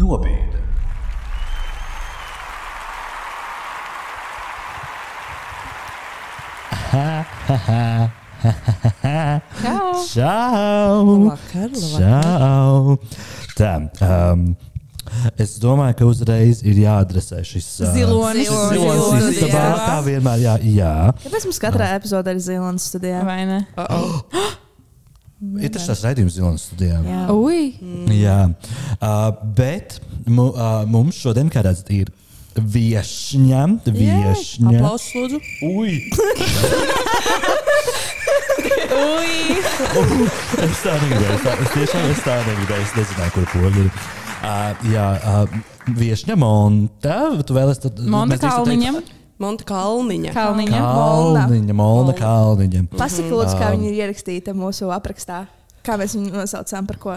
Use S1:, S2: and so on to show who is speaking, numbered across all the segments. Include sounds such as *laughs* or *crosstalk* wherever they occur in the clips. S1: Nobīde.
S2: Čau!
S3: Čau!
S2: Vakar,
S3: Čau! Tā, um, es domāju, ka uzreiz ir jāadresē šis ā,
S2: Zilonis.
S3: zilonis
S2: Zilonis
S3: istabā.
S2: istabā.
S3: Tā vienmēr jā, jā.
S4: Kāpēc mums katrā epizodē ir zilonis studijā?
S2: Vai ne?
S3: ir tas raidījums zilonis studijām.
S4: Jā.
S2: Ui!
S3: Jā, uh, bet mu, uh, mums šodien, kā redzat, ir viesņa. Viesņa.
S2: Aplausus, lūdzu!
S3: Ui!
S2: Ui!
S3: Es tā negribēju. Es, tā, es tiešām es tā negribēju. Es nezināju, kur pogi ir. Uh, jā, uh, viesņa Monta. Tu vēlies tad
S2: Monta
S3: mēs drīkstam teikt-
S2: Kalniņam.
S5: Monta Kalniņa.
S2: Kalniņam.
S3: Kalniņa, Molna Kalniņa.
S4: Pasaki, lūdzu, kā viņi ir ierakstīti mūsu aprakstā. Kā mēs viņu nosaucām par ko?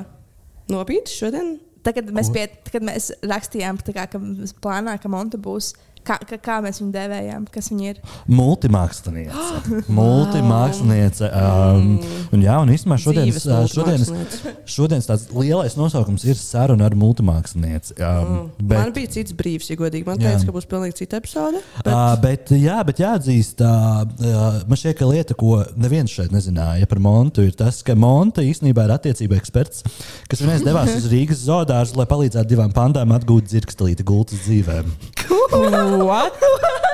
S5: Nopietni šodien.
S4: Tagad mēs, pie, tagad mēs rakstījām, tā kā, ka mums plānā, ka Monta būs. Kā, kā, kā mēs viņu devējām? Kas viņa ir?
S3: Multimāksliniece. Multimāksliniece. Um, un jā, un īstenībā šodienas,
S5: Dzīves
S3: ā, šodienas, šodienas tāds lielais nosaukums ir saruna ar multimākslinieci. Um,
S5: Bet... Mm. Man
S3: bet,
S5: bija cits brīvs, ja godīgi. Man
S3: Jā.
S5: teica, ka būs pilnīgi cita epizode. Bet...
S3: uh, bet, jā, bet jāatzīst, uh, uh, man šķiet, ka lieta, ko neviens šeit nezināja par Montu, ir tas, ka Monta īstenībā ir attiecība eksperts, kas vienreiz devās uz Rīgas zoodārzu, lai palīdzētu divām pandām atgūt dzirkstelīti gultas dzīvēm.
S2: What?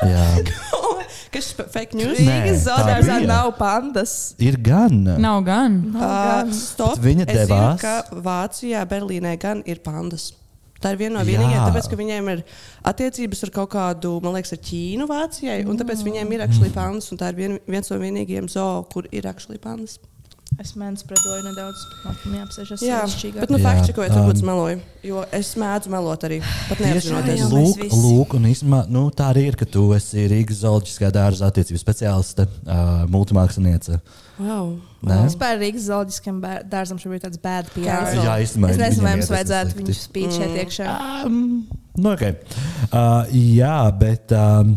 S3: Jā.
S5: *laughs* Kas ir fake news?
S3: Nē,
S4: Rīgas
S3: tā
S4: zodārzā
S3: bija.
S4: nav pandas.
S3: Ir gan.
S2: Nav gan.
S5: Uh, stop.
S3: Bet viņa
S5: es
S3: devās.
S5: Zinu, ka Vācijā, Berlīnē gan ir pandas. Tā ir viena no
S3: Jā.
S5: vienīgajām, tāpēc, ka viņiem ir attiecības ar kaut kādu, man liekas, ar Ķīnu, Vācijai, un tāpēc viņiem ir akšlī pandas, un tā ir vien, viens no vienīgajiem zoo, kur ir akšlī pandas.
S4: Es mēģināju spredoju nedaudz. Man jāapsēžas
S5: Jā,
S4: sarežģīgāk.
S5: bet nu
S3: Jā,
S5: fakts čekojiet,
S3: um,
S5: varbūt es meloju, jo es mēdzu melot arī, pat neapzinoties.
S4: jau mēs
S3: Lūk,
S4: visi.
S3: lūk, un īsumā, nu, tā arī ir, ka tu esi Rīgas zooloģiskā dārza attiecību speciāliste, uh, multimāksliniece.
S5: Wow.
S3: Nē?
S4: nu, Vispār Rīgas zooloģiskam bēr- dārzam šobrīd ir tāds bad PR.
S5: Cancel.
S3: Jā, īstenībā
S4: Es
S3: viņam
S4: nezinu, vai mums
S3: iet tas
S4: vajadzētu
S3: slikti.
S4: viņu spīd šeit iekšā.
S3: Um, nu, okay. uh, jā, bet um,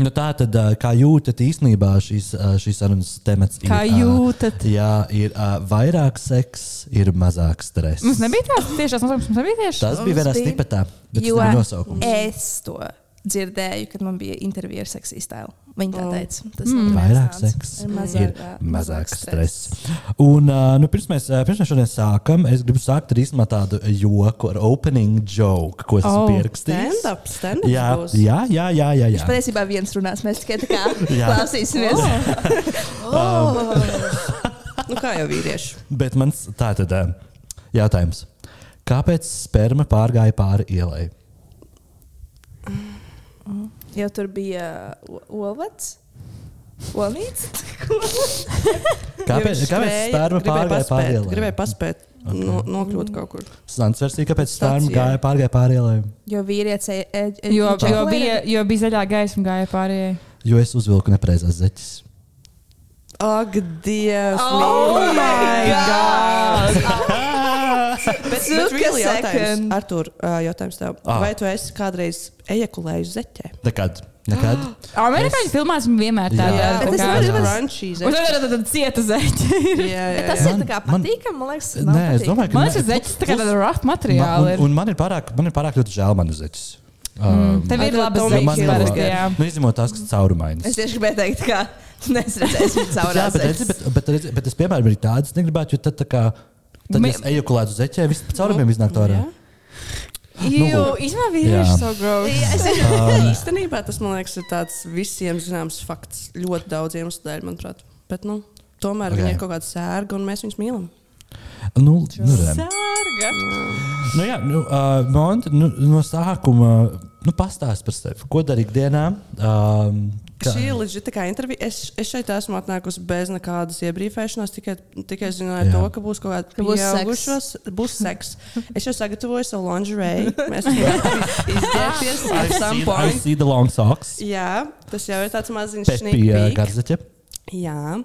S3: nu, tā tad, uh, kā jūtat īstenībā šīs, uh, šīs sarunas temats?
S2: Kā
S3: ir,
S2: jūtat?
S3: Uh, jā, ir uh, vairāk seks, ir mazāk stress.
S2: Mums nebija tāds tiešās nosaukums, mums nebija tieši.
S3: Tas bija
S4: Mums
S3: vienā
S4: bija-
S3: stipetā, bet tas
S4: Jo
S3: bija nosaukums.
S4: es to dzirdēju, kad man bija intervija ar seksiju stilu. Viņa tā teica, tas
S3: Ir
S4: mm.
S3: Vairāk seksa, ir
S4: uh,
S3: mazāk stresa. Un uh, nu, pirms mēs uh, pirms mēs šodien sākam, es gribu sākt ar īstenībā tādu joku, ar opening joke, ko esmu
S2: Oh,
S3: oh, pierakstījis.
S5: Stand-up, stand-up.
S3: Jā,
S5: būs.
S3: jā, jā, jā. jā,
S4: Viņš
S3: jā.
S4: patiesībā viens runās, mēs tikai tā kā
S3: *laughs* Jā. Oh.
S4: klausīsimies.
S5: Nu, kā jau vīrieši?
S3: Bet mans tā tad uh, jautājums. Kāpēc sperma pārgāja pāri ielai?
S4: *laughs* Jo tur bija uh, o- olvats. Olnīts?
S3: Kāpēc, kāpēc sperma pārgāja pāri
S5: pāri?
S3: ielai?
S5: Gribēju paspēt, no, nokļūt kaut kur.
S3: Sants versija, kāpēc sperma
S5: Stacijai.
S3: gāja pārgāja pāri ielai?
S4: Jo vīrietis e, e, e,
S2: Jo, jo,
S4: čaklēja.
S2: bija, jo bija zaļā gaisa un gāja pārējai.
S3: Jo es uzvilku nepareizās zeķes.
S5: Ak, Dievs!
S4: Oh my god! Oh.
S3: *laughs*
S5: bet, bet
S4: Took a
S5: really jautājums,
S4: second.
S5: Artur, ā, jautājums tev.
S3: Ah.
S5: Vai tu esi kādreiz ejakulējis zeķē?
S3: Nekad.
S2: *gasps*
S3: Nekad.
S2: Amerikāņu filmās viņi vienmēr tā
S3: Jā.
S2: dara.
S4: Bet
S2: tā
S4: es
S2: kā-
S4: varu-
S5: Brunchī
S2: Un tad
S5: zeķē.
S2: ir tāda cieta
S3: *laughs*
S2: zeķa.
S5: *laughs* Jā,
S4: Bet
S5: jā,
S4: Tas
S5: jā.
S4: ir tā kā
S3: Man- man-
S4: patīkami, man liekas. nav
S3: Nē, es
S4: patīkami.
S3: domāju, ka
S2: Man liekas,
S3: ne-
S2: ka zeķis tā kā tāda rough
S3: Ma-
S2: materiāla
S3: Un,
S2: ir. Mm.
S3: un man ir pārāk, man ir pārāk ļoti žēl manas zeķes. Um,
S2: Tev ir
S5: Atrod
S2: laba
S5: Tommy
S3: jo man
S2: zeķis
S3: ir
S2: parasti,
S3: labāk.
S2: jā.
S3: Nu, izņemot tās, kas caurumainas.
S4: Es tieši gribēju teikt, ka *laughs*
S3: *laughs*
S4: nesredzēsim caur
S3: Jā, bet, redzi, bet, bet, redzi, bet es piemēram arī tādas negribētu, jo tad, tā kā, tad
S2: Mi- Nu,
S3: ja es eju kulēt uz zeķē, viss pa caurumiem iznāk tā ārā.
S2: Jū,
S3: Nu, lūk.
S2: īstenībā vīrieši
S3: Jā.
S2: so gross.
S5: Īstenībā tas, man liekas, ir tāds visiem zināms fakts. Ļoti daudz iemeslu dēļ, manuprāt. Bet, nu, tomēr
S3: Ok.
S5: okay. viņi ir kaut kāda sērga un mēs viņus mīlam.
S3: Nu, nu, re.
S2: Sārga.
S3: nu, jā, nu, uh, Monti, nu, no sākuma nu, pastāst par sevi. Ko darīt dienā? Um, kā-
S5: Šī ir leģita kā intervija. Es, es šeit esmu atnākusi bez nekādas iebrīvēšanās. Tikai, tikai zināju
S3: Jā.
S5: Jā. to, ka būs kaut kāda
S4: būs
S5: pieaugušos, būs
S4: *laughs*
S5: seks. Es jau sagatavoju savu lingerie. Mēs esam gatavi izģērbties
S3: Ah, I
S5: at some
S3: see- I
S5: point.
S3: see the long socks.
S5: Jā, tas jau ir tāds maziņš
S3: Pepija
S5: sneak peek.
S3: garzeķe.
S5: Jā,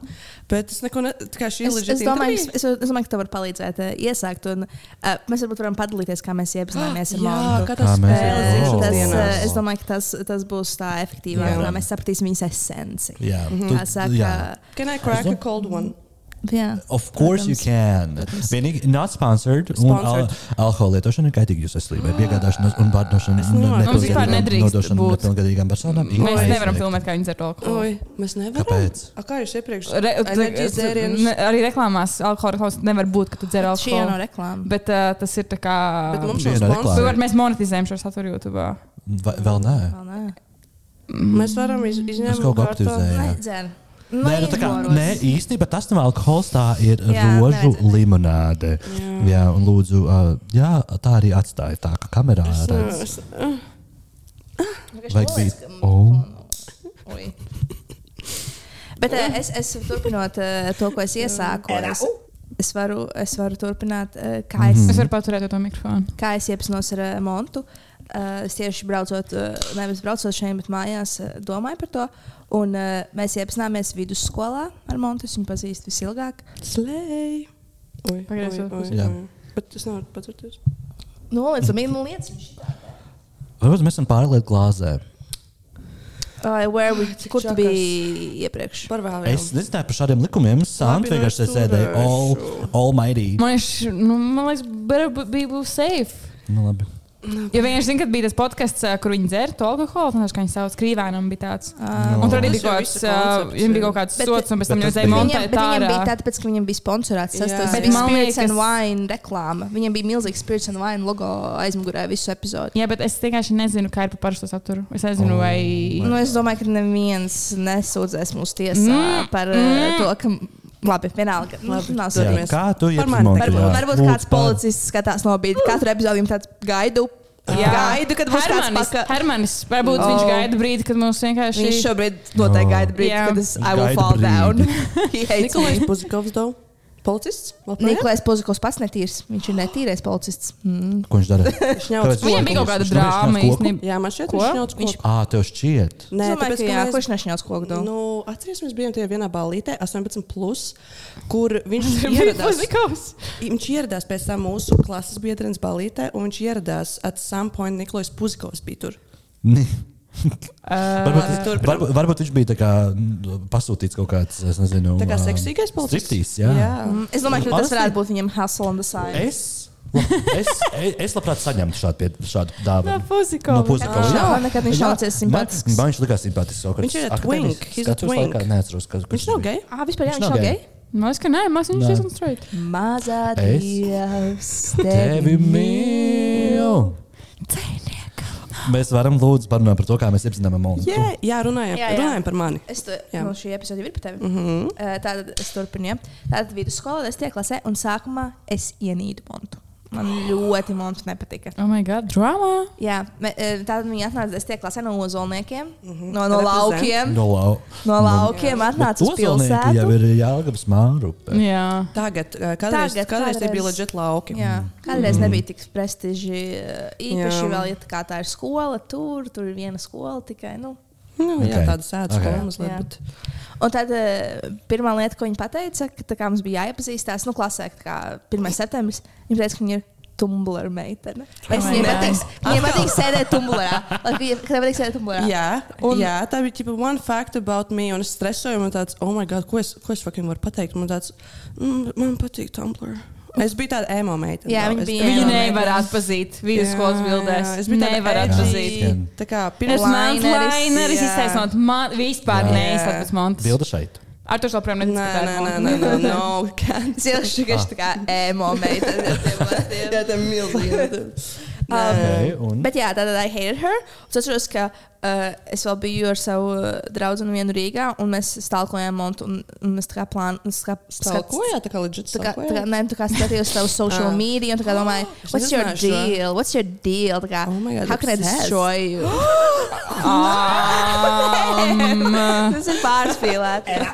S5: bet es neko nedomāju. Tā kā šī
S4: Es,
S5: ir
S4: es, domāju, es, es, es domāju, ka tev var palīdzēt uh, iesākt. Un, uh, mēs varbūt varam padalīties, kā mēs iepazināmies ar Monētu.
S5: kā tas
S3: Kā mēs
S5: spēles
S3: iepazīstamies?
S4: Tas,
S5: iekšzemes
S3: Jā.
S5: dienās.
S4: eh, es domāju, ka tas, tas būs tā efektīvāk,
S5: Jā.
S4: kā mēs sapratīsim viņas esenci.
S3: Jā,
S2: Mhm,
S3: tu,
S4: Kā saka,
S5: Can I crack a cold one?
S4: jā.
S3: Of course you can. Vienīgi not sponsored. Un al
S5: Sponsored.
S3: alkohola lietošana ir kaitīga jūsu veselībai. Piegādāšana un pārdošana
S5: Es nevaru.
S3: nepilngadīgām-
S2: Mums Ah. Nu, vispār nedrīkst
S3: nodošana
S2: būt.
S3: nepilngadīgām personām. ir
S2: Mēs
S5: Oi.
S2: nevaram
S3: aizliegta.
S2: filmēt, kā viņi dzer alkoholu.
S5: Oi, mēs nevaram.
S3: Kāpēc?
S5: A, kā jūs iepriekš
S2: Re,
S5: enerģijas dzērienus?
S2: ne, arī reklāmās alkohola reklāmas nevar būt, ka tu dzer
S4: Šī jau
S2: alkoholu.
S4: nav reklāma.
S2: Bet uh, tas ir tā kā.
S5: Bet mums
S3: Viena
S5: nav
S2: Tu
S3: reklāma.
S5: sponsors.
S2: vari- Mēs monetizējam šo saturu YouTube.
S3: Va- Vēl nē.
S4: Vēl nē.
S5: Mēs varam iz,
S3: Es
S5: izņemt
S3: kaut ko aktivizēju. Jā.
S4: Nedzer.
S3: Nē, nu, tā kā, nē, īstenībā tas nav alkohols, tā ir jā,
S4: Jā,
S3: rožu
S4: nevajadzētu.
S3: limonāde. Jā. Mm. jā, un lūdzu, uh, jā, tā arī atstāja tā, ka kamerā
S5: uh,
S3: redz. Vajag būt- Oh.
S4: Bet eh, es, es turpinot eh, to, ko es iesāku, es, es, varu, es varu turpināt, eh, kā
S3: Mhm.
S4: es,
S2: Es varu paturēt to mikrofonu.
S4: kā es iepazinos ar eh, Montu. Eh, Es tieši braucot, eh, nevis braucot šeit, bet mājās eh, domāju par to. Un eh, mēs iepazināmies vidusskolā ar Montu. Es viņu pazīstu visilgāk.
S5: Slēj.
S2: Pagriez vēl pusi.
S3: Jā.
S5: Bet tas nevar paturēties.
S4: Nolaidu mīlu lietas. viņš šitā.
S3: Varbūt mēs esam pārlieku glāzē.
S4: Ai, where we- Kur tu
S5: čakas.
S4: biji iepriekš?
S5: Par vēl.
S3: Es nezināju par šādiem likumiem. Sānta
S5: Labi, nu,
S3: vienkārši
S5: es
S3: sēdēja
S5: turēšu.
S3: all, almighty.
S2: Man liekas, nu, man liekas, better bu- be blue safe.
S3: Nu, labi.
S2: Ja vienkārši zina, kad bija tas podkāsts, ā, kur viņi dzēra to alkoholu, tad viņš sauc krīvēnam bija tāds.
S4: Ā,
S3: No.
S2: Un tur arī
S5: Tas
S2: bija
S5: jau
S2: kaut kāds,
S5: visu
S2: ā,
S5: koncepts,
S2: viņam bija
S5: jā.
S2: kaut kāds
S4: Bet-
S2: sots, un pēc
S3: Oh. Bet
S2: tam jau
S3: tas
S2: dzēra
S3: bija-
S2: monētu
S4: Viņam, bet viņam bija
S2: tā.
S4: tā, tāpēc, ka viņam bija sponsorēts tas
S5: Jā.
S4: tas
S5: Bet
S4: bija
S2: man
S4: Spirits and
S2: liekas-
S4: Wine reklāma. Viņam bija milzīgs Spirits and Wine logo aizmugurē visu epizodi.
S2: Jā, bet es vienkārši nezinu, kā ir par parasto saturu. Es nezinu,
S3: Oh,
S2: vai.
S3: man-
S4: Nu, es domāju, ka neviens nesūdzēs mūsu tiesā
S2: Mm,
S4: mm. par mm.
S2: mm.
S4: to, ka. Labi, vienalga. Labi. Nav
S3: Jā,
S4: svarīgi.
S5: Dodamies.
S3: kā tu
S5: Par
S3: iepazini
S5: mani.
S3: Montu?
S4: Varbūt,
S3: Jā,
S4: varbūt
S3: lūdzu,
S4: kāds
S3: par-
S4: policists skatās no brīža. Katru epizodi viņam tāds gaidu. Jā. Nu, Gaidu, kad būs kāds
S2: Hermanis,
S4: pakaļ.
S2: Hermanis, varbūt
S4: Oh.
S2: viņš gaida brīdi, kad mums *laughs*
S4: Viņš
S2: vienkārši.
S4: šobrīd noteikti
S3: Oh.
S4: gaida brīdi,
S2: Jā.
S4: kad es I will
S3: Gaida
S4: fall
S3: brīdi.
S4: down. *laughs* He hates me.
S5: Nikolais Puzikovs dau. Policists? Nikolais.
S4: Nikolais Pozikovs pats netīrs. Viņš ir netīrais policists. Mm.
S3: Ko viņš darīja?
S5: *laughs* Viņš ņauc
S3: Tāpēc-
S5: koku.
S2: Viņam bija kaut kāda
S3: Viņš neviens
S2: drāma
S3: nav koku?
S2: īstenībā.
S5: Jā, man šķiet,
S2: Ko?
S5: viņš ņauc koku.
S3: Ā, tev šķiet.
S5: Nē,
S4: Es domāju, ka
S5: tāpēc, ka
S4: jā,
S5: mēs
S4: kurš nešņauts koku dūmu?
S5: Nu, Atcerieties, mēs bijām tajā vienā ballītē, 18, plus, kur viņš *laughs*
S2: Bija
S5: ieradās.
S2: Puzikovs.
S5: Viņš ieradās pēc tam mūsu klases biedrenes ballītē, un viņš ieradās at some point Nikolais Puzikovs bija tur.
S3: *laughs* Ni-
S5: Labi,
S3: Varbūt,
S5: turpinam.
S3: varbūt, varbūt viņš bija tā kā, mm, pasūtīts kaut kāds, es nezinu,
S5: Tā kā
S3: ā,
S5: seksīgais policists?
S3: striptīzs, jā. jā.
S4: Mm, Es domāju, ka tas
S3: Honestly-
S4: varētu būt viņam hustle on the side.
S3: Es, es, es, es labprāt saņemtu šādu, pie, šādu
S5: *laughs*
S3: dāvanu.
S2: No Puzikova.
S3: Puzikova,
S4: Nekad
S3: jā.
S4: nav, nekad viņš
S3: Jā,
S4: nav cietis simpātisks.
S3: Man, man viņš likās simpātisks. kaut kāds
S5: Viņš ir a
S3: akadēmisks
S5: twink, he's a
S3: skaturs
S5: twink.
S3: laikā, Neatceros, kas, kurš
S5: Viņš nav gejs.
S4: Ah, vispār jā,
S3: Viņš
S4: viņš
S3: nav
S4: nav
S3: gej.
S4: gei.
S2: Man liekas, ka nē, man
S3: Nē.
S2: liekas, viņš ir straight.
S4: Mazā
S3: Es-
S4: dievs,
S3: Tevi mīl. Mēs varam lūdzu parunāt par to, kā mēs iepazīstinām Monu.
S5: Jā, jā, runājam,
S4: Jā, jā.
S5: runājam par mani.
S4: Es to
S5: Jā.
S4: jau no šī epizode jau ir par tevi. Mm -hmm. Tātad es turpinu. Ja? Tātad vidusskolā es tiek klasē, un sākumā es ienīdu montu. Man ļoti montu nepatika.
S2: Oh, my God, drama.
S4: Jā, me- e, tātad viņi atnāca, es tiek klasē no ozolniekiem, mm -hmm. no, no
S5: Reprezent.
S4: laukiem.
S3: No lau.
S4: No laukiem atnāca uz
S3: pilsēta. Jau
S4: pilsētu.
S3: ir Jālgabas mārupe.
S2: Jā.
S5: Tagad,
S4: Tagad,
S5: eh, kādreiz, tagad, kādreiz tie
S4: kādreiz.
S5: bija leģitāri lauki.
S4: Jā, kādreiz nebija tik prestiži. eh, Īpaši
S5: Jā.
S4: jā. vēl, ja tā, kā tā ir skola, tur, tur ir viena skola tikai. Nu.
S5: Nu, jā,
S3: Okay.
S5: tāda sēdz
S3: Okay.
S5: okay. mazliet.
S4: Jā.
S5: Bet,
S4: Un tad eh, pirmā lieta, ko viņa teica, ka tā kā mums bija jāiepazīstās, nu, klasē, tā kā 1. septembris, viņa teica, ka viņa ir tumbler meitene. Es
S2: Oh
S4: viņai
S2: my
S4: patīk, viņai patīk sēdēt tumblerā. Lai Viņai kad viņai patīk sēdēt tumblerā.
S5: jā,
S4: Un-
S5: jā, tā bija tipa one fact about me, un es stresoju, man tāds, oh my god, ko es, ko es fucking varu pateikt? Man tāds, mm, man patīk Tumblr. Es biju tāda emo meitene.
S4: Jā,
S5: vēl.
S4: viņa
S5: Es-
S4: bija
S5: es
S2: Viņa
S4: emo
S5: biju
S4: meitene.
S2: nevar atpazīt vidusskolas
S5: Jā,
S2: bildēs.
S5: jā, Es biju
S2: Viņa
S5: tāda
S2: nevar
S5: edgy,
S2: atpazīt.
S3: atpazīt.
S5: Tā kā
S2: Es
S5: pirmā
S2: māku,
S4: Lineris,
S2: lineris
S5: jā.
S2: iztaisnot, man vispār
S3: Jā.
S2: neizsakās monētas.
S3: Bilda šeit.
S2: Ar to joprojām
S5: Nē, nē, nē, nē, nē,
S2: nedzirdu.
S5: nē.
S4: Es jau šķiet, ka viņš tā kā emo meitene.
S5: Jā, tā ir milzīga.
S4: Um,
S3: Okay, un...
S4: Bet jā, tad I hated her. Un Es atceros, ka uh, es vēl biju ar savu uh, draugu vienu Rīgā, un mēs stalkojām monētu, un, un es tā kā plānoju,
S5: Ko jā, tā kā leģitāri?
S4: Tā kā, tā kā, nē, tā kā skatījos savu social
S5: Ah.
S4: media, un tā kā *gasps* domāju,
S5: Es
S4: what's your
S5: nezināju šo.
S4: deal? What's your deal? Tā kā,
S5: Oh my God,
S4: how can I
S5: obsessed.
S4: destroy *gasps* you? Um. *laughs* tas ir pārspīlēti. *laughs*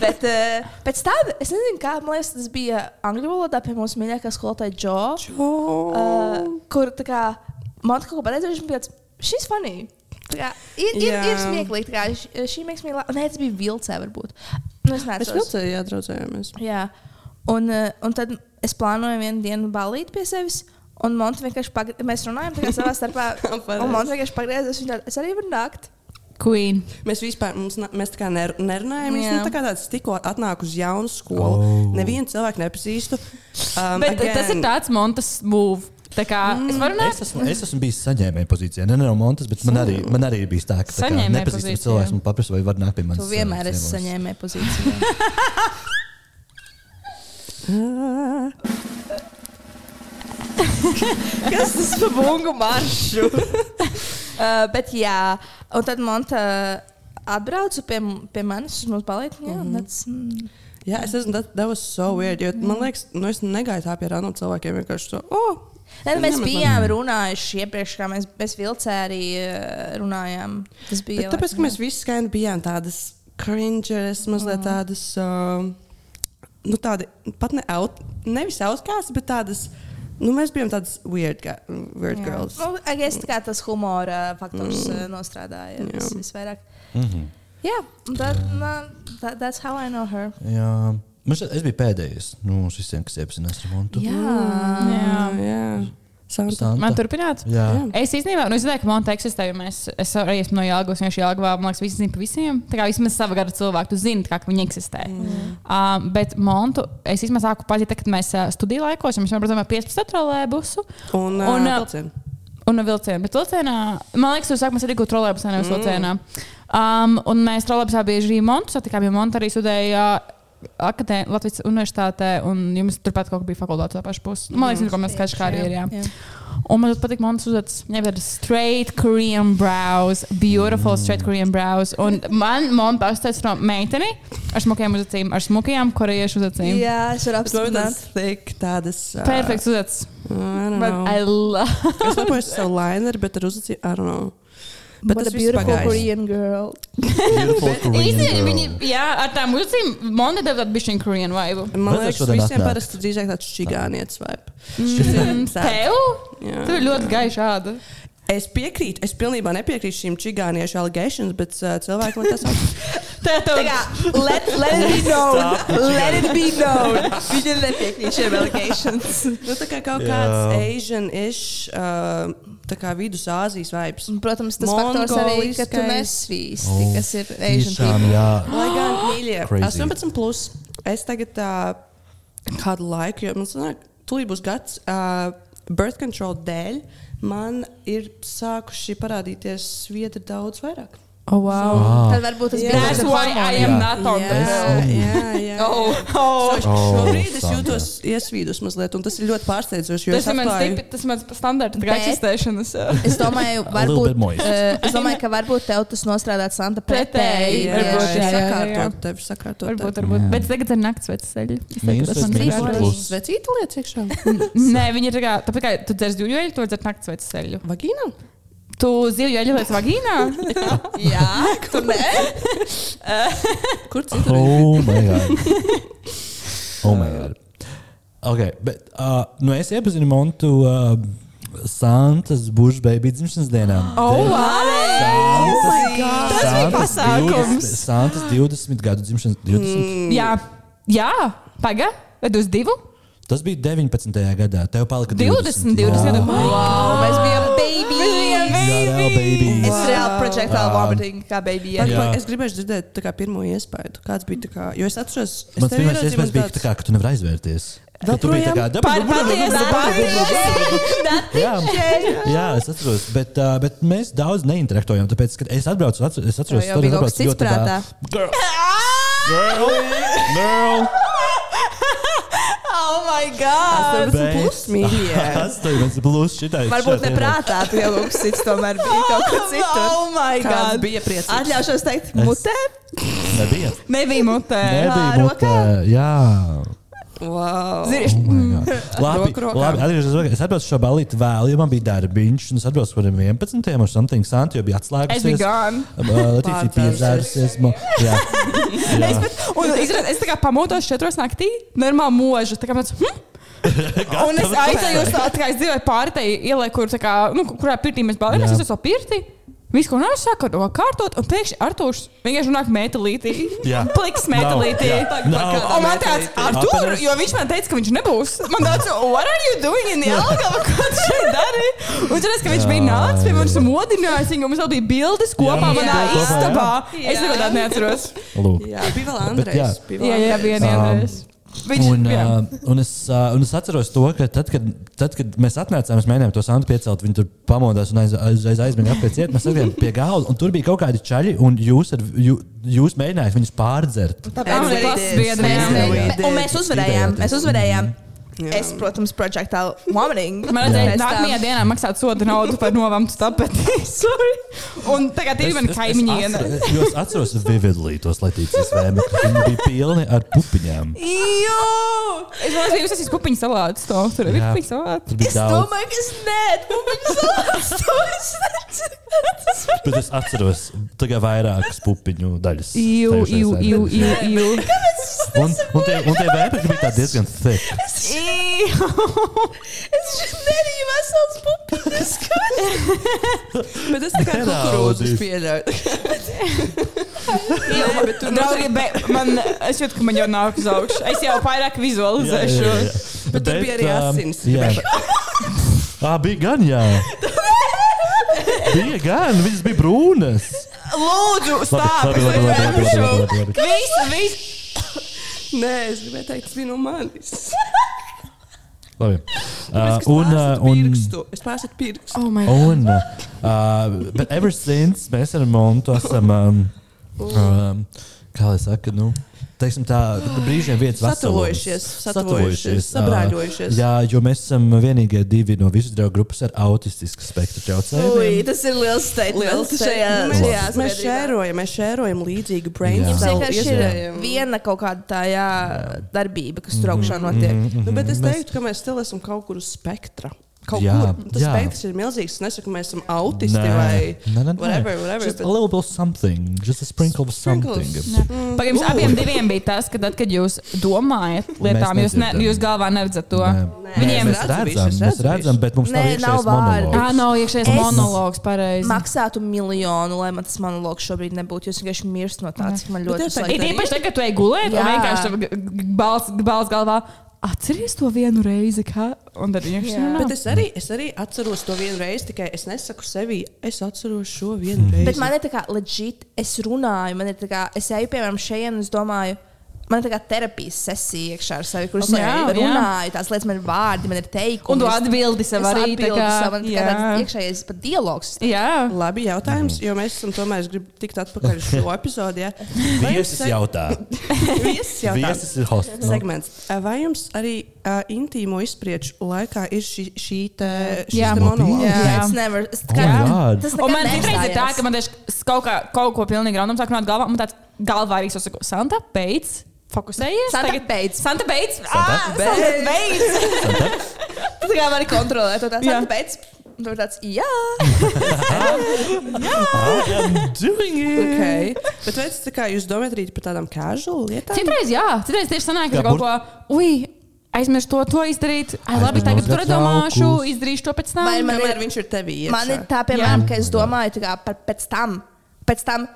S4: Bet uh, pēc tam, es nezinu, kā, man liekas, tas bija angļu valodā pie mūsu mīļākā skolotāja Džo. Uh, kur tā kā man kaut ko pateica, viņš bija tāds, šis funny. Tā kā, ir, ir,
S5: Jā.
S4: ir smieklīgi. tā kā, š- Šī mākslinieka, nē, tas bija vilcē, varbūt. Nu, es
S5: Mēs
S4: neatceros.
S5: vilcējā draudzējāmies.
S4: Jā, un, eh, un tad es plānoju vienu dienu balīt pie sevis. Un Monte vienkārši pagriezās. Mēs runājām, tā kā savā *laughs* starpā.
S5: Pareizi.
S4: un Monte vienkārši pagriezās. Viņa tāda, es arī varu nākt.
S2: Queen.
S5: Mēs vispār mums, na- mēs tā kā ner, nerunājām. Viņš
S4: Jā.
S5: nu, tā kā tāds tikko atnāk uz jaunu skolu.
S3: Oh.
S5: Oh. Nevienu cilvēku nepazīstu. Um,
S2: Bet again. tas ir tāds montas move. Tā kā mm, es varu
S3: Es
S2: nākt.
S3: esmu, es esmu bijis saņēmējs pozīcijā. Ne, ne no Montes, bet man arī, man arī bija tā, ka tā kā
S2: Saņēmēja
S3: nepazīstams
S2: pozīcijā.
S3: cilvēks man paprasa, vai var nākt pie manis.
S4: Tu vienmēr esi
S3: ciemos.
S4: saņēmēji pozīcijā. *laughs* Kas tas par bungu *laughs* maršu? uh, bet jā, un tad Monta atbrauca pie, m- pie manis uz mūsu balīti. Jā, mm -hmm.
S5: Jā, es esmu devis
S2: Mm,
S5: so weird. Jo, man liekas, nu, es negaidu tā pie random cilvēkiem. Vienkārši to, oh,
S4: Tad mēs
S5: Ņemot
S4: bijām runājuši iepriekš, kā mēs, mēs vilcē arī eh, runājām. Tas bija.
S5: Bet tāpēc, ka mēs visi skaidri bijām tādas cringeres,
S2: Mm.
S5: mazliet tādas, um, nu, tādi, pat ne out, nevis outcasts, bet tādas, nu, mēs bijām tādas weird, ga- weird girls.
S2: Oh,
S4: Nu, I guess, tā kā tas humora faktors mm. nostrādāja
S5: Jā.
S4: vis, visvairāk.
S3: Mhm.
S4: Jā, un tad, man- that, that's how I know her.
S3: Jā. Man šķiet, es biju pēdējais no nu, visiem, kas iepazinās ar Montu.
S4: Jā,
S2: Jā.
S5: jā. Santa.
S3: Santa.
S2: Man turpināt?
S3: Jā.
S2: Es īstenībā, nu, es zinu, ka Monte eksistē, jo mēs, es arī esmu no Jālgavas, vienkārši Jālgavā, man liekas, visi zina par visiem. Tā kā vismaz sava gara cilvēku, tu zini, tā kā, ka viņi eksistē. Mm. Uh, bet Montu es īstenībā sāku pazīt, tad, kad mēs uh, studiju laikos, ja mēs jau braucām ar 15 trolēbusu
S5: Un,
S2: Un,
S5: un
S2: ā,
S5: uh, vilcienu.
S2: un vilcienu. Bet vilcienā, man liekas, jūs sākumā esat tikko trolēbusā, nevis
S4: Mm.
S2: vilcienā. Um, un mēs trolēbusā bieži arī Montu satikām, jo Monta arī studēja. uh, Akadē, Latvijas universitātē, un jums turpat kaut kā bija fakultāte tā paša puse. Nu, Man liekas, ka mēs skaidrs, kā arī ir. Jā.
S4: Mm. Jā.
S2: Un man ļoti patīk, man uzvedas, never straight Korean brows, beautiful
S4: Mm.
S2: straight Korean brows. Un man, man pastāstīts no meiteni ar smukajām uzacīm, ar smukajām korejiešu uzacīm. Yeah.
S4: jā es varu
S5: Bet man bija
S4: apstiprināt.
S5: tādas thick, tādas. ā,
S2: Perfekts uzvedas.
S5: I don't
S2: But
S5: know.
S2: I love.
S5: Es *laughs* lepoju ar savu lineru, bet ar uzcīm, I don't know. Bet
S4: What
S5: tas
S4: a
S5: viss
S4: beautiful
S5: pagājis.
S4: Korean girl.
S3: Beautiful Korean
S2: Īsti,
S3: girl.
S2: viņi, jā, ar tām uzacīm man ir tāda bišķiņa Korean vibe.
S5: Man
S3: Bet es
S5: liekas,
S3: šodien
S5: visiem
S3: atnāku.
S5: parasti drīzāk tāds čigānietis vibe.
S2: Mm,
S5: Tāds.
S2: Tev?
S5: Jā.
S2: Tev ir ļoti gaiša āda.
S5: Es piekrītu, es pilnībā nepiekrītu šīm čigāniešu allegations, bet uh, cilvēki
S3: *laughs*
S5: man tas saka.
S2: Tā tev
S4: Tā kā, let, let it be known. let it be known. Viņa nepiekrīt šiem allegations.
S5: Nu, tā kā kaut
S3: Jā.
S5: kāds Asian-ish, uh, tā kā vidusāzijas vibes.
S4: Un, Protams, tas faktors arī, ka tu
S5: Mongoliskais.
S4: nesvīsti, kas ir Asian
S3: Oh. Tiešām,
S4: people.
S3: jā.
S5: Lai
S2: Ah!
S5: gan, mīļie,
S3: Crazy.
S5: 18 plus. Es tagad uh, kādu laiku, jo man sanāk, tūlīt būs gads, uh, birth control dēļ man ir sākuši parādīties vieta daudz vairāk.
S2: Oh, wow.
S3: Ah.
S4: Tad varbūt tas
S5: Jā.
S4: bija
S2: That's
S4: tas
S2: why I am
S3: Jā.
S2: not on the
S5: jā,
S2: pill.
S5: jā, jā.
S2: Oh, oh.
S5: So,
S3: Oh,
S5: šobrīd es
S3: Sandra.
S5: jūtos iesvīdus mazliet, un tas ir ļoti pārsteidzoši. jo
S2: Tas
S5: es
S2: ir mans
S5: atklāju-
S2: tipi, tas ir mans standarta kā
S4: Bet-
S2: eksistēšanas. jā.
S4: Es domāju,
S3: little bit
S4: varbūt,
S3: moist.
S4: uh, es domāju, ka varbūt tev tas nostrādāt Santa
S2: Pretēji,
S4: pretēji.
S5: Jā,
S2: Varbūt, jā,
S5: jā,
S2: jā, jā.
S5: sakārtot tevi, sakārtot
S2: Varbūt,
S5: tevi.
S2: varbūt. Bet tagad ir naktas vecceļi.
S3: Mīnus pēc mīnus
S4: mīnus
S5: Varbūt.
S3: plus.
S5: Svecīti liec iekšā.
S2: Nē, viņi ir tā kā, tāpēc, kā tu dzers zivju eļu, tu dzer naktas vecceļu.
S5: Vagīna?
S2: Tu zivju eļu liec vagīnā?
S4: Jā, tur nē.
S5: Kur citur?
S3: Oh, my God. Oh, my God. Okay, bet, uh, nu es iepazinu Montu uh, Santas Bušbēbī dzimšanas dienā.
S2: Oh,
S3: Devi-
S2: wow!
S3: Santas-
S2: Tas bija
S3: Santas
S2: pasākums.
S3: 20 Santas 20 gadu dzimšanas 20. Mm.
S2: Jā, jā, paga, vai tu uz divu?
S3: Tas bija 19. gadā. Tev palika
S2: 20, 20 gadu.
S4: Wow, mēs bijām baby.
S3: gadu.
S4: Es reāli projektālu vomiting kā baby.
S5: Par,
S4: jā.
S5: par,
S3: Jā.
S5: es gribēju dzirdēt tā kā, pirmo iespēju. Kāds bija tas, jo es atceros, es
S3: Mans
S5: tevi
S3: pirmais
S5: ieraudzīju,
S3: iespējas
S5: man
S3: bija, tā kā, ka tu nevari aizvērties. Ka Tu biji tā kā
S2: Par patiesi,
S4: *laughs*
S3: Jā, jā, es atceros, bet, uh, bet mēs daudz neinteraktojam. Tāpēc, kad es atbraucu, atceros, es atceros,
S4: Tev jau bija kaut kas cits prātā.
S3: Girl, girl, girl.
S4: Oh my god!
S5: Tas ir plus,
S3: *laughs*
S5: mīļie.
S3: Tas tev ir plus šitai.
S4: Varbūt
S3: šitai-
S4: neprātā, tu jau kaut kas cits tomēr bija kaut kas cits. Oh my
S5: Kāds bija priecīgs?
S4: Atļaušos teikt, mutē?
S3: Nebija.
S2: Nebija mutē.
S3: Nebija.
S4: Ā,
S3: mutē, Jā.
S5: Wow.
S4: Zini,
S3: Oh my God. labi,
S5: Roku rokā.
S3: labi atgriežos. atpakaļ. Es atbraucu šo balīti vēl, jo man bija darbiņš. un Es atbraucu par 11. ar something. Santi jau bija
S2: Es biju
S3: atslēgusies.
S2: gone.
S3: Latīcija
S5: Pārdzērusies.
S3: piedzērusies. mo- Jā.
S2: Es,
S3: jā.
S2: pat, un, izrad, es tā kā pamodos četros naktī, normāli mūžā. Tā kā mēs. Hm? un es aizēju uz tādu, kā es dzīvoju pāri tai ielai, kur, tā kā, nu, kurā pirtī mēs balvamies.
S3: Jā.
S2: Es esmu pirti. Viss, ko nāc, saka, no kārtot, un pēkšļi Artūrs vienkārši nāk metālītī.
S3: Jā.
S2: Pliks
S3: Nav,
S2: metālītī.
S3: jā. Nav.
S2: Un man tāds, Artūr,
S3: Apēdās.
S2: jo viņš man teica, ka viņš nebūs. Man tāds, what are you doing in the algava? Ko tu šeit dari? Un cerēs, ka viņš bija nācis pie manis un modinājis, viņu, un mums vēl bija bildes kopā
S3: Jā,
S2: manā
S5: jā.
S2: istabā.
S4: Jā.
S2: Es neko tādu neatceros.
S3: Lūk.
S5: Jā, bija vēl
S3: Bet jā.
S5: Andrejs. bija vēl
S2: Jā, jā,
S5: Andrejs.
S2: bija vienreiz. Viņš,
S3: Un,
S2: jā.
S3: uh, un, es, uh, un es atceros to, ka tad, kad, tad, kad mēs atnācām, mēs mēģinājām to santu piecelt, viņi tur pamodās un aiz- aizreiz aizmiga apieciet. Mēs gājām pie galda, un tur bija kaut kādi čaļi, un jūs, ar, jū, jūs mēģinājāt viņus pārdzert.
S2: Ah,
S5: Tāpēc
S2: un
S5: arī
S2: klases
S5: did.
S2: biedri, jā.
S5: Tāpēc arī
S3: Jā.
S5: did.
S4: Un mēs uzvarējām. Mēs uzvarējām.
S5: Jā.
S4: Es, protams, projektā vomiting.
S2: Man
S4: Pēc
S2: redzēja, ka
S4: tam-
S2: nākamajā dienā maksāt sodu naudu par novamtu tapeti. *laughs* Sorry. Un tagad ir viena kaimiņiena.
S3: Es, atceros- jo es atceros vividlī tos latīcijas vēmekļus. Viņi bija pilni ar pupiņām.
S4: Jo!
S2: Es domāju, ka jūs esat pupiņu salāts. To. Tur ir
S3: Jā.
S2: pupiņu salāts.
S3: Tur bija
S4: Es
S3: daudz,
S4: domāju, ka es nedomāju.
S3: bet es atceros tikai vairākas pupiņu daļas.
S2: Jū,
S3: tajos
S2: jū,
S3: aizvērtnēs.
S2: jū, jū, jū.
S3: Un, un tie, un tie vēpekļi bija tādi diezgan thick.
S4: Es
S2: *laughs*
S4: šeit neriju vesels pupiņas.
S5: Bet es tikai kukurūzus pieļauju. *laughs*
S2: Jā, bet tur draugi, be, man, es jūtu, ka man jau nāk uz augšu. Es jau pārāk vizualizēšu. Jā, jā, jā.
S5: Bet tur bija arī
S3: um,
S5: asins.
S3: Jā, à, bija gan, jā. Bija gan, viņas bija brūnas.
S2: Lūdzu, stāp!
S3: labi, labi, labi, labi, labi, labi, labi, labi.
S2: Visu, visu!
S5: Nē, es gribēju teikt, tas bija no
S3: *laughs*
S5: manis.
S3: labi. Uh,
S5: Es
S3: un, uh,
S5: pārsatu
S3: un,
S5: pirkstu. Es pārsatu pirkstu.
S2: Oh my god!
S3: un, uh, bet ever since mēs ar Montu esam, um, um, kā lai saka, nu. Teiksim tā, brīžiem viens ah,
S5: Satuvojušies, satuvojušies, sabrāļojušies.
S3: Jā, jo mēs esam vienīgie divi no visas draugu grupas ar autistisku spektru traucējumiem.
S4: Ui, tas ir liels
S5: Liels
S4: statements šajā
S5: šajā- Mēs-
S4: šajā
S5: Mēs
S4: sabiedrībā.
S5: šērojam, mēs šērojam līdzīgu brain
S3: Jā.
S4: Jums
S5: cell
S4: vienkārši ir
S5: iespēju.
S4: viena kaut kāda tā jā, darbība, kas tur augšā notiek.
S5: Nu, bet es
S3: Mhm. Mēs-
S5: teiktu, ka mēs still esam kaut kur uz spektra. Kaut jā,
S3: Jā,
S5: kur tas
S3: jā.
S5: spektrs ir milzīgs. Es nesaku, ka mēs esam autisti nē. vai
S3: nē, nē, nē.
S5: whatever, whatever,
S3: Just
S5: bet-
S3: a little bit of something, just a sprinkle of
S5: Sprinkles.
S3: something.
S2: Pagaidām, jums abiem diviem bija tas, ka tad, kad jūs domājat lietām, jūs, ne,
S3: nedzirdam.
S2: jūs galvā neredzat to.
S3: Nē.
S2: Viņiem-
S3: mēs
S5: Redzu visu,
S3: redzam,
S5: es
S3: mēs
S5: redzu
S3: redzam, bet mums nav
S4: Nē, nav
S3: iekšējais
S4: Ah,
S2: Ā,
S4: vārdu.
S3: monologs.
S2: nav iekšējais
S4: Es-
S2: monologs pareizi.
S4: Maksātu miljonu, lai man tas monologs šobrīd nebūtu. Jūs vienkārši mirst no tā, cik man
S5: Bet
S4: ļoti
S5: tev
S4: uzlaik.
S2: Ir īpaši tagad, kad tu ej gulēt, un
S4: Jā.
S2: vienkārši tev g- g- balss balss galvā. Atceries to vienu reizi, kā? Un tad viņš
S4: Jā.
S5: Bet
S2: ir.
S5: es arī, es arī atceros to vienu reizi, tikai es nesaku sevi, es atceros šo vienu
S3: Mhm.
S5: reizi.
S4: Bet man ir tā kā leģit, es runāju, man ir tā kā, es eju piemēram šeit, un es domāju, man ir tā kā terapijas sesija iekšā ar sevi, kurš
S2: Ok,
S4: okay,
S2: jā.
S4: runāju, tās lietas man ir vārdi, man ir teikumi.
S2: Un tu atbildi sev arī. tā
S4: tā kā, man ir tā kā tāds
S2: jā.
S4: iekšējais pat dialogs.
S2: *laughs* jā.
S5: Labi
S3: Mhm.
S5: jautājums, jo mēs esam tomēr, es gribu tikt atpakaļ uz
S3: *laughs*
S5: šo epizodi. Ja. Vai jums
S3: Viesis
S5: se-
S3: jautā.
S5: *laughs* Viesis jautājums.
S3: Viesis ir hosts.
S5: Segments. Eh, Vai jums arī uh, intīmo izprieču laikā ir šī, šī te, šis
S2: Jā.
S5: te monologs?
S2: Jā.
S4: Yeah. It's never, es tā kā,
S3: Oh my God.
S4: tas
S2: Un
S4: nekad
S2: man citreiz ir tā,
S4: neapstājās.
S2: ka man tieši kaut, kā, kaut ko pilnīgi random sāk nākt galvā, un man tāds galvā arī sasaka, Santa, beidz! Fokusējies!
S4: Santa,
S2: tagad-
S4: beidz.
S2: Santa, beidz!
S3: Santa,
S2: Ā, Santa,
S4: beidz.
S2: beidz!
S4: *laughs* Tu tā kā vari kontrolēt, to tāds
S2: Jā.
S4: pēc. Un tur tāds, jā,
S2: *laughs*
S3: I'm doing it!
S5: Okay. Bet vai tas tā kā jūs domājat arī par tādām casual lietām?
S2: Citreiz, jā, citreiz tieši sanāk, ka
S3: Jā,
S2: kaut ko, ui, aizmirst to, to izdarīt. Ai, labi,
S3: Aizmirst
S2: tagad tur
S3: nozagt
S2: domāšu,
S3: jaukus.
S2: izdarīšu to pēc tam.
S4: Vai man
S5: Kamēr
S4: ir-
S5: viņš ir tevī. iekšā.
S4: man ir tā, piemēram, ka es domāju tā kā, par pēc tam, pēc tam.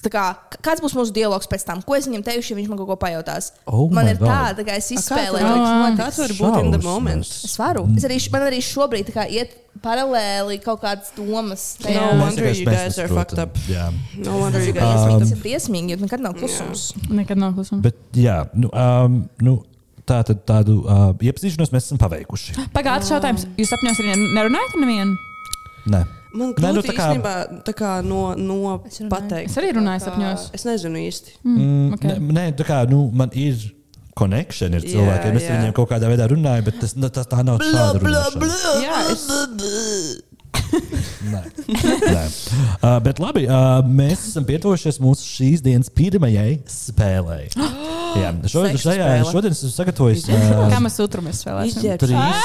S4: tā Kā, kāds būs mūsu dialogs pēc tam? Ko es viņam teikšu, ja viņš man kaut ko pajautās?
S3: Oh
S4: man
S3: my
S4: ir tā,
S3: God.
S4: tā kā es
S5: A, kā
S4: izspēlēju.
S5: tev
S4: liekas,
S5: liekas,
S3: Ah.
S4: man
S5: Kāds var būt in the moment?
S4: Es varu. Es arī, š- man arī šobrīd tā kā iet paralēli kaut kādas domas. Tā
S5: No
S4: jau
S5: one- wonder you guys are fucked up.
S3: Jā.
S5: No wonder you guys.
S4: briesmīgi,
S3: um,
S4: tas ir briesmīgi, jo nekad nav klusums.
S2: Nekad nav klusuma.
S3: Bet, jā, nu, um, nu tā tad tādu uh, iepazīšanos mēs esam paveikuši.
S2: Pagātnes jautājums. Jūs sapņos arī nerunājat ar nevienu?
S3: Nē.
S5: Man
S3: Nē, nu, tā
S5: grūti
S3: kā-
S5: īstenībā tā kā no, no
S4: Es runāju.
S5: pateikt.
S2: Es arī runāju
S5: Tā kā-
S2: sapņos.
S5: Es nezinu īsti.
S3: Mm,
S2: okay.
S3: okay. Nē, tā kā nu, man ir konekšana ar
S5: Jā,
S3: cilvēkiem. Es ar
S5: jā.
S3: viņiem kaut kādā veidā runāju, bet tas, nu, tas tā nav šāda runāšana.
S5: Jā, es
S3: Nē. Nē. *laughs* Uh, bet labi, uh, mēs esam pietuvušies mūsu šīs dienas pirmajai spēlei. *gasps* Jā, šodien,
S5: Seksa
S3: šajā,
S5: spēle.
S3: šodien esmu sagatavojis
S2: Kā
S3: uh,
S2: mēs sutrumies spēlēsim?
S5: izģērbšu.
S3: trīs.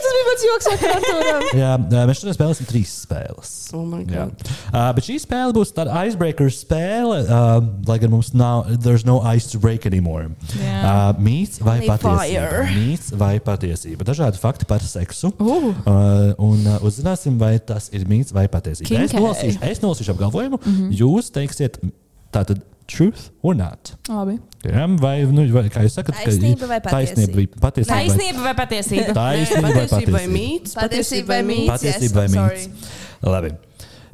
S2: Tas bija mans
S4: daudz joks ar kartūrām.
S3: Jā, ā, mēs šodien spēlēsim trīs spēles.
S5: Oh my
S3: Jā.
S5: God.
S3: Uh, bet šī spēle būs tāda icebreaker spēle, uh, lai gan mums nav, there's no ice to break anymore.
S2: Jā.
S3: Uh, mīts vai
S4: Only
S3: patiesība?
S4: fire.
S3: Mīts vai patiesība? Dažādi fakti par seksu.
S2: Uh.
S3: Uh, un uh, uzzināsim, vai tas ir mīts vai patiesība. Es
S2: Kinkai.
S3: nolasīšu, es nolasīšu apgalvojumu, mm
S4: Mhm.
S3: -hmm. jūs teiksiet, tātad truth or not.
S2: Labi.
S3: Jā, vai, nu, vai kā jūs sakat, ka-
S4: Taisnība vai
S3: Taisnība vai patiesība? vai-
S2: Taisnība vai patiesība?
S3: Taisnība vai
S5: Patiesība vai
S3: patiesība?
S5: mīts?
S4: Patiesība vai mīts?
S3: Patiesība vai
S4: Yes, I'm
S3: mīts? Labi.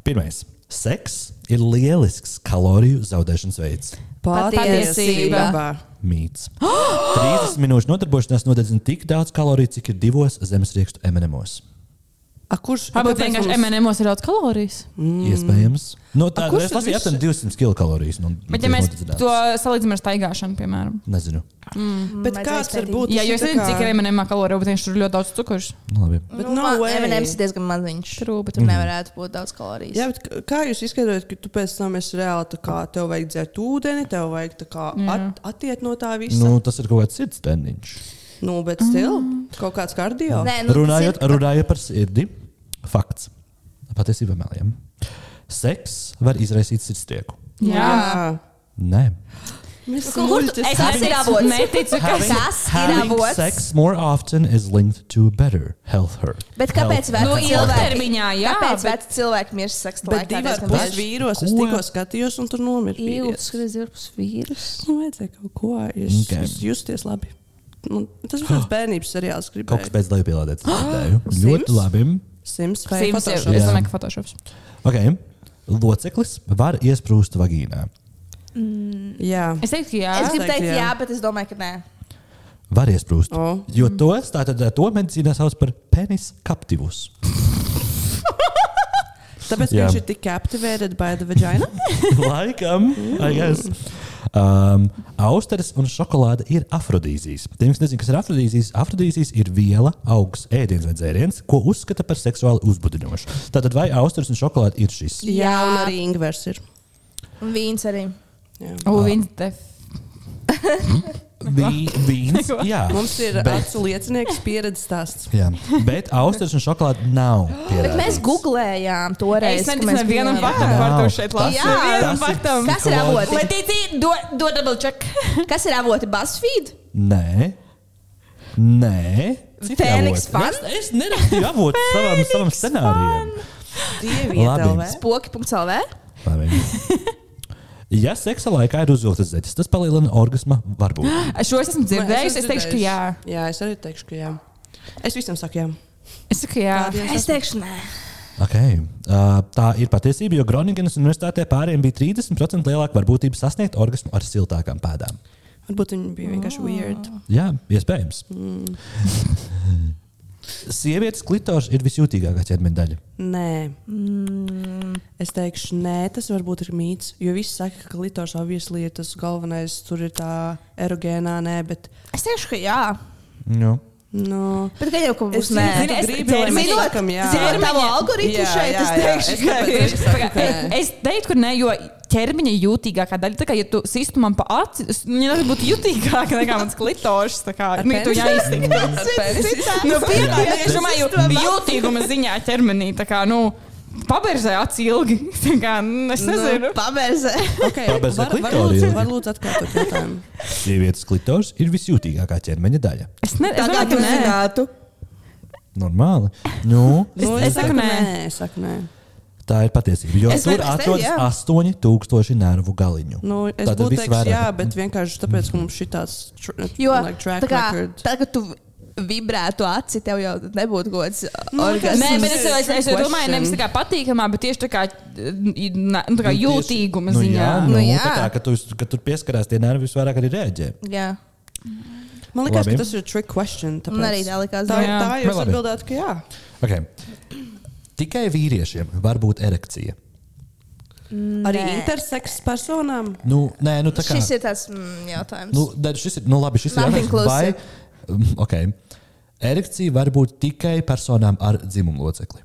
S3: Pirmais. Seks ir lielisks kaloriju zaudēšanas veids.
S5: Patiesība.
S3: Mīts. 30 minūšu nodarbošanās nodedzina tik daudz kaloriju, cik ir divos zemesriekstu eminemos.
S5: A, kurš?
S2: Varbūt
S5: kāpēc
S2: vienkārši
S5: mums-
S2: MNMOs ir daudz kalorijas.
S3: Mm. Iespējams. No tā,
S5: A, kurš
S3: es
S5: tad
S3: lasīju
S5: viss-
S3: aptuveni 200 kilokalorijas. Nu,
S2: Bet, ja
S3: tiek
S2: mēs
S3: nodedzināts.
S2: to salīdzinām ar staigāšanu, piemēram,
S3: Nezinu.
S5: Bet
S4: Vajadzēja
S5: kāds var
S4: izpētīt.
S5: būt?
S2: Jā, jo es
S5: tas ir tā
S2: nezinu,
S5: kā-
S2: cik ir MNM kalorija, bet viņš tur ir ļoti daudz cukurs.
S3: Nu, Labi.
S5: Bet
S4: Nu,
S5: no
S4: man-
S5: way.
S4: M&M's ir diezgan maziņš.
S2: True, bet
S4: Tur nevarētu būt daudz kalorijas.
S5: Jā, bet k- kā jūs izskaidrojat, ka tu pēc tam esi reāli tā kā tev vajag dzert ūdeni, tev vajag tā kā at, attiet no tā visa?
S3: Nu,
S5: Nu,
S3: tas ir kaut kāds cits tenniņš.
S5: nu bet stil,
S2: Mm.
S5: kaut kāds kardio.
S4: Nē, nu, tas
S3: Runājot,
S4: ir-
S3: runājot par sirdi, fakts. Patiesībā meliem. Seks var izraisīt sirdstrieku.
S2: Jā.
S3: Nē.
S5: Nu, Mēs
S4: Kur- kur tu- es- Tas ir avots.
S2: Neticu, ka
S4: Having-
S2: tas
S4: Tas ir
S3: having
S4: avots.
S3: sex more often is linked to better health hurt.
S4: Bet kāpēc
S3: health
S4: veci
S2: Nu,
S3: and health
S4: cilvēki-
S2: ilgtermiņā, jā,
S4: Kāpēc
S2: bet-
S4: veci cilvēki mirst seksa laikā?
S5: Bet divi ar
S4: diezgan
S5: pus
S4: bieži?
S5: vīros es
S3: Ko?
S5: tikko skatījos, un tur nomira.
S4: Jū,
S5: vīrietis.
S4: skaties, divi ar pus vīrus.
S5: Nu, vajadzēja kaut ko jūs,
S3: Ok.
S5: okay. jūs justies labi. Nu, tas bija tāds bērnības seriāls, kas
S3: Kaut kas
S5: gribēja.
S3: pēc tam pielādēts. dzirdēju.
S5: Sims?
S3: Ļoti labi.
S5: Sims vai
S2: Sims ir.
S5: Photoshop?
S2: Es
S3: Jā.
S2: domāju, ka Photoshops.
S3: Okay. Loceklis var iesprūst vagīnā.
S5: Jā,
S2: Es teiktu, ka jā.
S4: Es gribu
S5: teiktu,
S4: teikt,
S5: jā.
S4: jā, bet es domāju, ka nē.
S3: Var iesprūst.
S5: O.
S3: Jo tos, tātad, to medicīnā sauc par penis kaptivus. Jā.
S5: tāpēc jā. viņš ir tik captivated by the
S2: *laughs*
S5: vagina.
S3: Laikam, I guess. Um, austeres un šokolāde ir afrodīzijas. Tiem, kas nezina, kas ir afrodīzijas, afrodīzijas ir viela, augs, ēdiens vai dzēriens, ko uzskata par seksuāli uzbudinošu. Tātad, vai austeres un šokolāde ir šis?
S5: jā. jā, un arī Ingvers ir.
S4: Un vīns arī.
S5: Jā.
S2: U, viņš def.
S4: *laughs*
S3: Vī, vīns, jā,
S5: Mums ir
S3: Ah, Bet-
S5: acu liecinieks pieredzes stāsts.
S3: jā. Bet austeres un šokolāde nav.
S4: Bet
S3: pierādīts.
S4: mēs googlējām toreiz.
S2: Es
S4: ka
S2: neticu
S4: mēs
S2: nevienam
S4: bijām-
S2: faktam,
S3: Jā.
S2: ko tu šeit
S3: Tas
S2: lasi.
S4: ir-
S2: Nevienam
S3: tas ir-
S2: faktam.
S4: Kas ir avoti?
S2: Letīcija, dod double check.
S4: *laughs* Kas ir avoti BuzzFeed?
S3: Nē. Nē. Citi
S4: Fēniks
S3: avoti.
S4: Fan?
S3: Es, es nerakstīju
S4: *laughs*
S3: avotu savam, savam scenārijam.
S5: Dievi,
S3: Labi.
S5: ietelvē.
S4: Spoki.lv.
S3: Labi. Ja seksa laikā ir uzvilktas zeķes, tas palielina orgasma
S4: *gasps*
S3: varbūtību.
S2: Šo es esmu dzirdējusi. Es
S5: Nu, esmu
S2: teikšu, ka jā.
S5: dzirdējusi. Jā, es arī teikšu, ka jā. Es visam saku, jā.
S2: Es saku, jā.
S5: Tādiem
S4: Ah, Es teikšu, nē.
S3: Okay. Uh, tā ir patiesība, jo Groningenas universitātē pāriem bija 30% lielāka varbūtība sasniegt orgasmu ar siltākām pēdām.
S5: Varbūt viņi bija
S2: Ah.
S5: vienkārši weird.
S3: Jā, iespējams. Mm. Sievietes klitors ir visjūtīgākā ķermeņa daļa.
S5: Nē. Es teikšu, nē, tas varbūt ir mīts. Jo visi saka, ka klitors obviously ir tas galvenais, tur ir tā erogēnā, nē, bet.
S4: Es teikšu, ka jā.
S3: Nu.
S5: Nu,
S4: Bet gan jau, ka būs
S5: Es
S4: nē.
S5: nezinu,
S2: Zini,
S5: tu
S2: es
S5: gribi, lai mēs
S2: ķermeņa-
S5: sakam jā.
S4: Zinām, tavu algoritmu
S5: Jā,
S4: šeit
S5: jā,
S4: es
S5: jā.
S4: teikšu,
S5: Es
S4: ka
S5: tāpēc
S4: ir.
S5: arī
S4: *laughs*
S5: saku, ka nē.
S2: Es teiktu, ka nē, jo ķermeņa jūtīgākā daļa, tā kā, ja tu sistu man pa aci, es- viņa nevar būt jūtīgāka nekā mans klitoris. Tā kā, nu, ja tu jāizsaka. Nu, piemēram, es domāju, jūtīguma ziņā ķermenī, tā kā, nu, paberzē aci ilgi. *laughs* Tā kā, nu, es nezinu.
S4: Pabērzē.
S5: okay,
S3: Tāpēc
S5: var,
S3: ne
S5: var
S3: klitori,
S5: lūdzu,
S3: jā.
S5: var lūdzu atkārtot jautājumu.
S3: Sievietes klitors ir visjūtīgākā ķermeņa daļa.
S2: Es ne- es domāju, ka nē.
S4: zinātu.
S3: Normāli. Nu,
S5: Nu,
S2: es saku nē.
S5: Es saku, nē.
S3: tā ir patiesība. Jo
S4: Es
S3: tur
S4: varu- es tev,
S3: atrodas
S4: jā.
S3: 8000 nervu galiņu.
S5: Nu, es
S3: Tātad
S5: būtu
S3: viss
S5: teiks,
S3: vairāk.
S5: jā, bet vienkārši tāpēc, ka mums šitās tr
S4: Jo,
S5: like,
S4: tā
S5: track
S4: kā,
S5: record.
S4: tā, ka tu vibrētu aci, tev jau nebūtu gods
S5: Nu,
S4: orgasms.
S2: Nē, bet es, es, es jau
S5: Question.
S2: domāju, nevis tā kā patīkamā, bet tieši tā kā, eh, nā- nu, tā
S3: Nu,
S2: kā
S3: tieši-
S2: jūtīguma
S3: nu,
S2: ziņā.
S3: Jā, nu,
S4: Nu,
S3: nu,
S4: jā.
S3: jā. Tā, ka, tu, ka tur pieskarās tie nervi visvairāk arī rēģē.
S4: Jā,
S5: Man liekas,
S3: Labi.
S5: ka tas ir trick question. Tāpēc.
S4: man arī tā likās.
S5: Tā,
S2: Jā.
S5: tā jūs
S3: Labi.
S5: atbildētu, ka jā.
S3: Okay. Tikai vīriešiem var būt erekcija.
S5: Arī interseks personām.
S3: Nu, nē, nu, tā kā,
S4: Šis ir tas mm, jautājums.
S3: nu, nē, šis ir. Nu, labi, šis ir
S4: Not
S3: jautājums, vai,
S4: inclusive.
S3: Mm, okay. Erekcija var būt tikai personām ar dzimumu locekli.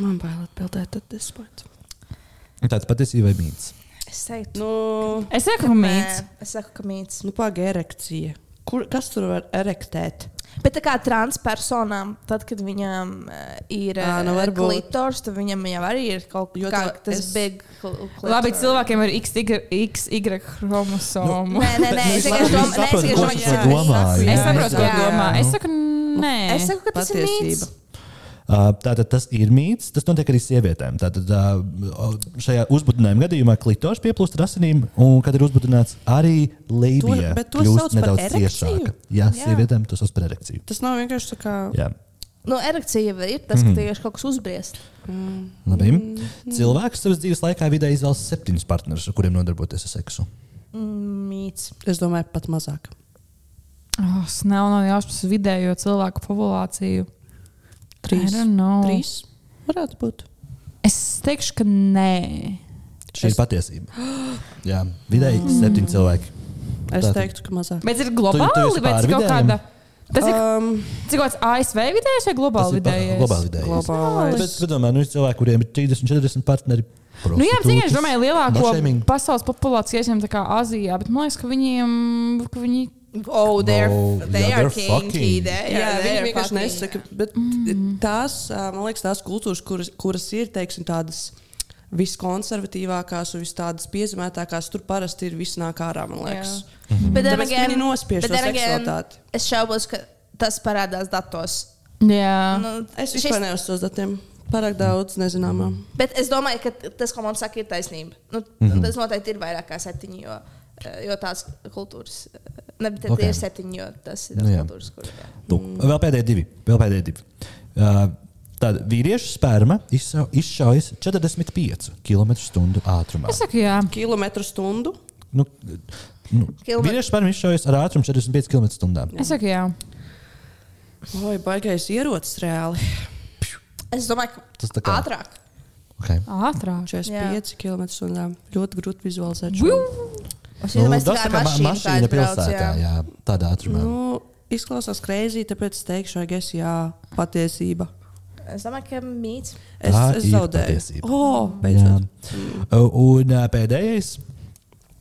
S5: Man bail atbildēt at this point.
S3: Tāds patiesībā ir mīts.
S4: Es teiktu,
S5: Nu,
S2: Es saku, ka mīts.
S4: nē. Es saku, ka mīts.
S5: nu pagaidi, erekcija. Kur, kas tur var erektēt?
S4: Bet tā kā transpersonām, tad, kad viņām uh, ir uh,
S5: Ā, nu
S4: nu
S5: varbūt.
S4: klitors, tad viņam jau arī ir kaut
S5: Jo
S4: kā,
S5: tā-
S4: tas
S5: es-
S4: big cl- clitor.
S2: Labi, cilvēkiem ir XY, XY chromosomu.
S4: Nē, nē, nē,
S3: Nu, es
S4: es vienkārši
S3: labi
S4: domāju, nē, es
S3: saprotu,
S4: vienkārši
S3: ko
S4: domāju,
S3: tu domā,
S4: ka tas ir mīts.
S3: jā.
S2: Es saprotu, ko
S5: jā, jā.
S2: domā. Es nu. saku, nē.
S4: Es saku, ka tas ir mīts.
S5: Patiesība.
S3: Uh, Tātad tas ir mīts. Tas notiek arī sievietēm. Tātad uh, o- šajā uzbudinājuma gadījumā klitors pieplūst ar asinīm, un, kad ir uzbudināts, arī lībija
S5: To- bet to sauc
S3: kļūst
S5: par
S3: nedaudz
S5: erekciju?
S3: ciešāka. Jā,
S5: Jā.
S3: sievietēm tas sauc par erekciju.
S5: Tas nav vienkārši tā kā.
S3: Jā.
S4: Nu, erekcija jau ir tas,
S3: Mhm.
S4: ka tieši kaut kas uzbriest.
S3: Labi.
S5: Mm.
S3: Cilvēks savas dzīves laikā vidēji izvēlas septiņus partnerus, ar kuriem nodarboties ar seksu.
S4: Mīts.
S5: Es domāju, pat mazāk.
S2: Oh, nav nav jāspēj vidējo cilvēku populāciju.
S5: Trīs.
S2: I don't know.
S5: Trīs varētu būt.
S2: Es teikšu, ka nē.
S3: Šī es... ir patiesība. *gasps* Jā,
S5: *gasps*
S3: vidēji mm. septiņi cilvēki.
S5: Es
S3: Tātad-
S5: teiktu, ka mazāk.
S2: Bet
S3: Tu-
S2: ir
S3: tu
S2: globāli,
S3: esi
S2: bet
S3: pār
S2: ir kaut
S3: vidējiem?
S2: kāda. Tas
S4: Ah.
S2: ir
S5: um,
S2: cik kāds ASV vidējais vai globāli vidējais?
S3: globāli vidējais.
S5: globālais.
S3: Bet, bet domāju, nu, ir cilvēki, kuriem ir 30, 40 partneri.
S2: Nu, jā, bet zini, es
S3: prostitūtas,
S2: domāju, lielāko
S3: shaming.
S2: pasaules populāciju iesim tā kā Azijā, bet man liekas, ka viņiem, ka viņi
S4: Oh, they're,
S3: Oh,
S4: oh, they
S3: yeah, they're
S4: are kinky.
S3: fucking. Mhm.
S4: They are,
S5: Jā,
S4: they
S5: viņi
S4: are
S5: vienkārši
S4: fucking.
S5: nesaka. Bet tās, ā, man liekas, tās kultūras, kuras, kuras ir teiksim, tādas viskonservatīvākās un vis tādas piezīmētākās, tur parasti ir viss nāk ārā, man liekas.
S4: Bet then
S5: Tāpēc
S4: again,
S5: mm-hmm. viņi nospiež
S4: bet
S5: to
S4: then again,
S5: seksualitāti.
S4: Es šaubos, ka tas parādās datos.
S2: Jā, nu,
S4: Nu,
S5: Ah, Es
S4: šis-
S5: vispār neuzstos datiem. Pārāk daudz nezināmā.
S4: Bet es domāju, ka t- tas, ko man saka, ir taisnība. Nu, mm
S3: Mhm.
S4: -hmm. Tas noteikti ir vairāk kā septiņi, jo, eh, jo tās kultūras, eh, ne, bet okay.
S3: Ok.
S4: tie ir septiņi, jo tas ir
S3: Nu
S4: tās
S3: jā.
S4: kultūras, kur. jā.
S3: Tu. Nu, Vēl pēdējie divi. Vēl pēdējie divi. Uh, Tad vīriešu sperma izsa- izšaujas 45 km/h ātrumā.
S2: es saku, jā.
S5: Kilometru stundu.
S3: Nu, nu,
S4: Kilomet-
S3: vīriešu sperma izšaujas ar ātrumu 45 km/h.
S2: Es saku, jā.
S5: Oi, baigais ierocis reāli.
S4: Es domāju, ka
S3: Tas
S4: tas
S3: tā
S4: ir
S3: kā-
S4: ātrāk.
S3: Okay.
S2: Ātrāk.
S5: 45 km/h. Ļoti grūti vizualizēt. šo.
S4: Es
S3: Nu,
S4: domāju,
S3: tas
S4: ka
S3: tā kā ma- mašīna pilsētā, jā, tādā ātrumā.
S5: Nu, izklausās krēsī, tāpēc es teikšu, ka es jā, patiesība.
S4: Es domāju, ka mīts.
S5: Es,
S3: Tā
S5: es
S3: ir
S5: zaudēju.
S3: patiesība.
S5: Oh,
S3: Jā. Uh, Un uh, pēdējais.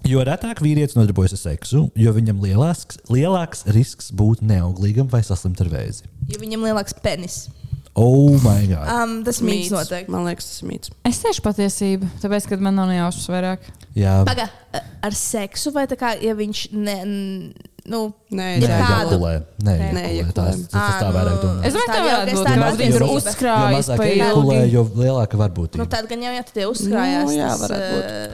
S3: Jo retāk vīrietis nodarbojas ar seksu, jo viņam lielāks, lielāks risks būt neauglīgam vai saslimt ar vēzi.
S4: Jo viņam lielāks penis.
S3: Oh, my God!
S4: Um, tas mīts noteikti.
S5: Man liekas, tas ir mīts.
S2: Es teikšu patiesību, tāpēc, ka man nav ne jausmas vairāk.
S3: Jā,
S4: Paga, eh, ar seksu vai tā kā, ja viņš ne, n- nu,
S5: Nē,
S4: Ir
S3: Nē,
S5: jā.
S4: kādu?
S3: jākulē. Nē,
S5: Nē,
S3: jākulē.
S5: jākulē.
S3: Tās- tas- tas tā
S4: Ā,
S3: vairāk domā.
S2: Es domāju,
S4: Tā
S2: ka tā
S4: jau,
S2: varētu
S4: es
S2: būt.
S4: tā
S2: ka
S4: domāju,
S2: Kāds viens ir
S4: jo-
S3: jo
S2: uzkrājis
S3: mazāk
S2: pa
S3: jākulē,
S2: ilgi.
S3: jo lielāka var būt.
S4: nu,
S3: ir.
S4: tad gan jau, ja tu tie uzkrājās,
S5: Nu, jā,
S4: tas,
S5: varētu
S4: eh,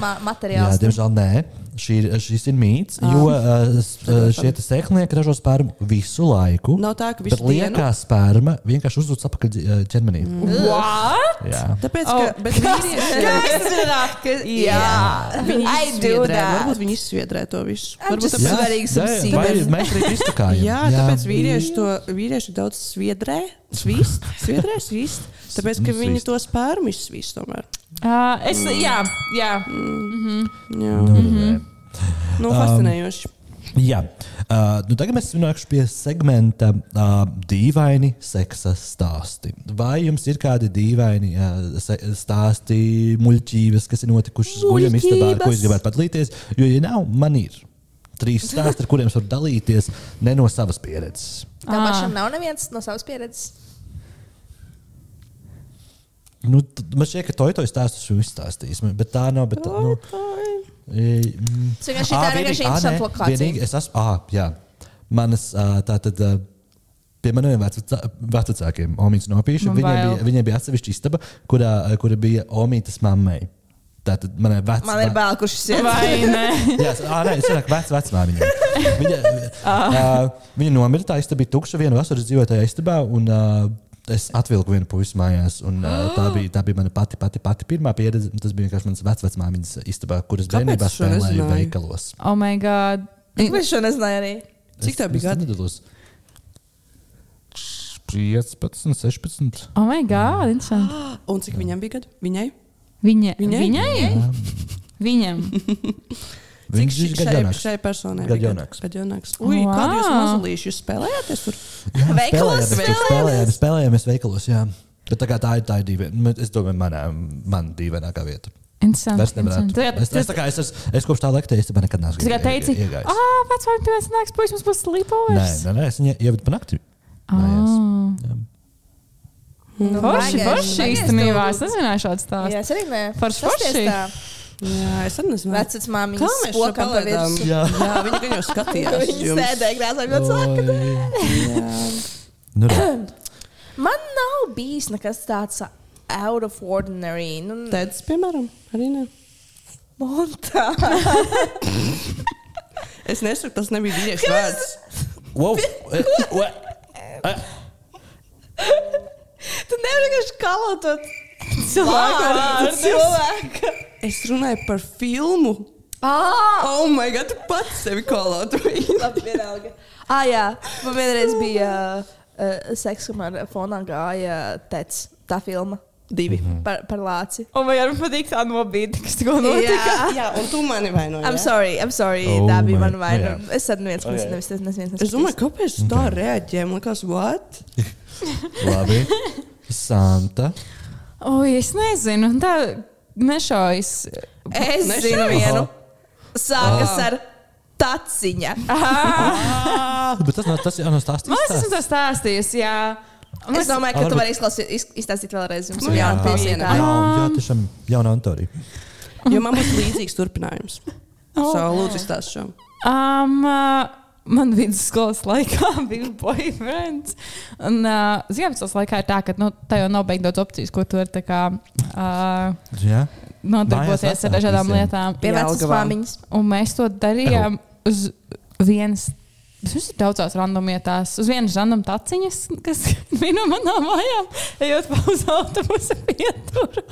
S4: ma
S3: Jā,
S4: materiāls.
S3: diemžēl nē. Šī, ir- šis ir mīts, jo uh, s- uh, šie te sēklinieki ražo spermu visu laiku.
S5: Nav tā, ka
S3: bet
S5: visu dienu?
S3: liekā sperma vienkārši uzzūd apakaļ dzi- ā, ķermenī.
S4: Mm.
S2: What?
S3: Jā.
S5: Tāpēc, ka
S2: Oh.
S5: bet
S4: *laughs*
S5: vīrieši jau
S4: Jā, I do
S5: izsviedrē.
S4: that.
S5: Varbūt viņi izsviedrē to visu.
S4: I'm
S5: Varbūt
S4: just-
S5: tāpēc,
S4: Jā. svarīgi
S3: jā,
S4: some
S3: vai
S4: sīkums.
S3: mēs arī izsakājam.
S5: jā, tāpēc vīrieši to vīrieši daudz sviedrē,
S3: *laughs*
S5: svīst, sviedrē, svīst. Tāpēc, ka
S3: Nu,
S5: viņi
S3: svīst.
S5: to spērmu izsvīst tomēr.
S2: Uh, es, jā, jā.
S5: Jā,
S3: Nu, um, nē.
S5: nu, fascinējoši.
S3: Jā, uh, nu tagad mēs nonākam pie segmenta uh, dīvaini seksa stāsti. Vai jums ir kādi dīvaini uh, se- stāsti, muļķības, kas ir notikušas guļamistabā, ar ko jūs gribētu padalīties? Jo, ja nav, man ir trīs stāsti, ar kuriem es varu dalīties ne no savas pieredzes.
S4: Tā
S2: Ā.
S4: pašam nav neviens no savas pieredzes.
S3: Nu, t- man šķiet, ka to jau stāstus esmu izstāstījis, bet tā nav. Bet, tā, nu, e, mm.
S4: Tas vienkārši
S3: Ā,
S4: tā ir
S3: vienīgi-
S4: vienkārši
S3: ā, nē,
S4: interesanta lokācija.
S3: vienīgi ah, Es esmu, ah, jā, manas ā, tātad. ā, Pie maniem vecvecā- vecākiem, Omaņas nopīša,
S2: Man
S3: viņiem bija,
S2: bail.
S3: viņiem bija atsevišķa istaba, kurā, kura bija Omaņas mammai. Tātad manai vecākai.
S4: Man ir bail, kurš ir.
S2: Vai ne?
S4: *laughs*
S3: Jā, s- ā, nē, es saku, vec, vecmāmiņa. Viņa,
S5: Ah.
S3: uh, viņa nomira, tā istaba bija tukša. Vienu vasaru es dzīvoju tajā istabā, un uh, es atvilku vienu puisi mājās. Un,
S5: Ah.
S3: uh, tā, bija, tā bija mana pati, pati, pati pirmā pieredze. un Tas bija vienkārši mans vecmāmiņas istabā, kuras
S5: Kāpēc
S3: bērnībā
S5: es šo
S3: spēlēju
S5: nezināju?
S3: veikalos.
S2: Oh, my God.
S4: Es šo nezināju arī.
S5: Cik tev bija gadi?
S3: Nedalos. 15, 16.
S2: Oh, my God. Interesanti.
S5: Un cik viņam bija gadu? Viņai?
S2: Viņa,
S5: Viņai?
S2: viņai? viņai? Viņam.
S3: Viņš
S5: šai-
S3: ir gadu jaunāks.
S5: Šai personai.
S3: Gadu
S5: bija
S3: jaunāks.
S5: Gadu jaunāks. Ui,
S2: Wow.
S5: kādi jūs mazulīši jūs spēlējāties tur?
S3: Spēlējāmies,
S4: Veikalos
S3: tur spēlējāmies, spēlējāmies veikalos. Jā. Bet tā, kā tā ir tā ir dīvaina. Man- Es domāju, manā, man dīvainākā vieta.
S2: Interesanti.
S3: Vairs nevarētu.
S2: Ah, interesanti.
S3: Es, es, tā kā es, es, es kopš tā laika īstenībā nekad neesmu
S2: Tu tikai teici,
S3: iegājis.
S2: ah, pats vai pēc nāks puisis mums būs
S3: Nē,
S2: slipovers.
S3: nē, nē, es viņu ievedu pa nakti.
S2: Ah.
S3: Jā.
S4: Nu,
S2: Forši, forši īstenībā. Es nezināju šādu
S4: Jā,
S2: stāstu.
S4: es arī ne.
S2: Forši,
S4: Tas
S2: forši.
S4: tieši tā.
S5: Jā, es arī nezinu.
S4: Vecais
S5: Kā
S4: māmiņas
S5: mēs to
S4: spokam pa
S5: palaidām?
S4: virsmu. *laughs*
S3: Jā.
S5: Jā, viņa gan jau skatījās.
S4: Viņa
S5: jums.
S4: sēdēja krāsā,
S3: Oi.
S4: kad saka,
S3: Nu,
S2: *coughs*
S3: re.
S4: man nav bijis nekas tāds out of ordinary. Nu,
S5: Tēdz, piemēram, arī ne.
S4: Montā.
S2: *laughs*
S5: Es nesaku, tas nebija vīriešu vārds.
S3: Wow. Eh, wa- eh,
S4: Tu nevari vienkārši kalot to
S5: Cilvēku
S4: vārdu,
S5: vārdus.
S2: *laughs*
S4: cilvēku.
S5: Es runāju par filmu.
S4: Ah!
S5: Oh, my God, tu pats sevi
S2: *laughs*
S5: kolot.
S4: Labi, vienalga. Ah, jā, man vienreiz bija uh, seks, kur man fonā gāja tec, tā filma. Divi. Par, par lāci.
S2: Un vai arī patīk tā nobīde, kas tikko notika?
S4: Jā.
S5: Jā, un tu mani vainoji.
S4: I'm sorry, I'm sorry.
S3: Oh
S4: Oh tā bija
S3: my-
S4: mana vaina.
S3: jā.
S4: Es tad neviens, okay.
S3: Okay.
S4: nevis, nevis, neviens.
S5: Es domāju, kāpēc tu tā reaģēji? Man liekas, what?
S3: Labi. Santa.
S2: Oi, es nezinu. Tā nešaujas. *laughs*
S4: es
S5: Nešauj.
S4: zinu vienu.
S3: Aha.
S4: Sākas ar taciņa.
S3: Ah, Bet tas nav tas, jā, no stāstījis.
S2: Man liekas, esmu to stāstījis. Jā. Man
S4: Es
S2: liekas-
S4: domāju, ka
S3: Varbūt-
S4: tu vari izklasi- iz- izstāstīt vēlreiz. Mums
S5: Nu
S4: ir
S5: jā,
S4: jāatbalsta
S5: piemienam.
S4: tā.
S3: Jā, jā, tiešām jauna autori.
S5: Jo man būs līdzīgs turpinājums.
S2: Oh.
S5: So, lūdzu, stāsti šo.
S2: Um, uh, man vidusskolas laikā *laughs* bija boyfriends. Un uh, Ziemassvētku laikā ir tā, ka nu, tā jau nav beigta daudz opciju, ko tu vari tā kā, uh,
S3: Jā.
S2: nodarboties
S3: Mājās
S2: ar dažādām
S3: visiem.
S2: lietām.
S4: Pie vecas
S5: Jelgavā.
S4: māmiņas.
S2: Un mēs to darījām uz vienas. Tas ir daudzās randomietās. Uz vienas random taciņas, kas *laughs* bija no manām mājām, ejot pa uz autobusu pieturu.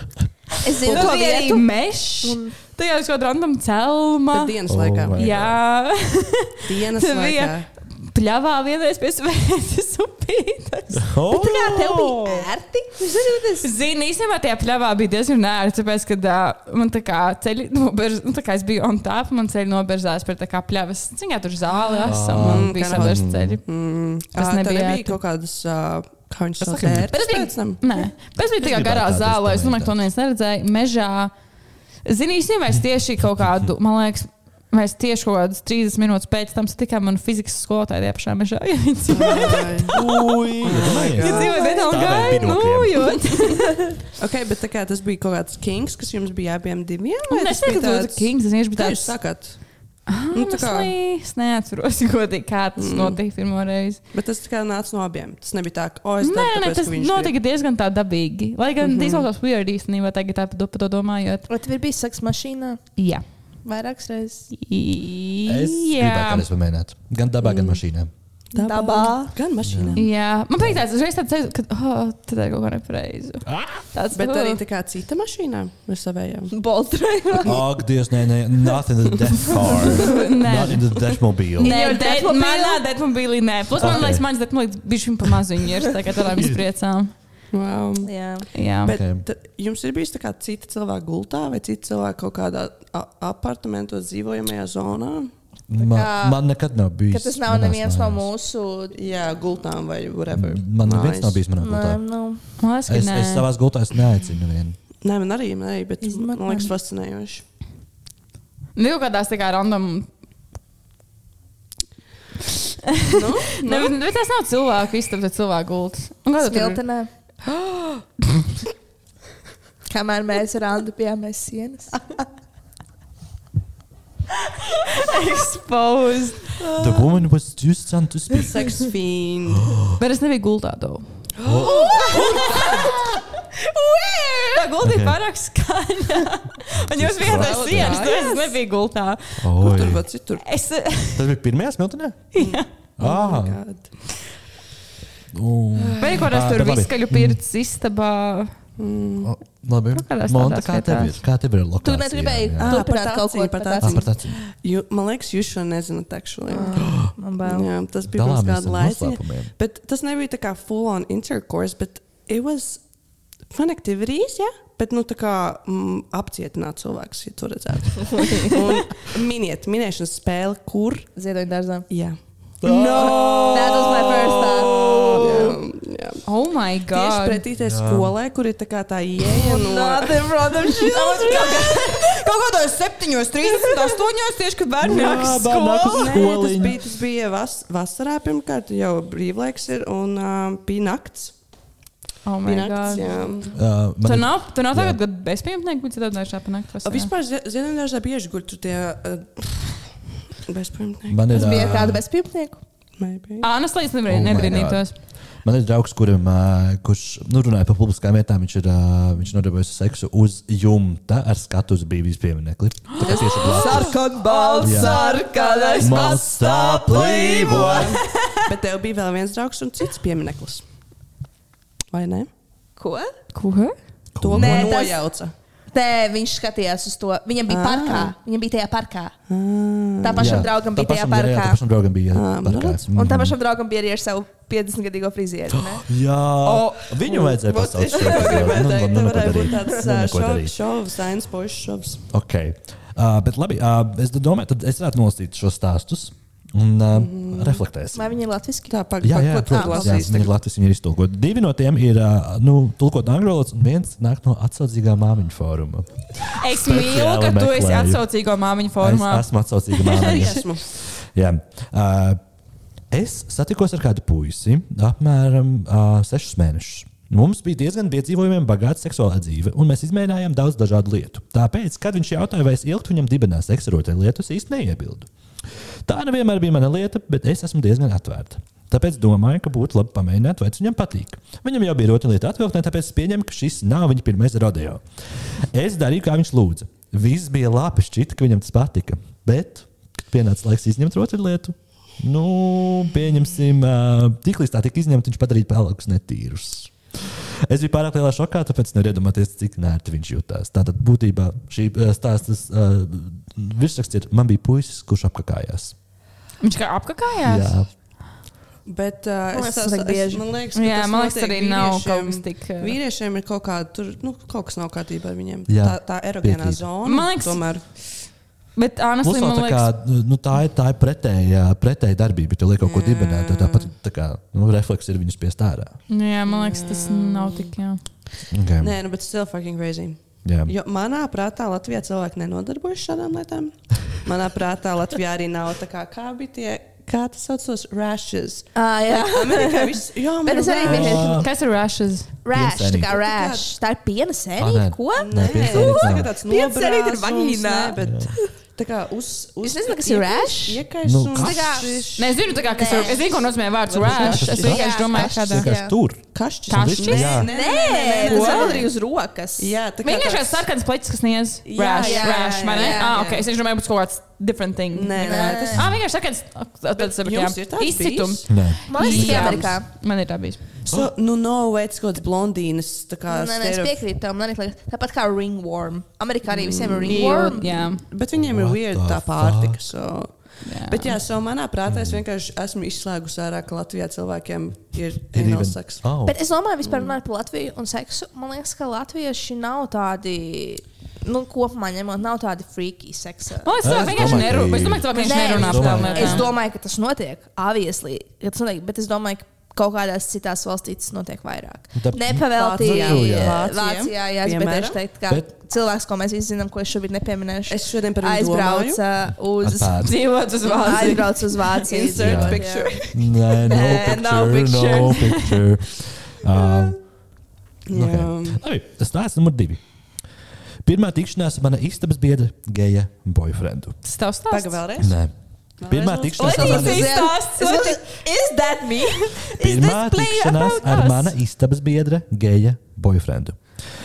S2: Tur
S4: Es zinu, to
S2: bija arī
S4: vietu.
S2: mežs. Tajā uz kāda random celma.
S5: Bet dienas
S3: Oh,
S5: laikā.
S3: vai.
S2: Jā,
S5: Dienas
S2: Tad
S5: laikā.
S2: bija- pļāvā vienreiz pie svētas upītes.
S3: Oh!
S4: Tā kā tev bija ērti. Es zinu, tas
S2: Zini, īstenībā tajā pļāvā bija diezgan ērti, tāpēc, ka uh, man tā kā ceļi, noberz, nu, tā kā es biju on top, man ceļi noberzās par tā kā pļavas, ciņā tur zāli esam un
S5: Mm,
S2: bija
S5: kā
S2: sadarzi
S3: nav.
S2: ceļi.
S5: Mm,
S2: Tas
S5: ā, tev
S2: nebija
S5: nebija
S2: ērti.
S5: kaut kādas, ā, kā viņš to
S3: saku, bija-
S5: sēž.
S2: Bet es
S5: pēc tam.
S2: biju, nē, bet es biju
S3: Es
S2: tajā
S3: gribētu
S2: garā
S3: tādas
S2: zālē. Es domāju, ka to neviens neredzēja. Mežā. Zini, īstenībā es tieši kaut kādu, man liekas, mēs tieši kaut kādus 30 minūtes pēc tam satikām manu fizikas skolotāju tajā pašā mežā. *laughs* Ja viņi dzīvo-
S3: Ui!
S2: ja
S3: nice.
S2: dzīvo nedaudz
S3: Stāvēja
S2: gaidu,
S3: binokļiem.
S5: *laughs*
S2: nojot.
S5: *laughs* Ok, bet tā kā tas bija kaut kāds kings, kas jums bija abiem diviem? vai
S2: Es
S5: tas bija
S2: nezinu, kas
S5: tāds-
S2: tas Kings, es vienkārši biju
S5: Kā jūs
S2: tāds.
S5: sakat?
S2: Nu, tā kā. Es neatceros, *laughs* godīgi, kā
S3: Mm.
S2: tas notika pirmo reizi.
S5: Bet tas tā kā nāca no abiem. Tas nebija tā, ka, o, es
S2: Nē,
S5: tādu
S2: nē, tas notika diezgan tā dabīgi. Lai gan
S3: Mhm.
S2: izklausās weird īstenībā tagad tā par to domājot.
S4: Vai tev ir bijis seks mašīnā
S2: Jā.
S4: vairākas reizes?
S3: Es gribētu
S2: Jā.
S3: kādreiz pamēģināt. Gan dabā, gan mašīnā.
S4: Dabā.
S5: Gan mašīnā.
S2: Jā, man patīk tāds reizes, tāds, sajūta, ka oh, tā ir kaut kā nepareizi. Tāds,
S5: Bet
S2: "Oh."
S5: arī tā kā cita mašīnā ar savējām.
S4: Boltrēnā.
S3: Ak, Dievs, nē, nē, not in the death car.
S2: Nē.
S3: *laughs* Not in the deathmobile.
S2: Nē,
S4: Jau
S2: det-
S4: detmobili?
S2: manā detmobilī nē. Plus, man
S3: Ok.
S2: liekas, mans detmobilīts bija šim pamazim, ja tā kā
S3: *laughs*
S2: tādām izpriecām.
S5: Wow.
S4: Jā.
S2: Jā.
S5: Bet
S3: Ok.
S5: t- jums ir bijis tā kā cita cilvēka gultā vai cita cilvēka kaut kādā a- apartamentos dzīvojamajā zonā?
S3: Man,
S4: kā-
S3: man nekad nav bijis.
S4: Ka tas nav
S3: manās
S4: neviens no
S3: mājās.
S4: mūsu.
S5: Jā, gultām vai whatever.
S3: Man neviens nav bijis manā
S4: Nē,
S3: gultā.
S4: nu.
S2: Man liekas, ka
S3: Es, es
S2: nē.
S3: savā gultā es neaicinu nevienu.
S5: Nē, man arī, man arī bet
S4: Izmantojam.
S5: man liekas *laughs* fascinējoši.
S2: Nu, jau kādās tā kā random. *laughs*
S5: Nu,
S2: Ne, bet, bet tas nav cilvēku istabs, bet cilvēku gultas. Un kādu tur-
S4: Smiltenē. Kamēr mēs ar Andu bijāmies sienas.
S2: Exposed.
S3: The woman was just on to speak.
S5: Seks fiend.
S2: Bet es nebiju gultā *gasps* to. Tā gulta ir
S3: Ok.
S2: pārāk skaļa. Un jūs bijat aiz sienas, tad es nebiju gultā.
S5: Kur
S3: Oi.
S5: *gasps* tur vēl citur?
S2: *laughs* Es,
S3: Tas bija pirmajā smiltenē?
S2: jā.
S5: Oh
S3: Ah,
S5: my God.
S3: un-
S2: Vai kaut kas
S3: Ā,
S2: tur
S3: bet labi.
S2: viskaļu pirts istabā?
S3: O, labi.
S2: Nu, kādās
S3: Monta,
S2: tādās
S3: kā tev ir?
S2: vietās.
S3: Kā tev ir lokācija?
S4: Tu negribēji
S3: Jā.
S4: turpināt
S5: par
S4: kaut ko
S5: taciņu, par
S3: Ah, par
S5: taciņu.
S3: tādu
S5: Jū, man liekas, jūs šo nezināt, actually. *gasps*
S4: Man bail.
S5: Jā, tas bija pirms
S3: dalāmies
S5: kāda
S3: ar
S5: laika.
S3: noslēpumiem.
S5: Bet tas nebija tā kā full on intercourse, bet it was fun activities, jā. Bet, nu, tā kā mm, apcietināt cilvēkus, ja to
S2: *laughs*
S5: redzētu. Un miniet, minēšanas spēle, kur.
S4: Ziedoņu dārzā.
S5: Jā,
S4: No! That was my first time.
S5: Um, jā, jā.
S2: Oh, my
S5: Tieši
S2: God!
S5: pretī tai skolai, kur ir tā kā tā ieeja nu, no
S4: *laughs*
S1: Kaut kādos 7, 13, 8, tieši kad bērni nāk uz skolu.
S5: Nē, Tas
S3: skoliņa.
S5: bija, tas bija vas, vasarā pirmkārt, jau brīvlaiks ir un uh, bija nakts.
S2: Oh, my
S5: Bija
S2: God!
S5: nakts,
S2: Mm.
S5: jā.
S3: Uh,
S2: Tu
S3: man ir-
S2: nav, tu nav tagad, kad bezpajumtnieki bija tādā dažā panākt.
S5: A, Vispār Zie- Ziemeļdārzā bieži guļ tur tie uh, bezpajumtnieki.
S3: Man ir, ah,
S4: Tas bija
S3: ā,
S4: tāds bezpajumtnieks.
S5: Maybe.
S2: Ā, es līdz
S3: Oh
S2: nebrīd-
S3: my
S2: nebrīnītos.
S3: Man ir draugs, kurim, ā, kurš nu, runāja par publiskām lietām. Viņš ir ā, viņš nodarbojas ar seksu uz jumta ar skatu uz Bībijas pieminiekli. Tas tieši ir glābts.
S1: Sarkan balss,
S3: Jā.
S1: sarkanais pastā plīvo.
S5: Bet tev bija vēl viens draugs un cits piemineklis. Vai ne?
S4: Ko?
S2: Ko?
S5: To
S4: Nē,
S5: Nē,
S4: tas-
S5: nojauca.
S4: Nē, viņš skatījās uz to. Viņam bija
S5: Ah.
S4: parkā. Viņam bija tajā parkā.
S5: Ah.
S4: Tā pašam draugam bija tajā
S3: Jā, jā, tā
S4: parkā. Ah, nu,
S3: pašam draugam bija
S5: Ā,
S3: parkā.
S4: Un tā pašam draugam bija arī ar savu 50-gadīgo frizieri. ne?
S3: Jā,
S5: O,
S3: oh, viņu vajadzēja
S4: *laughs*
S5: Vot
S3: pasaukt.
S5: es *laughs* to gribēju teikt, tā varētu būt tāds
S3: Nu,
S5: ā,
S3: neko
S5: šov-
S3: darīt.
S5: šovs, sains puišs šovs.
S3: Ok. Uh, bet labi, uh, es domāju, tad es varētu nolasīt šos stāstus un uh, mm. reflektēsim.
S4: Vai Ah, viņi ir latviski?
S5: Tā, pag,
S3: Jā,
S5: pag-
S3: jā,
S5: ko tu
S3: protams, jā,
S5: lasīsi
S3: viņi ir
S5: tagad?
S3: Latvijas ir iztulkoti. Divi no tiem ir ā, nu, tulkoti angļu valodā, un viens nāk no atsaucīgā māmiņu fóruma.
S2: Es mīlu, ka tu esi
S3: meklēju.
S2: atsaucīgo māmiņu
S3: Es
S2: formā.
S3: esmu
S4: *laughs*
S3: atsaucīga
S5: Arī
S3: māmiņa.
S5: esmu.
S3: Jā. Ā, Es satikos ar kādu puisi apmēram uh, sešus mēnešus. Mums bija diezgan piedzīvojumiem bagāta seksuālā dzīve, un mēs izmēģinājām daudz dažādu lietu. Tāpēc, kad viņš jautāja, vai es ilgtu viņam dibenā seksu ar otru lietu, es īsti neiebildu. Tā nevienmēr bija mana lieta, bet es esmu diezgan atvērta. Tāpēc domāju, ka būtu labi pamēģināt, vai tas viņam patīk. Viņam jau bija otra lieta atvilktnē, tāpēc es pieņemu, ka šis nav viņa pirmais rodeo. Es darīju, kā viņš lūdza. Viss bija labi, šķita, ka viņam tas patika. Bet, kad pienāca laiks izņemt otru lietu, nu, pieņemsim, ā, tik līdz tā tika izņemta, viņš padarīja pelēkus netīrus. Es biju pārāk lielā šokā, tāpēc nevaru iedomāties, cik nērti viņš jutās. Tātad būtībā šī ā, stāsta uh, virsraksts ir: man bija puisis, kurš apkakājās.
S2: Viņš kā apkakājās?
S3: Jā,
S5: Bet uh,
S4: Man liekas,
S5: es, es,
S4: tas
S5: es,
S4: vajag bieži.
S5: man um, liekas, ka
S2: Jā,
S5: tas
S2: man liekas,
S5: notiek
S2: arī nav kaut
S5: vīriešiem.
S2: kas tik. uh, ā,
S5: Vīriešiem ir kaut kāda, tur, nu, kaut kas nav kārtībā ar viņiem.
S3: Jā,
S5: tā, tā erogēnā
S3: piekrītu.
S5: zona.
S2: Man liekas-
S5: tomēr.
S2: Bet,
S3: Mums
S2: honestly,
S3: vēl
S2: man
S3: tā
S2: liekas,
S3: kā, nu, tā ir, tā ir pretējā, pretēja darbība. Tu liek kaut ko dibenē, tad tāpat tā kā, nu, refleks ir viņus spiest ārā.
S2: nu, jā, man liekas, tas nav tik. Jā.
S3: Okay.
S5: Nē, nu, bet still fucking crazy.
S3: Jā.
S5: Jo manā prātā Latvijā cilvēki nenodarbojas šādām lietām. Manā prātā Latvijā arī nav tā kā, kā bija tie, kā tas saucās, rashes.
S4: *gasps* Ah, *laughs* jā.
S5: Amerikā viss, jā, man
S4: Bet
S5: ir
S4: es arī
S5: rash.
S4: vienreiz
S2: Kas ir rashes?
S4: Rash, tā kā
S3: Piensainība.
S4: rash. Tā ir piena
S3: Ah,
S4: sērija?
S3: nē.
S4: Ko?
S3: Nē, piensainība
S5: tas
S3: nav.
S5: ir tāds
S4: Piensainība ir
S5: nobrāzums,
S4: vaļinā.
S5: nē, bet tā kā uz- uz-
S4: Es nezinu, kas ir
S5: iekais-
S4: rash.
S5: iekais
S3: Nu,
S5: un-
S3: kas?
S4: Tā kā-
S5: šis-
S2: Nē, es zinu, tā kā, kas ir.
S4: Nē.
S2: Es zinu, ko nozīmē vārds
S5: Varbūt
S2: rash.
S3: kašķis.
S2: Es vienkārši domāju,
S4: Kašķis.
S2: kādā.
S4: Jā.
S3: Vienkārši tur.
S5: Kašķis.
S2: Kašķis?
S3: Jā.
S5: Nē,
S4: Nē,
S5: nē,
S4: tas
S5: nē.
S4: vēl arī uz rokas.
S5: Jā, tā kā
S2: Vienkārši tāds
S5: tāds-
S2: sarkans pleķis, kas niedz
S5: Jā,
S2: rash,
S5: jā,
S2: rash, vai
S5: jā,
S2: ne?
S5: jā,
S2: Ah,
S5: jā.
S2: ok, es vienkārši domāju, būs kaut kāds different thing.
S5: Nē, nē, tas
S2: Ah, vienkārši sarkans. Tāds
S5: jums ir tāds
S2: izcitums.
S3: Nē.
S4: Man liekas, ka
S2: Jā.
S4: Amerikā.
S2: Man ir tā bijis.
S5: so, nu, nav veids, kaut kāds blondīnis. tā kā
S4: Nē, Nu, nē, es
S5: stereo-
S4: piekrītu tam. Man liekas, tāpat kā ringworm. Amerikā arī visiem ir ringworm.
S2: Jā.
S5: Bet viņiem ir
S3: What
S5: weird
S3: the
S5: tā
S3: fuck?
S5: pārtika. So. Bet, jā, so manā prātā es vienkārši esmu izslēgusi ārā, ka Latvijā cilvēkiem ir anal seks.
S3: Oh.
S4: Bet es domāju, vispār runājot par Latviju un seksu, man liekas, ka latvieši nav tādi, nu, kopumā ņemot, nav tādi freaky seksa.
S5: Oh,
S2: Man liekas,
S3: Es
S2: cilvēki vienkārši
S3: domāju, ka
S2: nerunā. Es domāju,
S3: ir.
S2: ka cilvēki
S4: Nē,
S2: vienkārši nerunā par tām
S4: Es
S2: lietām.
S4: domāju, ka tas notiek. Obviously, ka tas notiek, bet es domāju, ka kaut kādās citās valstīs tas notiek vairāk.
S3: Tā-
S4: Nepavēltīja
S5: Vācijā.
S4: Vācijā, jā, es bet
S5: Piemēram?
S4: tieši teiktu, ka
S3: Bet-
S4: cilvēks, ko mēs visi zinām, ko es šobrīd nepieminēšu,
S5: Es šodien par viņu domāju.
S4: aizbrauca uz,
S3: Ar pēdu.
S2: Dzīvot uz valsts.
S4: aizbrauca uz Vāciju.
S5: Insert
S3: Jā.
S5: picture.
S3: Nē, no
S4: Nē, nav
S3: picture. No picture. Uh, nu,
S5: Jā.
S3: okay. Labi, tas nāca numur divi. Pirmā tikšanās ar mana istabas biedra geja boyfriendu.
S2: Tas tavs
S5: Pagaid,
S2: stāsts.
S5: vēlreiz.
S3: Nē. Pirmā
S5: Vēlreiz mums-
S3: tikšanās ar
S5: Lai
S3: mana
S5: tas
S4: Is
S5: ir-
S4: that- is that- is
S3: *laughs*
S4: that me? Is
S3: Pirmā
S4: this play
S3: tikšanās
S4: about
S3: ar
S4: us?
S3: mana istabas biedra, geja boyfriendu.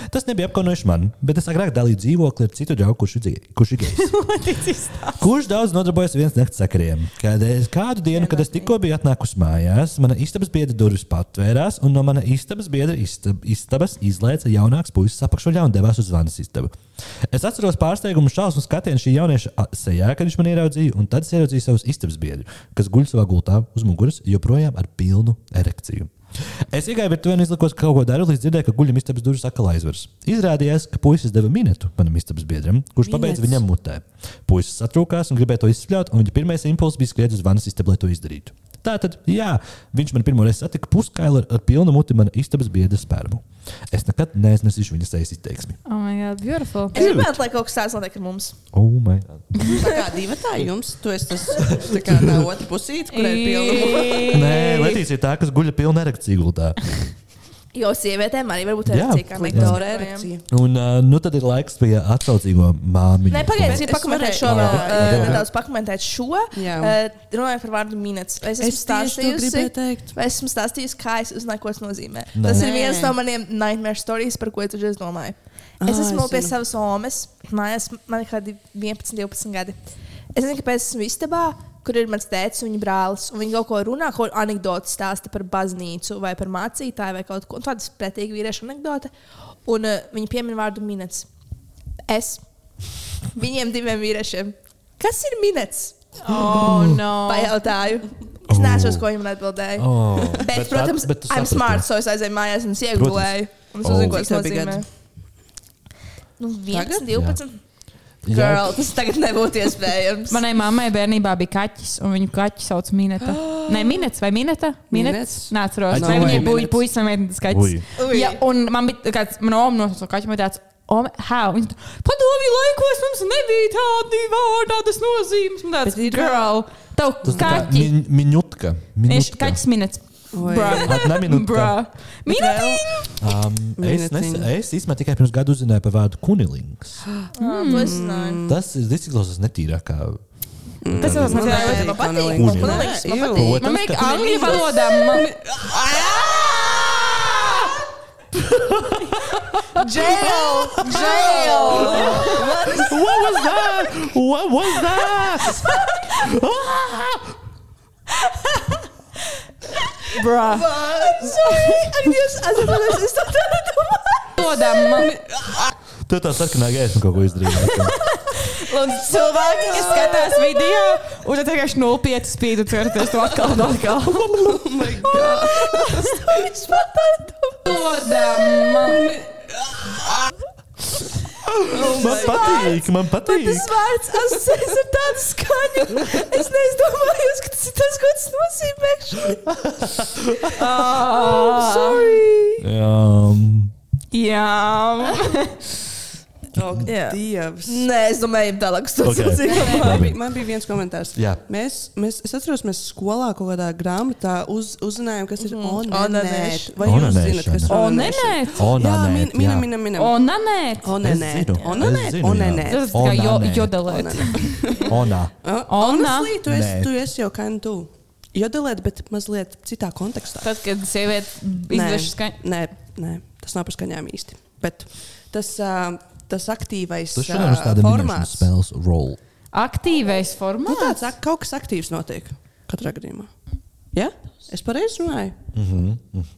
S3: Tas nebija apkaunojuši man, bet es agrāk dalīju dzīvokli ar citu draugu, kurš ir dzie- kurš ir gejs. kurš daudz nodarbojas viens nakts sakariem. Kad es, kādu dienu, kad es tikko biju atnākusi mājās, mana istabas biedra durvis patvērās, un no mana istabas biedra istab, istabas izlaica jaunāks puisis apakšuļā un devās uz zvanas istabu. Es atceros pārsteigumu šausmu skatienu šī jaunieša a- sejā, kad viņš man ieraudzīja, un tad es ieraudzīju savus istabas biedru, kas guļ savā gultā uz muguras, joprojām ar pilnu erekciju. Es iegāju virtuvē un izlikos, ka kaut ko daru, līdz dzirdēju, ka guļam istabas durvis atkal aizveras. Izrādījās, ka puisis deva minētu manam istabas biedram, kurš pabeidza viņam mutē. Puisis satrūkās un gribēja to izspļaut, un viņa pirmais impulss bija skriet uz vanas istabu, lai to izdarītu. Tātad, jā, viņš man pirmo reizi satika puskaili ar pilnu muti mana istabas biedra spērmu. Es nekad neiznesīšu viņas sejas izteiksmi.
S2: Oh, my God, beautiful.
S4: Es gribētu, lai kaut kas tāds notiek ar mums.
S3: Oh my God.
S5: Tā kā divi tā jums, tu esi tas tā kā tā otra pusīte, kur ir
S2: *laughs*
S5: pilna.
S3: Nē, Latīcija ir tā, kas guļ pilna erekcija gultā.
S4: Jo sievietēm arī var būt
S3: Jā,
S4: erekcija, kā
S3: protams.
S5: Daura
S4: nektorējiem.
S5: erekcija.
S3: Un uh, nu tad ir laiks pie atsaucīgo māmiņu.
S4: Nē, pagaidiet, es gribu
S5: Es
S4: pakomentēt
S5: varēju-
S4: šo vēl,
S3: Jā,
S4: eh,
S3: jā, jā.
S4: nedaudz pakomentēt šo.
S5: Jā.
S4: Eh, Runājot par vārdu minēts, es esmu
S5: Es tieši to gribēju
S4: stāstījusi.
S5: teikt.
S4: Vai esmu stāstījusi, kā es uzzināju, ko tas nozīmē?
S3: Nē.
S4: Nē. Tas ir
S5: Nē.
S4: viens no maniem nightmare stories, par ko es dažreiz domāju. Es
S5: Ā,
S4: esmu
S5: es
S4: pie
S5: zinu.
S4: savas omas, mājās man ir kādi 11, 12 gadi. Es nezinu, kāpēc esmu istabā, kur ir mans tēvs un viņa brālis. Un viņi kaut ko runā, ko anekdoti stāsta par baznīcu vai par mācītāju vai kaut ko tādu. Pretīgi vīriešu anekdote. Un uh, viņi piemin vārdu minēts. Es viņiem diviem vīriešiem. Kas ir minēts?
S2: Oh, no.
S4: Pajautāju. Es nezinu,
S3: Oh.
S4: ko viņam atbildēju.
S3: Oh,
S4: Bet, bet, protams,
S3: bet tu
S4: I'm
S3: saprati.
S4: smart, so es aizēju mājās un es iegulēju. Un es
S3: Oh.
S4: uzzinu, ko tas
S5: Cik tev bija
S4: nozīmē.
S5: gadi?
S4: Nu, 11,
S5: Tagad?
S4: 12.
S3: Jā.
S4: Girl, tas tagad nebūtu iespējams. *laughs*
S2: Manai mammai bērnībā bija kaķis, un viņu kaķis sauc
S5: *gasps*
S2: Minēta. Nē, Minēta vai Minēta?
S5: Minets?
S2: Nē, atceros.
S3: Ai, no,
S2: Vai viņai
S5: vai
S2: bija
S5: Minets.
S2: puisis vai meitenes kaķis?
S3: Ui.
S4: Ui.
S2: Jā, un man bija kāds, man oma nosauca kaķi, man bija tāds. "Ome, How? Viņa tā, Padomju laikos mums nebija tādi vārdi, tādas nozīmes. Man Tāds,
S5: Bet ir-
S2: girl, tev
S3: Tas tā kā
S2: kaķi.
S3: min- Minūtka.
S2: Viņš kaķis minēts.
S5: Oi.
S2: Bra.
S3: Atnē minūtka.
S2: Bra. Minēta.
S3: Um, es, nes,
S5: Minutiņa.
S3: es īstenībā tikai pirms gada uzzināju par vārdu
S5: *gasps*
S3: kunilings.
S4: Ah, to es zināju.
S3: Tas ir tas izklausās netīrākā.
S2: Tas ir tas,
S5: Man
S2: kas man
S5: patīk
S2: jāsaka.
S4: Man patīk. Man
S5: Kunilings.
S4: liekas, man
S5: Jū.
S4: patīk.
S2: Man
S3: Protams,
S2: liekas,
S3: ka-
S2: angļu valodā. man- *laughs*
S4: Jail! Jail!
S3: What was that? What was that?
S2: Bra.
S4: Sorry, ak, Dievs, atceros, es to tādu domāju.
S2: Valodā man-
S3: Tu tā sarkanā gaisma kaut ko izdarīji.
S2: Un cilvēki, kas skatās video, un tad vienkārši 0,5 spīd un certies to atkal un atkal. Oh *laughs*
S4: Es pat tādu domāju.
S2: Dodam!
S3: Man patīk, man
S4: Bet
S3: patīk.
S4: tas vārds asociēts ar tādu skaņu. Es neizdomāju, ka tas ir tas, ko tas nozīmē.
S2: Ah.
S4: Oh,
S3: Jā.
S2: Jā,
S5: Oh,
S4: Jā.
S5: Dievs.
S4: Nē, es domāju, tālāk tas
S3: Ok.
S4: nozīmē.
S5: Man
S3: Labi.
S5: bija, man bija viens komentārs.
S3: Jā.
S5: Mēs, mēs, es atceros, mēs skolā kaut kādā grāmatā uz, uzzinājām, kas ir onanēta.
S4: Onanēšana.
S5: Vai jūs zinat, kas
S3: Onanēšana.
S5: ir
S4: Oh,
S2: o
S3: O, nē,
S2: nē, nē,
S5: Jā, min-
S3: nē,
S5: minam,
S3: jā.
S5: minam,
S2: o nē,
S5: minam.
S2: nē.
S4: Oh,
S3: Es
S5: Onanēt,
S3: zinu. Es
S5: onanēt,
S3: zinu, jā.
S5: onanēt.
S2: Tas ir kā jo-
S3: Onanēt.
S4: Oh,
S2: jodelēt.
S3: Onā.
S5: Ona. Tu
S3: Nē.
S5: esi, tu esi jau kā nu tu. Jodelēt, bet mazliet citā kontekstā.
S2: Tad, kad sieviete
S5: Nē,
S2: izdevusi skaņu.
S5: Nē, nē, tas nav par skaņām īsti. Bet tas, uh, tas aktīvais
S3: Tu šodien uz tāda minēšanas
S5: formāts.
S3: spēles roll.
S2: Aktīvais
S5: Nu,
S2: formāts.
S5: tāds, ak- kaut kas aktīvs notiek katrā gadījumā. Ja? Es pareizi runāju.
S3: Mhm,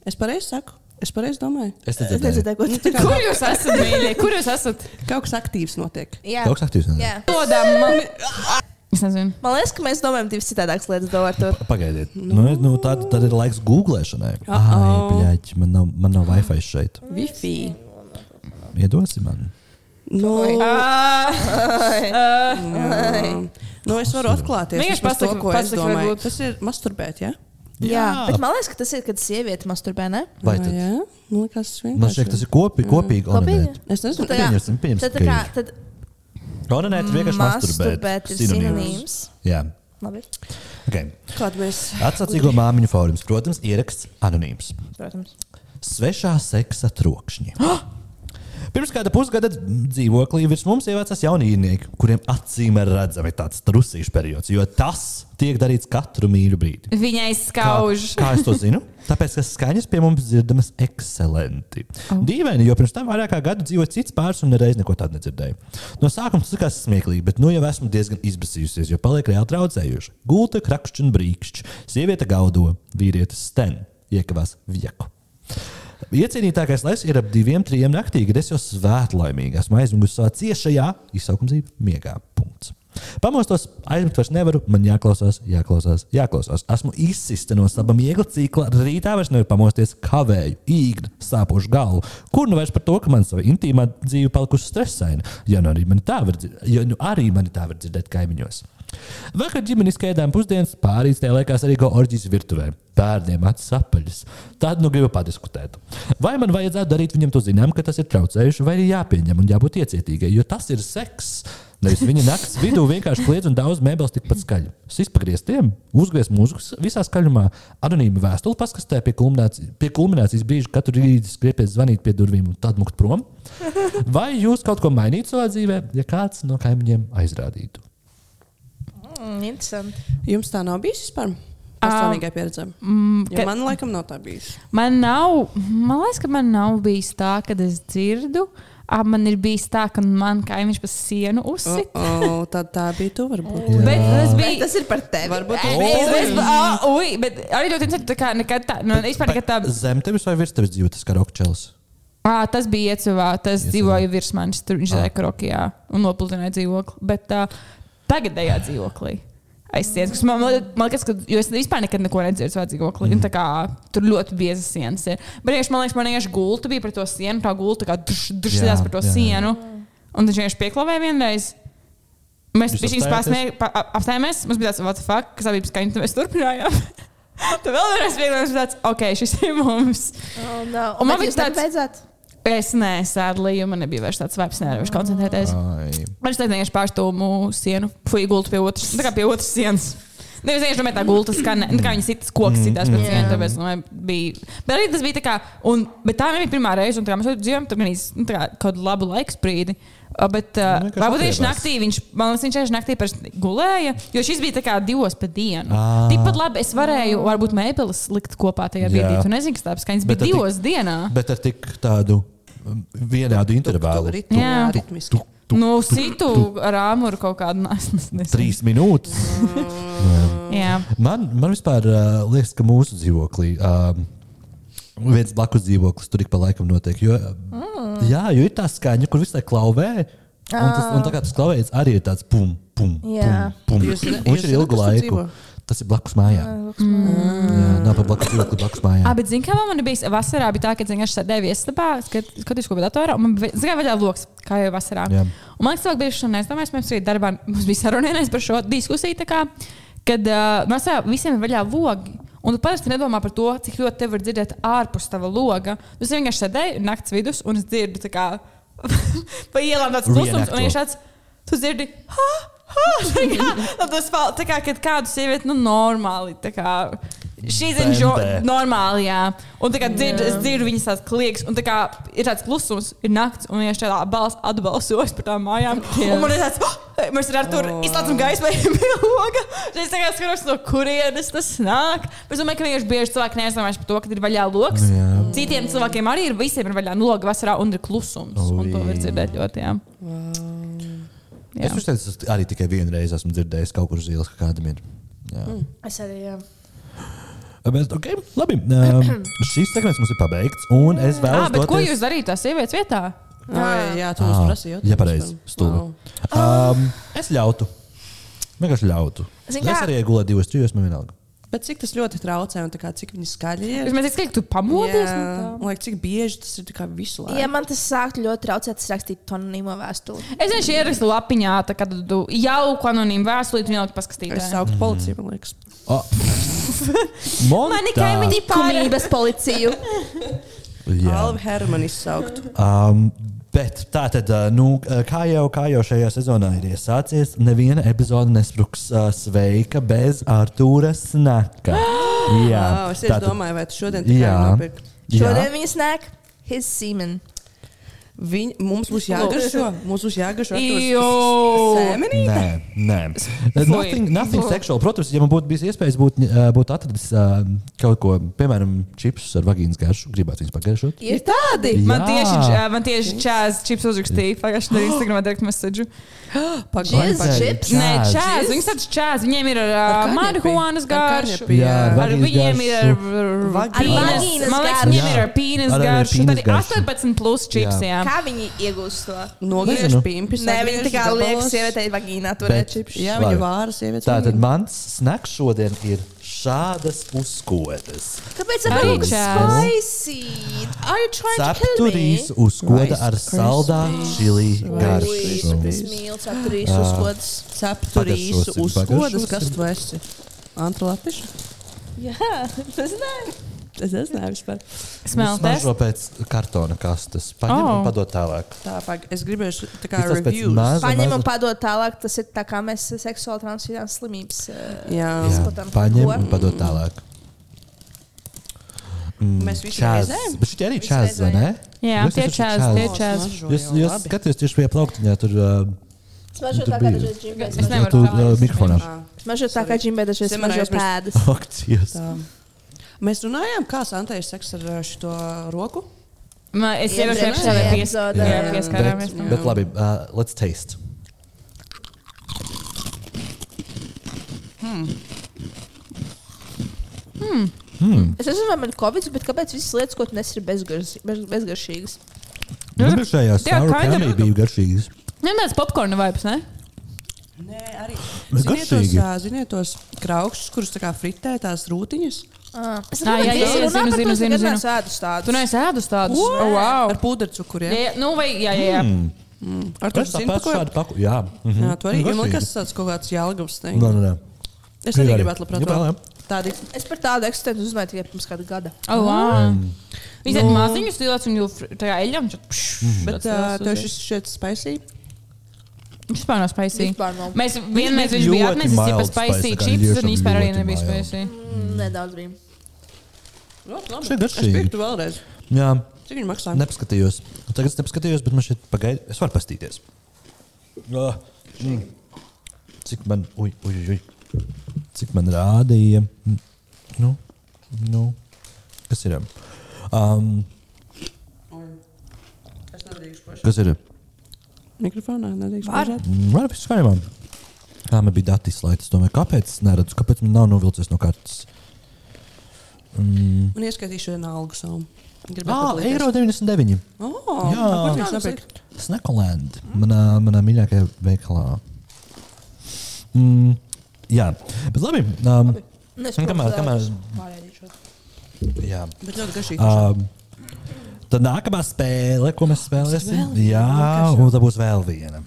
S5: Es pareizi saku. Es pareizi domāju.
S3: Es
S4: Es
S3: nezinu,
S4: nezinu, ko tu
S2: Kur jūs esat, mīļie? Kur jūs esat?
S5: *laughs* Kaut kas aktīvs notiek.
S4: Jā.
S3: Kaut kas aktīvs.
S4: Jā.
S3: notiek?
S2: Dodam! Es nezinu.
S4: Man liekas, ka mēs domājam divas citādākas lietas, domājot to.
S3: Pagaidiet, nu, nu, tad, tad ir laiks googlēšanai. Ai,
S5: Uh-oh.
S3: bļaļ, man nav, man nav Wi-Fi šeit.
S5: Wi-Fi.
S3: Iedosim man.
S5: Nu,
S4: Oh. *laughs*
S2: Ā, ā,
S5: jā. nu, es varu atklāties.
S2: Vienkārši
S5: vismaz to,
S2: pasaki-
S5: ko es
S2: pasaki
S5: domāju.
S2: varbūt.
S5: Tas ir masturbēt, ja?
S4: Bet man liekas, ka tas ir, kad sieviete masturbē, ne?
S3: Vai tad?
S5: Jā, nu, kas vienkārši.
S3: Man šķiet, tas ir kopi, kopīgi.
S4: Kopīgi?
S3: onanēt.
S5: Es
S4: Tā
S5: nezinu,
S4: kā-
S3: Nu, Pieņemsim, pieņemsim,
S4: Tad, tā kā,
S3: ka
S4: tad
S3: Onanēt ir vienkārši masturbēt.
S4: masturbēt ir sinonīms.
S3: Jā.
S4: Labi,
S3: Okay.
S5: kāda mēs.
S3: Atsacīgo māmiņu fórums, protams, ieraksts anonīms.
S4: protams.
S3: Svešā seksa
S4: *gasps*
S3: trokšņi. Pirms kāda pusgada dzīvoklī virs mums ievācās jaunīnieki, kuriem acīm ir redzami tāds trusīšu periods, jo tas tiek darīts katru mīļu brīdi.
S2: Viņai skauž.
S3: Kā, kā es to zinu? Tāpēc, ka skaņas pie mums dzirdamas ekscelenti. Oh. Dīvaini, jo pirms tam vairāk kā gadu dzīvoja cits pāris un nereiz neko tādu nedzirdēju. No sākuma tas likās smieklīgi, bet nu jau esmu diezgan izbasījusies, jo paliek reāli traucējuši. Gulta, krakšķis un brīkšķis. Sieviete gaudo, vīrietis sten, iekavās vieku. Iecienītākais laiks ir ap diviem, trim naktī, kad es jau svētlaimīgi esmu aizmigusi savā ciešajā izsaukumzīmē miegā. Punkts. Pamostos, aizmigt vairs nevaru, man jāklausās, jāklausās, jāklausās. Esmu izsista no sava miega cikla, rītā vairs nevaru pamosties, kavēju, īgni, sāpošu galvu. Kur nu vairs par to, ka man sava intīmā dzīve palikusi stresaina, ja nu arī man tā var dzirdēt, ja nu arī man tā var dzirdēt kaimiņos. Vakar ģimenes ēdām pusdienas, pārīs tajā laikā arī go orģijas virtuvē. Bērniem acis apaļas. Tad nu gribu padiskutēt. Vai man vajadzētu darīt viņam to zinām, ka tas ir traucējuši, vai arī jāpieņem un jābūt iecietīgai, jo tas ir seks. Nevis viņa naktas vidū vienkārši kliedz un daudz mēbeles tikpat skaļi. Es izpagriez tiem, uzgriez mūzikas visā skaļumā, anonīmu vēstuli paskastē pie, kulmināci- pie kulminācijas brīža, kad tur rītdien skriepies zvanīt pie durvīm un tad mukt prom. Vai jūs kaut ko mainītu savā dzīvē, ja kāds no kaimiņiem aizrādītu?
S4: Mm, interesanti.
S5: Jums tā nav bijusi vispār? Personīgai pieredzē. Mm,
S2: ka-
S5: man laikam nav tā bijusi.
S2: Man nav, man liekas, ka man nav bijis tā, ka es dzirdu. Ā, Man ir bijis tā, ka man kaimiņš pa sienu
S5: Oh,
S2: uzsita.
S5: oh, tad tā bija tu varbūt.
S2: Oh, bet tas
S4: Bet
S2: bija.
S4: tas ir par tevi.
S5: Varbūt
S2: Es, es, es,
S4: Oh.
S2: ā, ui, bet arī ļoti interesanti. Tā kā nekad tā, nu, vispār nekad tā.
S3: Zem tevis vai virs tevis dzīvo tas karokčels?
S2: Ā, tas bija Iecevā. Tas
S3: Iecevā. Ah.
S2: dzīvoja virs manis. Tur viņš
S3: Ā.
S2: dzīvoja Krokijā un nopludināja dzīvokli. Bet uh, tagadējā dzīvoklī. Aizsienas, kas man, man liekas, ka jo es vispār nekad neko nedzirdu savā dzīvoklī.
S3: Mhm.
S2: Mm. Tā kā tur ļoti bieza sienas ir. Bet vienkārši man liekas, man vienkārši gulta bija par to sienu, tā gulta kā
S3: Jā,
S2: drusījās par to
S3: jā, jā.
S2: jā, sienu. Jā. Un viņš vienkārši pieklavēja vienreiz. Mēs
S3: Jūs
S2: bijām
S3: apstājāties?
S2: apstājāmies, mums bija tāds what the fuck, kas abi bija skaņas, un mēs turpinājām. *laughs* Tad vēl vienreiz vienreiz bija tāds, ok, šis ir mums.
S4: Oh, no.
S2: Un man bija
S4: Bet jūs
S2: tāds-
S4: nebeidzāt?
S2: Es nesēdlīju, man nebija vairs tāds vibes, nevarēju koncentrēties. Man šķiet, vienkārši pārstūmu sienu, fuja gultu pie otras, tā kā pie otras sienas. Nevis vienkārši domāju, tā gulta skan, nu, kā viņas citas
S3: Mm.
S2: koks citās pēc sienu, tāpēc, nu, bija. Bet arī tas bija tā kā, un, bet tā nebija pirmā reize, un tā kā mēs dzīvojam tur gan īsti, nu, tā kā kādu labu laiku sprīdi. Uh, Bet, uh,
S3: Nu, vienkārši
S2: varbūt tieši
S3: atgriežas.
S2: naktī viņš, man liekas, viņš tieši naktī parasti gulēja, jo šis bija tā kā divos pa dienu.
S3: Ā.
S2: Tikpat labi es varēju, varbūt, mēbeles likt kopā tajā
S3: Ah. Jā.
S2: brīdī. Tu nezini, kas tā skaņas
S3: Bet
S2: bija
S3: tad tik-
S2: divos dienā.
S3: Bet ar tik tādu um, vienādu intervālu.
S5: Ritmiski.
S2: Jā.
S5: Jā, ritmiski.
S2: Nu, citu rāmuru kaut kādu *laughs* nesaprotu.
S3: Trīs minūtes.
S2: Jā,
S3: Man, man vispār uh, liekas, ka mūsu dzīvoklī. Uh, Viens blakus dzīvoklis tur ik pa laikam notiek. Jo, mm. Jā, jo ir tā skaņa, kur visai klauvē. Un, tas, un tā kā tas klauvējas arī ir tāds pum, pum,
S4: Jā.
S3: pum. pum.
S5: Jūs zināt-
S3: Un Viņš
S5: jūs
S3: ir
S5: zināt,
S3: ilgu
S5: kas tur
S3: laiku.
S5: dzīvo?
S3: Tas ir blakus
S4: Oh,
S3: mājām. Mm. Jā, nav pat blakus dzīvokli, blakus
S2: à,
S3: mājām.
S2: bet zini, kā man bija vasarā, bija tā, ka zini, es sēdēju viesnabā, skat- skatos, ko bija datorā, un man bija zināmā veidā loks, kā jau vasarā.
S3: Jā.
S2: Un man liekas, cilvēki bieži šodien aizdomājas, mēs arī darbā, mums bija sarunājies par šo diskusiju, tā kā, kad uh, vasarā visiem ir vaļā logi. Un tu parasti nedomā par to, cik ļoti te var dzirdēt ārpus tava loga. Tu esi vienkārši sēdēji naktas vidus un es dzirdu, tā kā *laughs* pa ielām tāds klusums, un
S3: Reenactment.
S2: viņš tāds, tu dzirdi, ha! ha, *laughs* Tā kā, nu, tas fal- tā kā, kad kādu sievieti, nu, normāli, tā kā, šīs ir jo,
S3: Bendē.
S2: normāli, jā. Un tā kā dzird, es dzirdu viņas tās klieks, un tā kā ir tāds klusums, ir nakts, un viņš tādā balss atbalsojas par tām mājām. Un man ir
S4: *gasps*
S2: tāds,
S4: Oh!
S2: "Ah!" mēs ar tur
S3: Oh.
S2: izslēdzam gaismu, *laughs* jau bija loga. Es tā kā skatos, no kurienes tas nāk. Bet Es domāju, ka vienkārši bieži cilvēki neaizdomājas par to, ka ir vaļā loks.
S3: Nu Jā.
S2: Citiem cilvēkiem arī ir visiem ir vaļā nu, loga vasarā un ir klusums.
S3: Oh,
S2: Un to var
S3: Ui.
S2: dzirdēt ļoti, jā.
S3: Es
S2: jā.
S3: domāju, tas arī tikai vienu reizi esmu dzirdējis kaut kur uz ielas, ka kādam ir. Jā. Mm.
S4: Es arī. Jā.
S3: Bet, okay, labi, um, šīs segments mums ir pabeigts. Un es
S2: Ah,
S3: vēlos
S2: bet ko
S3: doties.
S2: jūs darītu tās sievietes vietā?
S5: Ai, Jā, tu mums
S3: Ā,
S5: prasīji.
S3: Ja pareizi, stulbi. Um, es ļautu. Vienkārši ļautu.
S4: Zini
S3: es
S4: kā?
S3: arī gulēju divos, trīs, man vienalga.
S5: Bet cik tas ļoti traucē un tā kā, cik viņi skaļi ir?
S2: Es domāju, ka tu pamodies.
S5: Jā,
S2: no tā?
S5: un like, cik bieži tas ir tā kā visu laiku.
S4: ja man tas sāktu ļoti traucēt, es rakstītu to anonīmo vēstuli.
S2: Es vienkārši ierakstu lapiņā, tā kā tu jauku anonīmu vēstuli, tu vienalga
S5: Es
S2: paskatīties.
S5: sauktu policiju, man liekas.
S3: Oh. Mani
S4: Kumības policiju.
S5: Alva Hermanu izsauktu.
S3: Um, bet tā tad, uh, nu, uh, kā jau, kā jau šajā sezonā ir iesācies, neviena epizode nesprūks uh, sveika bez Artūra Snaka. Jā,
S5: Oh, es
S3: tātad-
S5: domāju, vai tu šodien tikai
S3: Jā,
S5: nopirkt.
S3: jā.
S4: Šodien viņas nāk his semen.
S5: Viņ, mums būs jāgaršo. Mums būs jāgaršo.
S2: Jū.
S5: Sēmenī?
S3: Nē, nē. Nothing, nothing
S2: Fui.
S3: sexual. Protams, ja man būtu bijis iespējas, būtu uh, būt atradis uh, kaut ko, piemēram, čipsus ar vagīnas garšu, gribētu viņus pagaršot.
S5: Ir tādi.
S2: Man
S3: Jā.
S2: tieši, č- man tieši čāzi čips uzrakstīja pagājušajā nedēļā Instagramā direkt message.
S4: Jizz,
S5: Pagaidām.
S4: čips?
S2: Nē,
S3: Čāzi.
S2: čāzi. Viņas tāds čāzi. Viņiem ir ar,
S5: Ar
S2: ā,
S5: karnepi.
S2: marihuānas
S5: Ar
S2: garšu.
S5: karnepi.
S3: Jā,
S5: Jā.
S3: ar
S2: Ar
S3: vagīnas
S2: viņiem ir ar
S3: garšu.
S2: ar- ar
S5: Vagīnas.
S2: pīnas. Man liekas,
S4: Vagīnas
S2: viņiem
S3: garšu.
S2: ir ar pīnas
S3: Ar- ar
S2: garšu.
S3: pīnas
S2: Tad ir
S3: garšu.
S2: 18 plus čips,
S3: Jā.
S2: jā.
S4: Kā viņi iegūst to?
S5: Nogriež
S3: Nezinu.
S5: pīmpis.
S4: Nē, viņi tā kā liek
S5: liekas sievietē.
S4: sievietei vagīnā
S3: Bet-
S4: turēt čipšu.
S5: Jā,
S3: Labi.
S5: viņa vāra sievietes.
S3: Tā tad
S5: vagīnu.
S3: mans snacks šodien ir šādas uzkodas.
S4: Kāpēc
S2: Arī
S4: apgūst
S2: čērs.
S4: spicy? Are you trying to kill me? Oh,
S3: Cepturīs uzkoda
S5: Rice
S3: ar saldā čili
S4: Tas
S3: garšu.
S4: mīl cepturīs
S3: Ah.
S4: uzkodas.
S5: Ceptu rīsu
S3: Pagaršosim,
S5: uzkodas,
S3: pagaršosim.
S5: kas tu esi? Antra lapiša?
S4: Jā, tas nē.
S5: Es nezinu vispār.
S2: Smelties.
S3: Smažo pēc kartona kastes. Paņem
S2: Oh.
S3: un padod tālāk.
S5: Tā, pag, es gribēju tā kā
S3: Tas tas pēc
S5: reviews.
S3: maza,
S4: Paņem un
S3: maza-
S4: padod tālāk. Tas ir tā kā mēs seksuāli transfīdās slimības. eh,
S3: Jā,
S5: Jā,
S4: Skatām,
S3: Paņem
S4: ko.
S3: un padod tālāk.
S5: mēs visi
S3: Čāz.
S5: reizēm.
S3: Bet šitie arī čāz, vai ne?
S2: Jā,
S3: Jūs
S2: tie
S3: esat
S2: čāz,
S3: čāz.
S2: tie čāz.
S5: Smažo
S3: Jūs,
S5: jau
S3: jūs
S5: labi.
S3: skatāties tieši pie plauktiņā, tur uh,
S4: Smažo
S3: Tur
S4: tā kā
S3: bija.
S4: dažreiz džimbē.
S2: Es nevaru
S3: tu,
S2: tā
S3: uh,
S2: vairs.
S3: mikrofonā. *laughs*
S5: Ā,
S4: Smažo tā kā džimbē dažreiz
S5: Simona
S4: smažo
S5: aizmirst.
S4: pēdas.
S3: Ak, Dievs.
S5: tā. Mēs runājām, kā Santa ir seks ar ā, šito roku.
S2: Man- Es
S4: Iepriekšējā
S2: iepriekš epizodē pies-
S4: epizodē,
S2: jā,
S4: jā.
S2: pieskārāmies.
S3: Bet, bet labi, uh, let's taste. Hmm.
S4: Es nezinu, vai man ir covid, bet kāpēc visas lietas, ko tu nesi, ir bezgarš- bez- bezgaršīgas?
S2: Jūs-
S3: Iepriekšējā
S2: Tie
S3: sāru
S2: kaņa-
S3: kanī bija garšīgas.
S2: Viņam tāds popkorna vibes, ne?
S5: Nē, arī.
S3: Bet
S5: Ziniet tos,
S3: garšīgi.
S5: ā, ziniet tos kraukšus, kurus tā kā fritē tās rūtiņas.
S4: Ah, es
S2: Ah, jā,
S4: nezinu,
S2: jā, jā,
S4: kas runā
S2: zinu,
S4: par to,
S2: zinu,
S4: es
S2: zinu,
S4: nekad
S2: zinu.
S4: neesmu ēdus tādus.
S2: Tu neesi ēdus tādus. Oh, wow.
S5: Ar pudercukuriem.
S2: Jā, jā, nu vai, jā, jā, jā.
S3: Hmm.
S5: Ar to
S3: Tas
S5: zinu,
S3: tāpat
S5: ko
S3: šādi paku. Jā. mhm.
S5: Jā, tu arī.
S3: Garšīgi.
S5: jo Man liekas, tas kaut kāds jēlgavs. teikums.
S3: Nē, nē, nē.
S5: Es arī
S3: Nu, Jā, arī.
S5: gribētu labprāt.
S3: Jā,
S5: vēl.
S3: jā.
S5: Tādi
S4: Es par tādu eksistenci uzzināju tikai pirms kāda gada.
S2: Oh, wow.
S3: Mm.
S2: Viņš
S3: Nu.
S2: ir maziņš, stilēts un jau fr- tā kā eļam.
S3: Mm.
S5: Bet ā, tev šis šķiet spicy.
S2: Viņš vispār nav spicy.
S4: Vispār nav.
S2: Mēs vienreiz viņš
S3: Ļoti
S2: bija atnesis jau
S3: mild
S2: spicy
S3: spice, tā kā
S2: čips, un
S3: ļoti,
S2: vispār arī
S3: ļoti
S2: nebija
S3: mild.
S2: spicy.
S4: Mm, Nedaudz bija.
S3: Nu,
S5: Ļoti labi.
S3: Šķiet
S5: Es
S3: garšīgi.
S5: piektu vēlreiz.
S3: Jā,
S5: Cik viņi maksā?
S3: nepaskatījos. Nu, Tagad es nepaskatījos, bet man šeit pagaidi. Es varu pastīties. Ah, mm. Cik man, uj, uj, uj, uj. Cik man rādīja. Mm. Nu, nu, kas ir? Um,
S5: Es nedrīkstu pašu.
S3: kas ir?
S5: Mikrofonā nedrīkst
S4: Var.
S5: pašu.
S3: Labi, viss kārībā. Tā man bija dati slaids. Tomēr kāpēc es neredzu? Kāpēc man nav novilcies no kartes? Mm.
S5: Un ieskaitīšu vienu algu savu. Gribētu
S3: Ah,
S5: padalīties.
S3: eiro 99.
S5: Oh,
S3: Jā.
S5: jā, tas ir labi.
S3: Snakoland, manā, manā mīļākajā veikalā. Mm, jā, bet labi. Um,
S4: Nē, Nu, es
S3: Kamēr-
S4: protu,
S3: kamēr-
S4: es pārēdīšos.
S3: jā.
S5: Bet ļoti garšīgi.
S3: Um, tad nākamā spēle, ko mēs spēlēsim, jā, un tā būs vēl viena.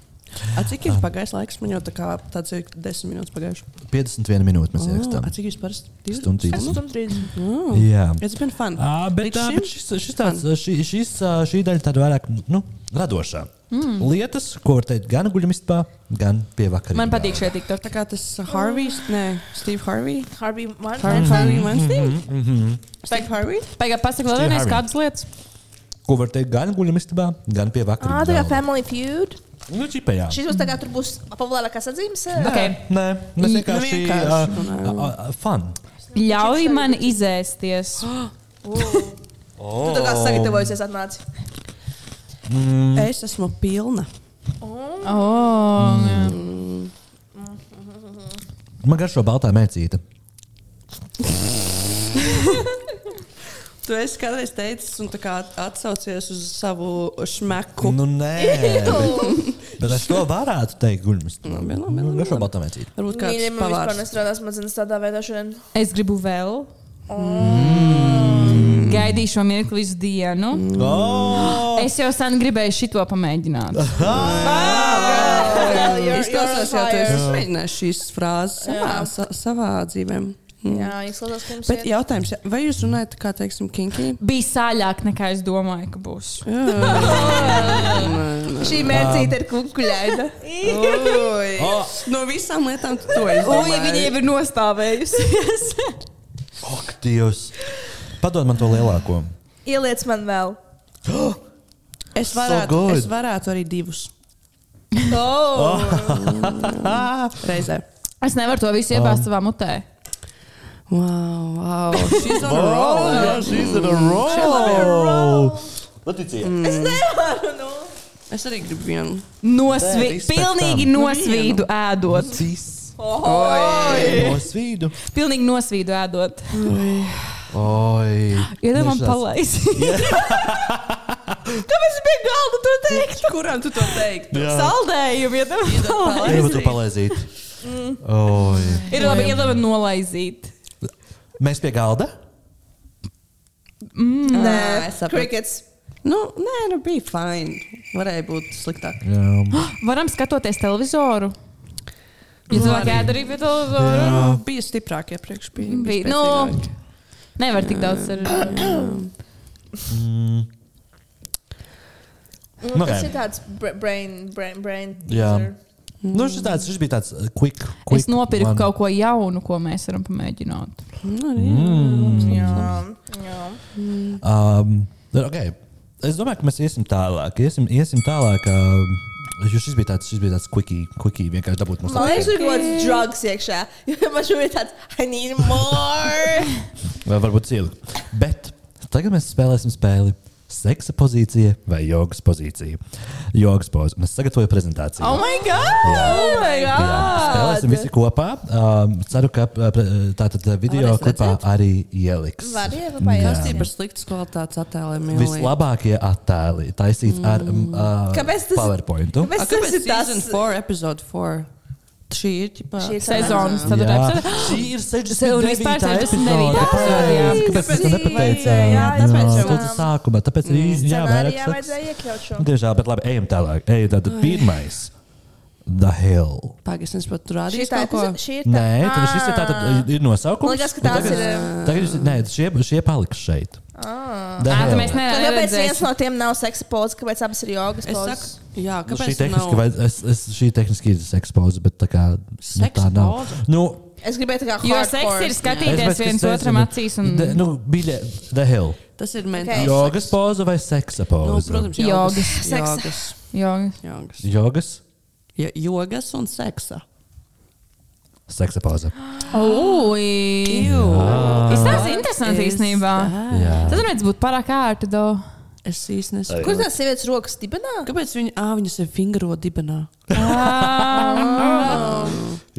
S5: A, cik ir pagājis laiks? Man jau tā kā tāds ir desmit minūtes pagājuši.
S3: 51 minūtes mēs
S5: Oh,
S3: ierakstām.
S5: cik jūs parasti? Divas?
S3: Stundu
S4: Es
S3: trīs.
S4: esmu Nu, trīs.
S5: Oh.
S3: Jā.
S5: It's been fun.
S3: Ā, Bet,
S5: Līdz
S3: ā,
S5: šim?
S3: bet šis, šis tāds, šī, šis, ā, šī daļa tāda vairāk nu, radošā. Mm. Lietas, ko var teikt gan guļamistā, gan pie vakarā.
S2: Man patīk šie tiktoki.
S5: Tā kā tas Harvijs, nē, Steve Harvey.
S4: Harvey
S5: Harvey
S4: Weinstein.
S5: Harvey
S3: Mhm.
S5: Weinstein? Steve Harvey?
S2: Pagaidā, pasaka vēl vienreiz
S3: Harvey.
S2: kādas lietas.
S3: Ko var teikt gan guļamistā, gan pie vakarā.
S4: Ah, tā kā Family Feud.
S3: Nu, čipējā.
S4: Šis būs tā kā tur būs populārākās atzīmes. eh?
S3: Nē,
S2: Okay.
S3: Nē, mēs
S5: Nu,
S3: vienkārši
S5: vienkārši
S3: ā,
S5: runājam.
S3: ā, ā, fun.
S2: Ļauj man izēsties.
S4: *gasps* Tu tā kā sagatavojusies atnāci.
S5: Es esmu pilna.
S2: Oh,
S3: Mm.
S2: jā.
S3: Man garšo baltā mēcīte.
S5: Tu esi kādreiz teicis un tā kā atsaucies uz savu šmeku.
S3: Nu, nē,
S5: Oh.
S3: bet, bet es to varētu teikt guļamistā.
S5: Labi, labi,
S3: Man
S5: labi,
S3: garšo
S5: labi.
S3: baltā mēcīte.
S5: Varbūt kāds
S4: Mīļie, man vispār
S5: pavārs.
S4: nestrādās smadzenes tādā veidā šodien.
S2: Es gribu vēl. Gaidīšu šo mirkli visu dienu.
S3: Mm. Oh!
S2: *gasps* Es jau sen gribēju šito pamēģināt.
S3: *gasps*
S5: Ah, Izklausās jau, tu esi izmēģinājis šīs frāzes savā, sa, savā dzīvēm.
S4: Jā, izklausās, ka mums
S5: Bet
S4: ir.
S5: jautājums, vai jūs runājat, kā teiksim, kinki?
S2: Bija sāļāk, nekā es domāju, ka būs.
S4: Šī mērcīte ir
S5: *laughs*
S4: kukuļaida.
S5: No visām lietām tu to
S2: Ui,
S5: izdomāji.
S2: viņa jau ir nostāvējusies.
S3: Ak, Dievs! Padod man to lielāko.
S4: Ieliec man vēl.
S5: Es
S3: So
S5: varētu,
S3: good.
S5: es varētu arī divus Oh.
S4: Oh.
S5: reizē.
S2: Es nevaru to visu
S3: Um,
S2: iebāzt savā mutē.
S5: Wow, wow. *laughs* She's on a roll.
S3: Oh, She's in a roll! Patīciet!
S4: Es nevaru. nu.
S5: Es arī gribu vienu.
S3: Nē,
S2: Nosvīdu,
S3: respect
S2: pilnīgi
S3: tam.
S2: nosvīdu ēdot.
S3: Cis!
S4: Oi.
S3: No svīdu!
S2: Pilnīgi nosvīdu ēdot.
S3: Oi!
S2: Ja tev
S3: *laughs*
S2: man
S3: Nešās.
S2: palaisi.
S1: Tāpēc es biju galda to teikt.
S5: Kuram tu to teiktu?
S1: Saldējumi, ja tev
S3: Gribu to palaizīt. Oi.
S2: Ir labi, ir labi nolaizīt.
S3: Mēs pie galda.
S5: Ah, Nē,
S1: es sapratu.
S5: Crickets. Nu, nē, nu bija fine. Varēja būt sliktāk.
S3: Jā.
S2: Varam skatoties televizoru. Ja cilvēki ēd arī pie televizora.
S3: Jā.
S5: Uh, Bija stiprāk iepriekš. Bija,
S2: Bija,
S5: bija
S2: nu,
S5: spēcīgāk.
S2: nevar tik daudz ar.
S4: Nu,
S3: Nu,
S4: tas
S3: nē.
S4: ir tāds bra- brain, brain, brain.
S3: Jā.
S4: teaser.
S3: Nu, šis, tāds, šis bija tāds uh, quick. quick
S2: Es nopirku
S3: one.
S2: kaut ko jaunu, ko mēs varam pamēģināt.
S5: Mm.
S4: Jā, jā.
S3: Um, okay. Es domāju, ka mēs iesim tālāk. Iesim, iesim tālāk uh, jo šis bija tāds, šis bija tāds quickie, quickie vienkārši dabūt mums.
S4: Man liekas, tur ir kaut kāds drugs *laughs* iekšā. Jo Man šobrīd ir tāds, I need more.
S3: Vai varbūt ielikt. Bet tagad mēs spēlēsim spēli. Seksa pozīcija vai jogas pozīcija? Jogas pozīcija. Un es sagatavoju prezentāciju.
S2: *laughs* Oh my god! Oh my
S3: Jā, spēlēsim visi kopā. Um, ceru, ka uh, pre- tātad uh, video
S5: Varēs
S3: klipā arī ieliks.
S4: Var ielikt, jā.
S5: Tas bija par sliktas kvalitātes attēliem.
S3: Vislabākie attēli taisīti ar mm. uh,
S4: Kāpēc tas-
S3: PowerPointu.
S4: Kāpēc tas ir tas?
S5: Season 4, episode 4. Šī ir ģipā.
S4: Šī ir
S2: Sezonas ceturtā
S3: Jā.
S2: epizode.
S3: Šī ir
S2: Un vispār
S3: 69.
S2: 69.
S3: epizode. Kāpēc?
S2: Jā.
S3: Kāpēc mēs to
S4: Jā,
S3: nepateicām?
S4: jā,
S3: Jā,
S4: tāpēc jau.
S3: tas ir sākumā. Tāpēc arī
S4: Scenārijā
S3: jāvērk seks.
S4: vajadzēja iekļaut šo.
S3: Diemžēl, bet labi, ejam tālāk. Ej, tad pirmais. The Hill.
S5: Pagaidzi, es pat tur
S4: Šī
S5: rādīju.
S4: ir tā
S5: kaut ko?
S4: epizode- šī ir tā-
S3: Nē, tad
S2: ah.
S3: šis ir
S4: Ā.
S3: tātad ir nosaukums.
S4: Man liekas, ka
S3: bet
S4: tās
S3: tagad-
S4: ir-
S3: Tagad jūs, nē, šie, šie paliks šeit. Ah,
S2: Ā, tad mēs ne-
S4: Tad Kāpēc
S2: neredzēsim.
S4: viens no tiem nav seksa pozas, kāpēc abas ir jogas
S5: Es
S4: pozas?
S5: saku, jā,
S3: Nu, šī
S5: kāpēc tā
S3: tehniski, vai, es, es, šī tehniski ir sekspauze, bet tā kā nu, tā
S5: Sekspauze?
S3: nav. Nu,
S4: Es gribēju tā kā
S2: Jo seks ir
S3: es
S2: skatīties
S3: bet,
S2: viens
S3: es
S2: otram
S3: nezinu.
S2: acīs un
S3: De, nu, bija The Hill.
S5: Tas ir
S4: Ok.
S5: mentāli.
S3: Jogas pauze vai seksa
S5: Nu,
S3: pauze?
S5: protams,
S2: Jogas.
S5: jogas.
S4: Seksa.
S5: Jogas.
S2: jogas.
S5: Jogas.
S3: Jogas,
S5: Ja- Jogas un seksa.
S3: seksa pauze.
S2: Ui!
S3: Ah.
S2: Tas tas ir interesanti
S5: Is
S2: īstenībā.
S3: Jā.
S2: Tas varētu būt pārāk ērti. do. *laughs*
S5: Es īsti nesaku.
S4: Kur tās sievietes rokas stibenā?
S5: Kāpēc viņi, ā, viņas ir fingro dibenā?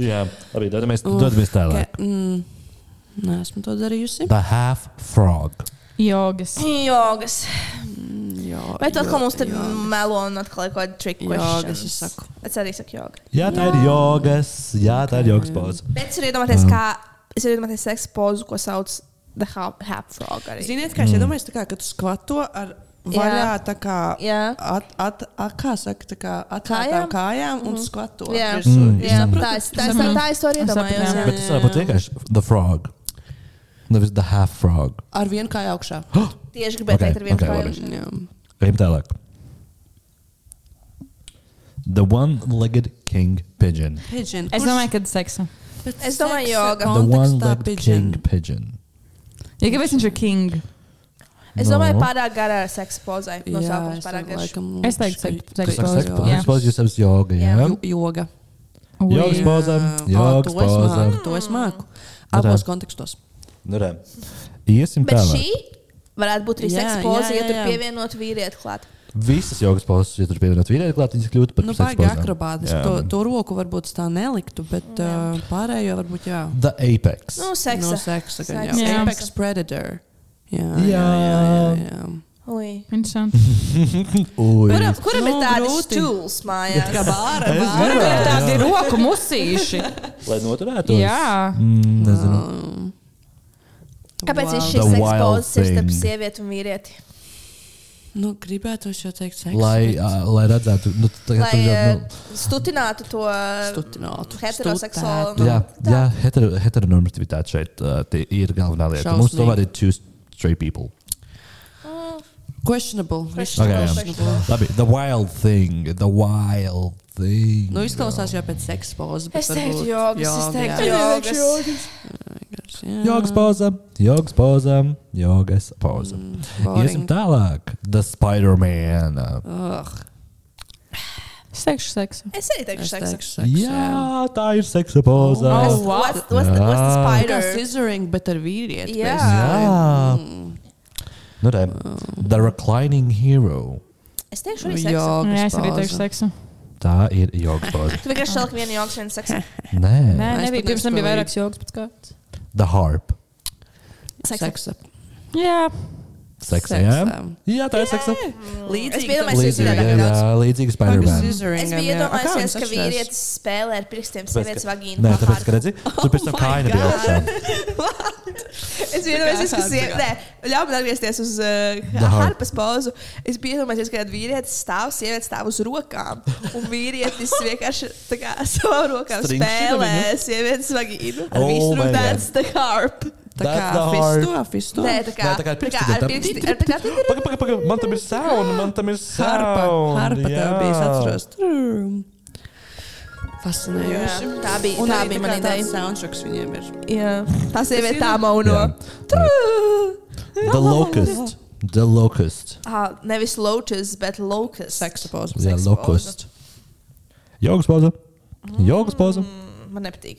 S3: Jā, labi, dodamies, dodamies tālāk.
S5: Ka- mm, Nē, esmu to darījusi.
S3: The Half Frog.
S2: Jogas.
S4: Jogas.
S5: Jā,
S4: Vai tu atkal
S5: jo-
S4: mums te melo un atkal ir kaut kāda trick
S5: Jogas, es
S4: question?
S5: saku.
S4: Es arī saku joga.
S3: Jā, tā ir jogas. Jā, tā ir jogas pauze.
S4: Bet es varu iedomāties, kā, es varu iedomāties seksa pozu, ko sauc The Hap Hap Frog arī.
S5: Ziniet,
S3: Mm.
S5: kā es iedomājos, tā kā, kad tu skvato ar vaļā,
S4: Jā.
S5: tā kā,
S4: Jā.
S5: at, at, at, kā saka, tā kā
S4: Kājām?
S5: atvērtām
S4: Mhm.
S5: kājām un skvato.
S4: Jā,
S5: virsū.
S3: Mm,
S4: jā, tā es tā es-
S2: saprotu.
S4: tā es to arī
S2: Es saprotu,
S4: iedomājos.
S2: jā.
S4: jā.
S3: Bet tas var būt vienkārši The Frog. Nevis The Half Frog. *gasps*
S5: Ar vienu kāju augšā.
S4: Tieši gribēju
S3: Ok,
S4: teikt ar vienu
S3: ok,
S4: kāju.
S3: labi.
S4: augšā.
S5: Jā.
S3: Ejam tālāk. The One-Legged King Pigeon.
S5: Pigeon.
S2: Es domāju, ka seksa.
S4: Es domāju, joga.
S3: The One-Legged King Pigeon.
S2: Ja kāpēc viņš ir king?
S4: Es
S3: No.
S4: domāju, pārāk garā seksa pozai. No sākuma pārāk garš.
S2: Es teiktu, sek-
S5: ka
S2: sek-
S3: Kas ir
S2: Sekspauze,
S3: seks?
S2: jā.
S3: Sekspauze, jūs esat joga, jā?
S4: Jā.
S5: joga.
S2: Ui.
S3: Jogas pauzē,
S5: Jā,
S3: jogas
S5: to es
S3: pauzē.
S5: māku, to es māku.
S3: tā.
S5: Abos kontekstos.
S3: Nu, re. Iesim
S4: Bet
S3: tālāk.
S4: šī varētu būt arī
S5: Jā,
S4: seksa poza,
S5: jā,
S4: ja tur
S5: jā, jā.
S4: pievienot vīrieti klāt.
S3: Visas jogas pauzes, ja tur pievienot vīrieti klāt, viņas kļūtu par
S5: Nu,
S3: seksa
S5: baigi
S3: pauzēm. Jā.
S5: akrobātiski. To, to roku varbūt tā neliktu, bet uh, pārējo varbūt jā.
S3: The Apex.
S4: Nu, seksa.
S5: No seksa, gan
S4: Seksa.
S5: jau.
S2: Jā.
S5: Apex Predator. Jā, jā,
S3: Jā.
S5: jā. jā, jā.
S4: Ui.
S2: Interesanti.
S3: Ui.
S4: Kuram, kuram
S5: Nu,
S4: ir tāds
S5: grūti.
S4: stūlis mājās?
S5: Kā bāra.
S3: Es
S5: bāra.
S2: Tur ir tādi roku musīši.
S3: *laughs* Lai noturētos.
S2: Jā.
S3: Mm, nezinu.
S4: Kāpēc viņš
S3: The
S4: šis seksa
S3: wild
S4: pozas ir starp
S3: thing.
S4: sievieti un vīrieti?
S5: Nu, gribētu es jau teikt seksa.
S3: Lai, ā, lai redzētu, nu, tā kā
S4: Lai
S3: tur jau.
S4: eh,
S3: Nu,
S4: stutinātu to
S5: Stutinātu.
S4: heteroseksuālu.
S3: nu, Jā, jā hetero- heteronormatīvitāte šeit uh, tie ir galvenā lieta. Mums to
S5: Šausmīgi.
S3: var ir two straight people.
S5: Questionable.
S3: Okay,
S5: Questionable.
S3: jā. Labi, the wild thing, the wild thing.
S5: Nu, izklausās jau pēc seksa pauzes. bet
S4: Es teiktu,
S5: varbūt
S4: jogas, es
S5: joga,
S4: teiktu,
S5: jā.
S4: jogas.
S5: Jā.
S3: Jogas pauze, jogas pauze, jogas pauze.
S5: boring.
S3: Iesim tālāk. The Spider-Man.
S5: Ugh,
S2: Sekšu seksu.
S4: Es arī teikšu
S5: es teiktu
S4: seksu.
S5: seksa.
S3: Jā, tā ir seksa pauze.
S2: Oh,
S4: What's,
S2: wow.
S4: what's, what's, the, what's
S3: Ah.
S4: the
S5: Tā kā
S4: spider?
S5: scissoring, bet ar vīrieti. Mm.
S4: Jā.
S3: Jā. Nu, re, the Reclining Hero.
S4: Es teikšu arī seksu.
S5: Jogas
S2: Jā, es arī
S5: pauze.
S2: teikšu seksu.
S3: Tā ir jogas
S5: *laughs*
S3: pauze.
S4: Tu vienkārši šalki vienu jogas,
S3: *laughs*
S4: vienu seksu.
S2: Nē,
S3: Nē.
S5: Es
S2: nebija.
S5: pat
S2: Pirms tam bija
S5: nespēlēju.
S2: vairākas jogas pēc kārtas.
S3: The Harp.
S4: Seksa.
S5: Seksa.
S2: Jā.
S3: Seksa, jā?
S5: Seksam.
S3: Jā, tā ir seksa.
S4: Es
S5: Līdzīgi
S4: piedomājos,
S5: tam-
S4: Mēs
S3: Līdzīga,
S4: izdarām
S3: jā, līdzīga Spider-Man.
S4: Es biju iedomājies,
S5: nu,
S4: ka vīrietis spēlē ar pirkstiem sievietes vagīnu.
S3: Nē,
S4: kā
S3: tāpēc, ka
S4: harpu.
S3: redzi, tur
S5: Oh
S3: pēc tam kaina bija augšā.
S4: Es biju iedomājies, ka sieviete, ļauj man atgriezties uz uh,
S3: The harp.
S4: harpas pauzu. Es biju iedomājies, ka kad vīrietis stāv, sieviete stāv uz rokām. Un *laughs* vīrietis vienkārši tā kā *laughs* savā rokām
S3: Stringšķina
S4: spēlē
S3: viņu.
S4: sievietes vagīnu.
S3: Oh
S4: Viņš
S3: my
S4: tur
S3: God.
S4: tāds nu tā kā harp.
S3: Tā kā
S5: fisto.
S4: Nē, tā kā
S3: Nē, tā kā ar pirkstiem
S4: ar
S3: tā-
S4: pirksti- ar- tā kā-
S3: Paga, paga, paga, man
S5: *laughs*
S3: tam ir sauna, man tam ir
S5: Harpa,
S3: sauna.
S5: harpa tev bija, es atceros. Trrrm.
S4: Jā,
S5: Fascinējoši.
S4: Tā bija
S5: Un
S4: tā
S5: arī
S4: bija
S5: tā
S4: mana
S5: kā tāds
S4: ideja.
S5: soundtracks viņiem ir.
S4: Jā, Tā sieviete tā mauno.
S3: The Locust. The Locust.
S4: Ah, Nevis loaches, bet locusts.
S5: Seksa Mm. pauze.
S3: Jā, Locust. Jogas pauze. Jogas pauze.
S4: Man nepatīk.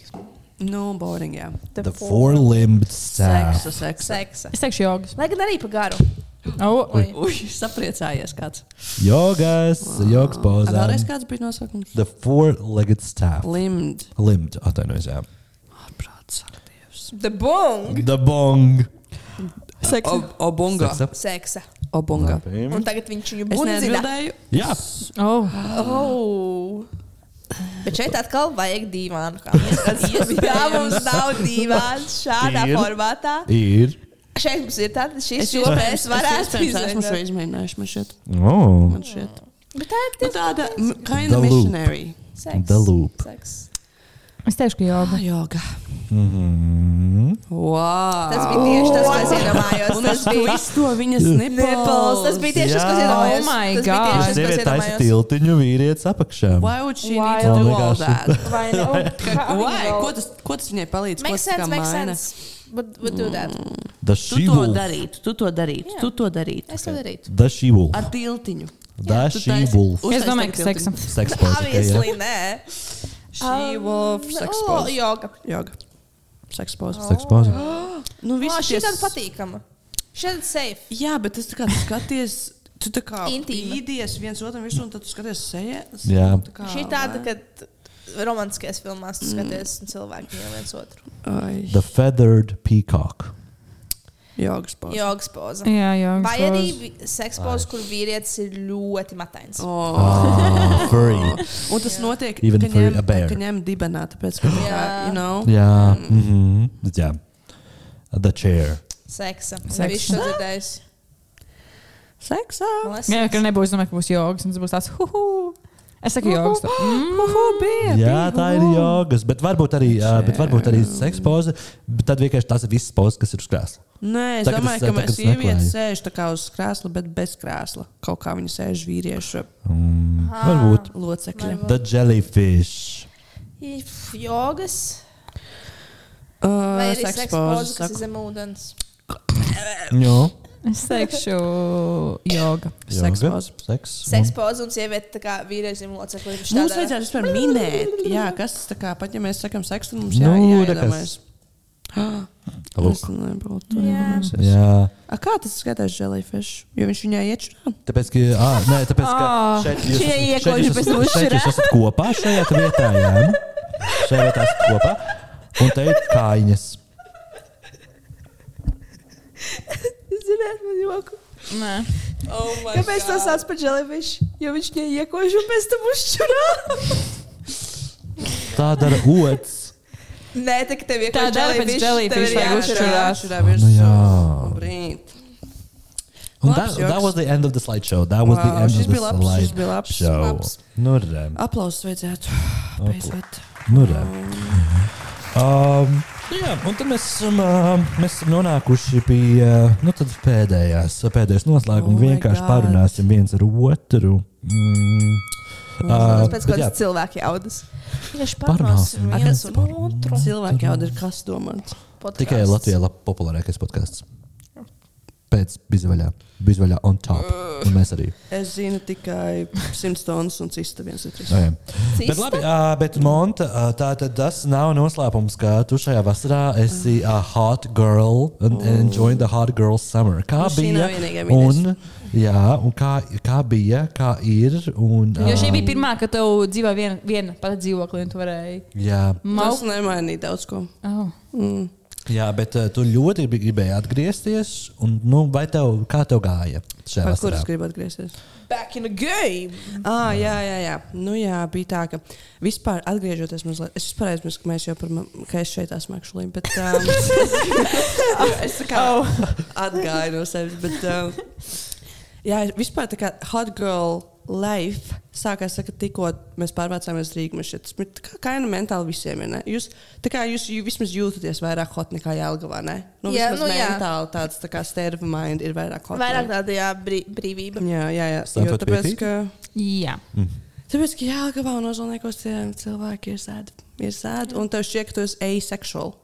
S5: Nu, boring, jā.
S3: The Four-Limbed Staff.
S5: Seksa, seksa.
S4: Seksa.
S2: Es teikšu, jogas.
S4: Lai gan arī pagaru.
S2: Oh,
S5: Ui, ui, sapriecājies kāds.
S3: Jogas, jogas
S5: Ar Ah, Vēlreiz
S3: pauze.
S5: kāds bija nosaukums?
S3: The Four-Legged Staff.
S5: Limd.
S3: Limbed, atvainojos, jā.
S5: Prāts, ak, Dievs.
S4: The bong.
S3: The Bong.
S4: Seksa.
S5: O- Obunga.
S3: Seksa.
S4: Seksa.
S5: Obunga.
S3: Labi.
S4: Un tagad viņš viņu
S5: Es
S4: bundzina.
S5: neatbildēju.
S3: Jā,
S2: oh.
S4: Oh. Bet šeit atkal vajag dīvānu. kā *laughs* mēs skatījāmies. Jā, mums nav dīvāns šādā
S3: Ir.
S4: formātā.
S3: ir.
S4: Šeit mums ir tāds, šis
S5: Es
S4: jo mēs varētu
S5: Esmu šo
S4: izdarīt.
S5: izmēģinājuši, man šeit.
S3: Oh.
S5: Man šeit.
S4: Bet tā ir
S5: Nu,
S4: tiesa.
S5: tāda m- kinda
S3: The loop.
S5: missionary.
S4: Seks.
S3: The loop.
S4: Seks.
S2: Es teikšu, ka joga.
S5: Ah, joga.
S3: Mhm.
S5: Wow.
S4: Tas bija tieši tas, ko Oh. es iedomājos.
S5: Un es
S4: Tas bija
S5: to viņas
S4: nipples. Tas
S5: nipples.
S4: bija tieši tas, ko es
S3: Jā.
S4: iedomājos.
S2: Oh my
S4: Tas bija
S2: God.
S4: tieši tas, ko es
S3: Sieviete taisa
S4: iedomājos.
S3: tiltiņu vīrietis apakšā.
S5: Why would she
S2: Why
S5: need to
S3: would-
S5: do
S3: Oh,
S5: all
S3: vienkārši.
S4: *laughs*
S5: that?
S4: Vai ne?
S2: nu?
S5: Why? Ko tas, ko tas viņai palīdz?
S4: Makes
S5: ko tas tā
S4: sense, Mm. makes
S5: maina?
S4: sense. Would, would do that.
S3: The
S5: Tu to
S3: She-Wolf.
S5: darītu, tu to darītu,
S4: Jā.
S5: tu to darītu.
S4: Es to darītu.
S3: The She-Wolf.
S5: Ar tiltiņu.
S3: The
S5: Tu taisi-
S3: She-Wolf.
S5: uztaisi
S2: Es domāju,
S5: tev
S2: ka seksa.
S5: tiltiņu. *laughs*
S3: Seks pozitīvi.
S4: Obviously, nē.
S5: She wolf, sex
S4: Oh,
S5: pose.
S4: Joga.
S5: Joga. Sex pose.
S3: Seks pozitīvi.
S5: Nu,
S4: Vā,
S5: viss
S4: Ah, šī tāda patīkama. Šī tāda safe.
S5: Jā, bet tas tā kā tu skaties, tu tā kā
S4: Intīma.
S5: pīdies viens otram virsū un tad tu skaties sejā.
S3: Jā.
S4: Šī tāda, kad romantiskajās filmās tu
S2: Mm.
S4: skaties un cilvēki mīl viens otru.
S5: Ai,
S3: The Feathered Peacock.
S5: jogas pose.
S4: Jogas poza.
S2: Jā, jogas.
S4: Vai arī sekspos, kur vīrietis ir ļoti matains.
S5: Oh. *laughs*
S3: Ah, furry.
S5: Un tas notiek,
S3: Even
S5: ka
S3: for
S5: ņem,
S3: a bear.
S5: ka ņem dibenā, tāpēc, ka, tā kā,
S4: Jā.
S5: you know,
S3: Jā.
S5: Mm.
S3: mhm, Jā. The Chair.
S4: Seksa.
S2: Seksa.
S4: Viņš to dzirdējis.
S5: seksā.
S4: Man liekas,
S2: Jā, ka nebūs, domāju, ka būs jogas. un Tas būs tāds, huhu. Es saku, jogas. Mm.
S5: Uhu, bija.
S3: Jā, tā ir jogas, bet varbūt arī, ā, bet varbūt arī seks poze. bet Tad vienkārši tās ir visas pozas, kas ir uz krēsla.
S5: Nē, es
S3: Tagad
S5: domāju,
S3: es-
S5: ka
S3: tagad es
S5: mēs sievietes
S3: meklēju.
S5: sēž tā kā uz krēsla, bet bez krēsla. Kaut kā viņi sēž vīriešu
S3: Mm, Varbūt.
S5: locekļi.
S3: Ah. The Jellyfish.
S4: if jogas. Vai
S5: Uh,
S4: arī
S5: seks
S4: sekspos,
S5: pose.
S4: kas
S5: saku.
S4: ir zem ūdens.
S3: Jā.
S2: Es teikšu, joga.
S5: Seks
S3: Joga,
S5: poze.
S3: Seks. Nu?
S4: Sekspos un sieviete, tā kā vīrietis ir loceklis.
S5: Mums vajadzētu vispār minēt, jā, kas tas tā kā pat, ja mēs sakām seksu, mums jā,
S3: Nu, tā
S5: jāiedomājas.
S3: Lūk.
S5: Tas nebūtu.
S3: Jā.
S5: A, Kā tas skatās jellyfish? Jo viņš viņai iečurā.
S3: Tāpēc, ka, ah, nē, tāpēc, ka
S2: Ah,
S3: šeit jūs,
S4: šie
S3: šeit
S4: iekoļi
S3: jūs,
S4: bez
S3: esat- šeit jūs
S4: mušura.
S3: esat kopā šajā te vietā. Jā. Šajā vietā esat kopā. Un te ir kājiņas.
S4: *laughs* Ziniet, man joku.
S2: Nē.
S4: Oh Kāpēc tas sauc par jellyfish? Jo viņš viņai iekož un pēc tam uzšķurā.
S3: Tā dara ots.
S4: Nē, tā kā tev
S2: Tā
S4: iekož
S2: dara pēc
S4: jellyfish, tev
S2: jellyfish,
S4: ir
S2: vajag
S4: jāuzšķurā.
S2: uzšķurāt.
S5: Iečurā
S3: Nu jā.
S5: Brīt.
S3: Un that,
S5: Labs joks.
S3: that was the end of the slideshow. That was
S5: Wow,
S3: the end
S5: šis
S3: of the
S5: bija labs, šis bija labs,
S3: slideshow.
S5: labs.
S3: Nu, re.
S5: Aplausus vajadzētu. Beidzot.
S3: Nu, re. Um, nu jā, un tad mēs esam, uh, mēs esam nonākuši pie uh, nu, tad pēdējās, pēdējās noslēguma.
S5: Oh
S3: Oh
S5: my
S3: vienkārši
S5: God.
S3: parunāsim viens ar otru. Mm. Uh,
S4: Pēc
S3: bet jā,
S4: kādas cilvēki jaudas. Viņš
S3: Parunāsim viens par
S4: otru.
S5: Cilvēki jau ir kas domāts.
S3: Tikai Latvijā ir populārākais podkāsts. Pēc bizvaļā, bizvaļā on top. Un mēs arī.
S5: Es zinu tikai 100 tonnas un cista viens ir trīs.
S3: Nu Jā, jā. Bet, labi, ā, bet Monta, ā, tā tad tas nav noslēpums, ka tu šajā vasarā esi a hot girl and oh. enjoying the hot girl summer. Kā
S5: Nu, šī
S3: bija?
S5: nav vienīgā
S3: Un, jā, un kā, kā bija, kā ir. Un,
S2: Jo šī
S3: ā,
S2: bija pirmā, kad tev dzīvoja viena, viena pati dzīvokli, un tu varēji
S3: Jā,
S5: Tas
S2: maukāt.
S5: nemainīja daudz ko.
S2: Oh.
S5: Mm.
S3: Jā, bet uh, tu ļoti gribi- gribēji atgriezties. Un, nu, vai tev, kā tev gāja šajā
S5: Par
S3: vasarā?
S5: kuras gribu atgriezties?
S1: Back in the game!
S5: Ah, jā, jā, jā. Nu, jā, bija tā, ka vispār atgriežoties mazliet, es vispār aizmirsu, ka mēs jau par mani, ka es šeit esmu akšulī, bet um,
S3: *laughs*
S4: Oh.
S5: es tā kā atgāju no sevis, bet um, jā, vispār tā kā hot girl life sākās, tā kā tikko mēs pārvācāmies Rīgā, mēs šeit, bet tā kā kaina mentāli visiem ir, ne? Jūs, tā kā jūs, jūs vismaz jūtaties vairāk hot nekā Jelgavā, ne? Nu,
S4: Jā,
S5: vismaz
S4: nu jā.
S5: mentāli tāds, tā kā state of mind ir vairāk hot.
S4: Vairāk
S5: ne?
S4: tāda jā, brī, brīvība.
S5: Jā, jā, jā. Jo
S3: Statot
S5: tāpēc,
S3: piekrīt?
S5: ka.
S2: Jā.
S5: Tāpēc, ka Jālgavā un Ozolniekos tie cilvēki ir sēdi. Ir sēdi, un tev šķiet, ka tu esi asexual.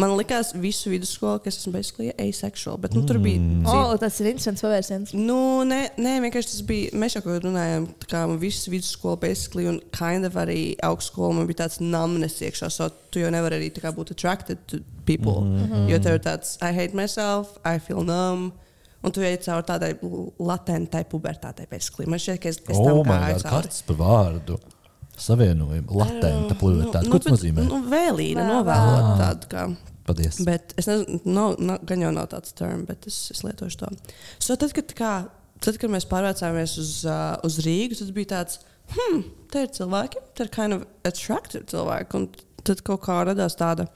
S5: Man likās visu vidusskolu, ka es esmu basically asexual, bet nu, tur bija.
S4: O,
S5: Mm.
S4: oh, tas ir interesants pavērsiens.
S5: Nu, nē, nē, vienkārši tas bija. Mēs jau kaut kā runājām, tā kā man viss vidusskola, basically, un kind of arī augstskola man bija tāds numbness iekšā, so tu jau nevari arī tā kā būt attracted to people. Mm
S3: Mhm.
S5: -hmm. Jo tev ir tāds, I hate myself, I feel numb. Un tu ej cauri tādai l- latentai pubertātei, basically. Man šķiet, ka es, es tam
S3: Oh, man
S5: gāju
S3: liekas,
S5: cauri.
S3: kāds par vārdu. Savienojumi, latenta pluralitāte. Ko tas
S5: bet,
S3: nozīmē?
S5: Nu, vēlīna,
S4: Vēl-
S5: novēlot tādu kā.
S3: Paldies.
S5: Bet es nezinu, no, no, gan jau nav tāds terms, bet es, es lietošu to. So, tad, kad, kā, tad, kad mēs pārvācāmies uz, uh, uz Rīgu, tas bija tāds, hmm, te ir cilvēki, te ir kind of attractive cilvēki. Un tad kaut kā radās tāda,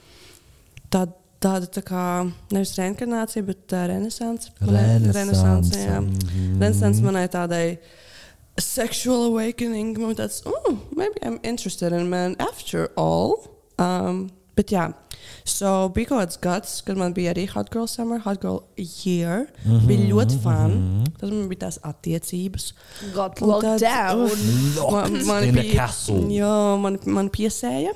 S5: tāda, tāda tā kā nevis reinkarnācija, bet uh, renaissance.
S3: Renesanse.
S5: Renaissance, jā.
S3: Mhm.
S5: Renaissance manai tādai sexual awakening. Man tāds, oh, maybe I'm interested in men after all. Um, bet jā, so bija kaut kāds gads, kad man bija arī hot girl summer, hot girl year. Mm
S3: Mhm,
S5: -hmm, bija ļoti fun. Mm -hmm. Tad man bija tās attiecības.
S4: Got
S5: Un
S4: locked
S5: tad- uh,
S4: down.
S5: Man, man
S3: in a
S5: bija,
S3: castle.
S5: jā, man, man piesēja.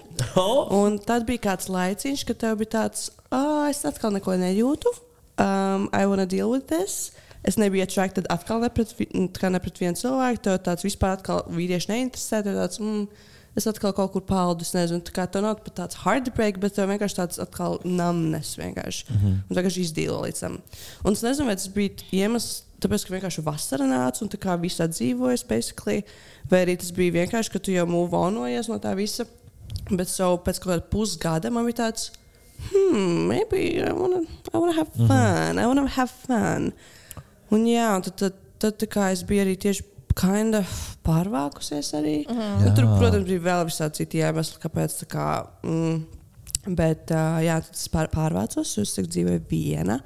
S5: Un tad bija kāds laiciņš, kad tev bija tāds, ah, es atkal neko nejūtu. Um, I wanna deal with this. Es nebiju attracted atkal ne pret, vi- nu, tā kā ne pret vienu cilvēku. Tev tāds vispār atkal vīrieši neinteresē. Tev tāds, mm, es atkal kaut kur paldu, es nezinu. Tā kā tev nav pat tāds heartbreak, bet tev vienkārši tāds atkal namnes vienkārši. Mm -hmm. Un tagad izdīlo līdz tam. Un es nezinu, vai tas bija iemesls. Tāpēc, ka vienkārši vasara nāca un tā kā viss atdzīvojas, basically. vai arī tas bija vienkārši, ka tu jau mūvonojies no tā visa. Bet so, pēc kaut kāda pusgada man bija tāds, hmm, maybe I wanna, I wanna have fun, mm -hmm. I wanna have fun. Un jā, un tad, tad, tad tā kā es biju arī tieši kinda pārvākusies arī. Mm -hmm. un tur,
S3: Jā.
S5: protams, bija vēl visādi citi iemesli, kāpēc tā kā. Mm, bet uh, jā, tad es pār, pārvācos, jo es tagad dzīvoju viena.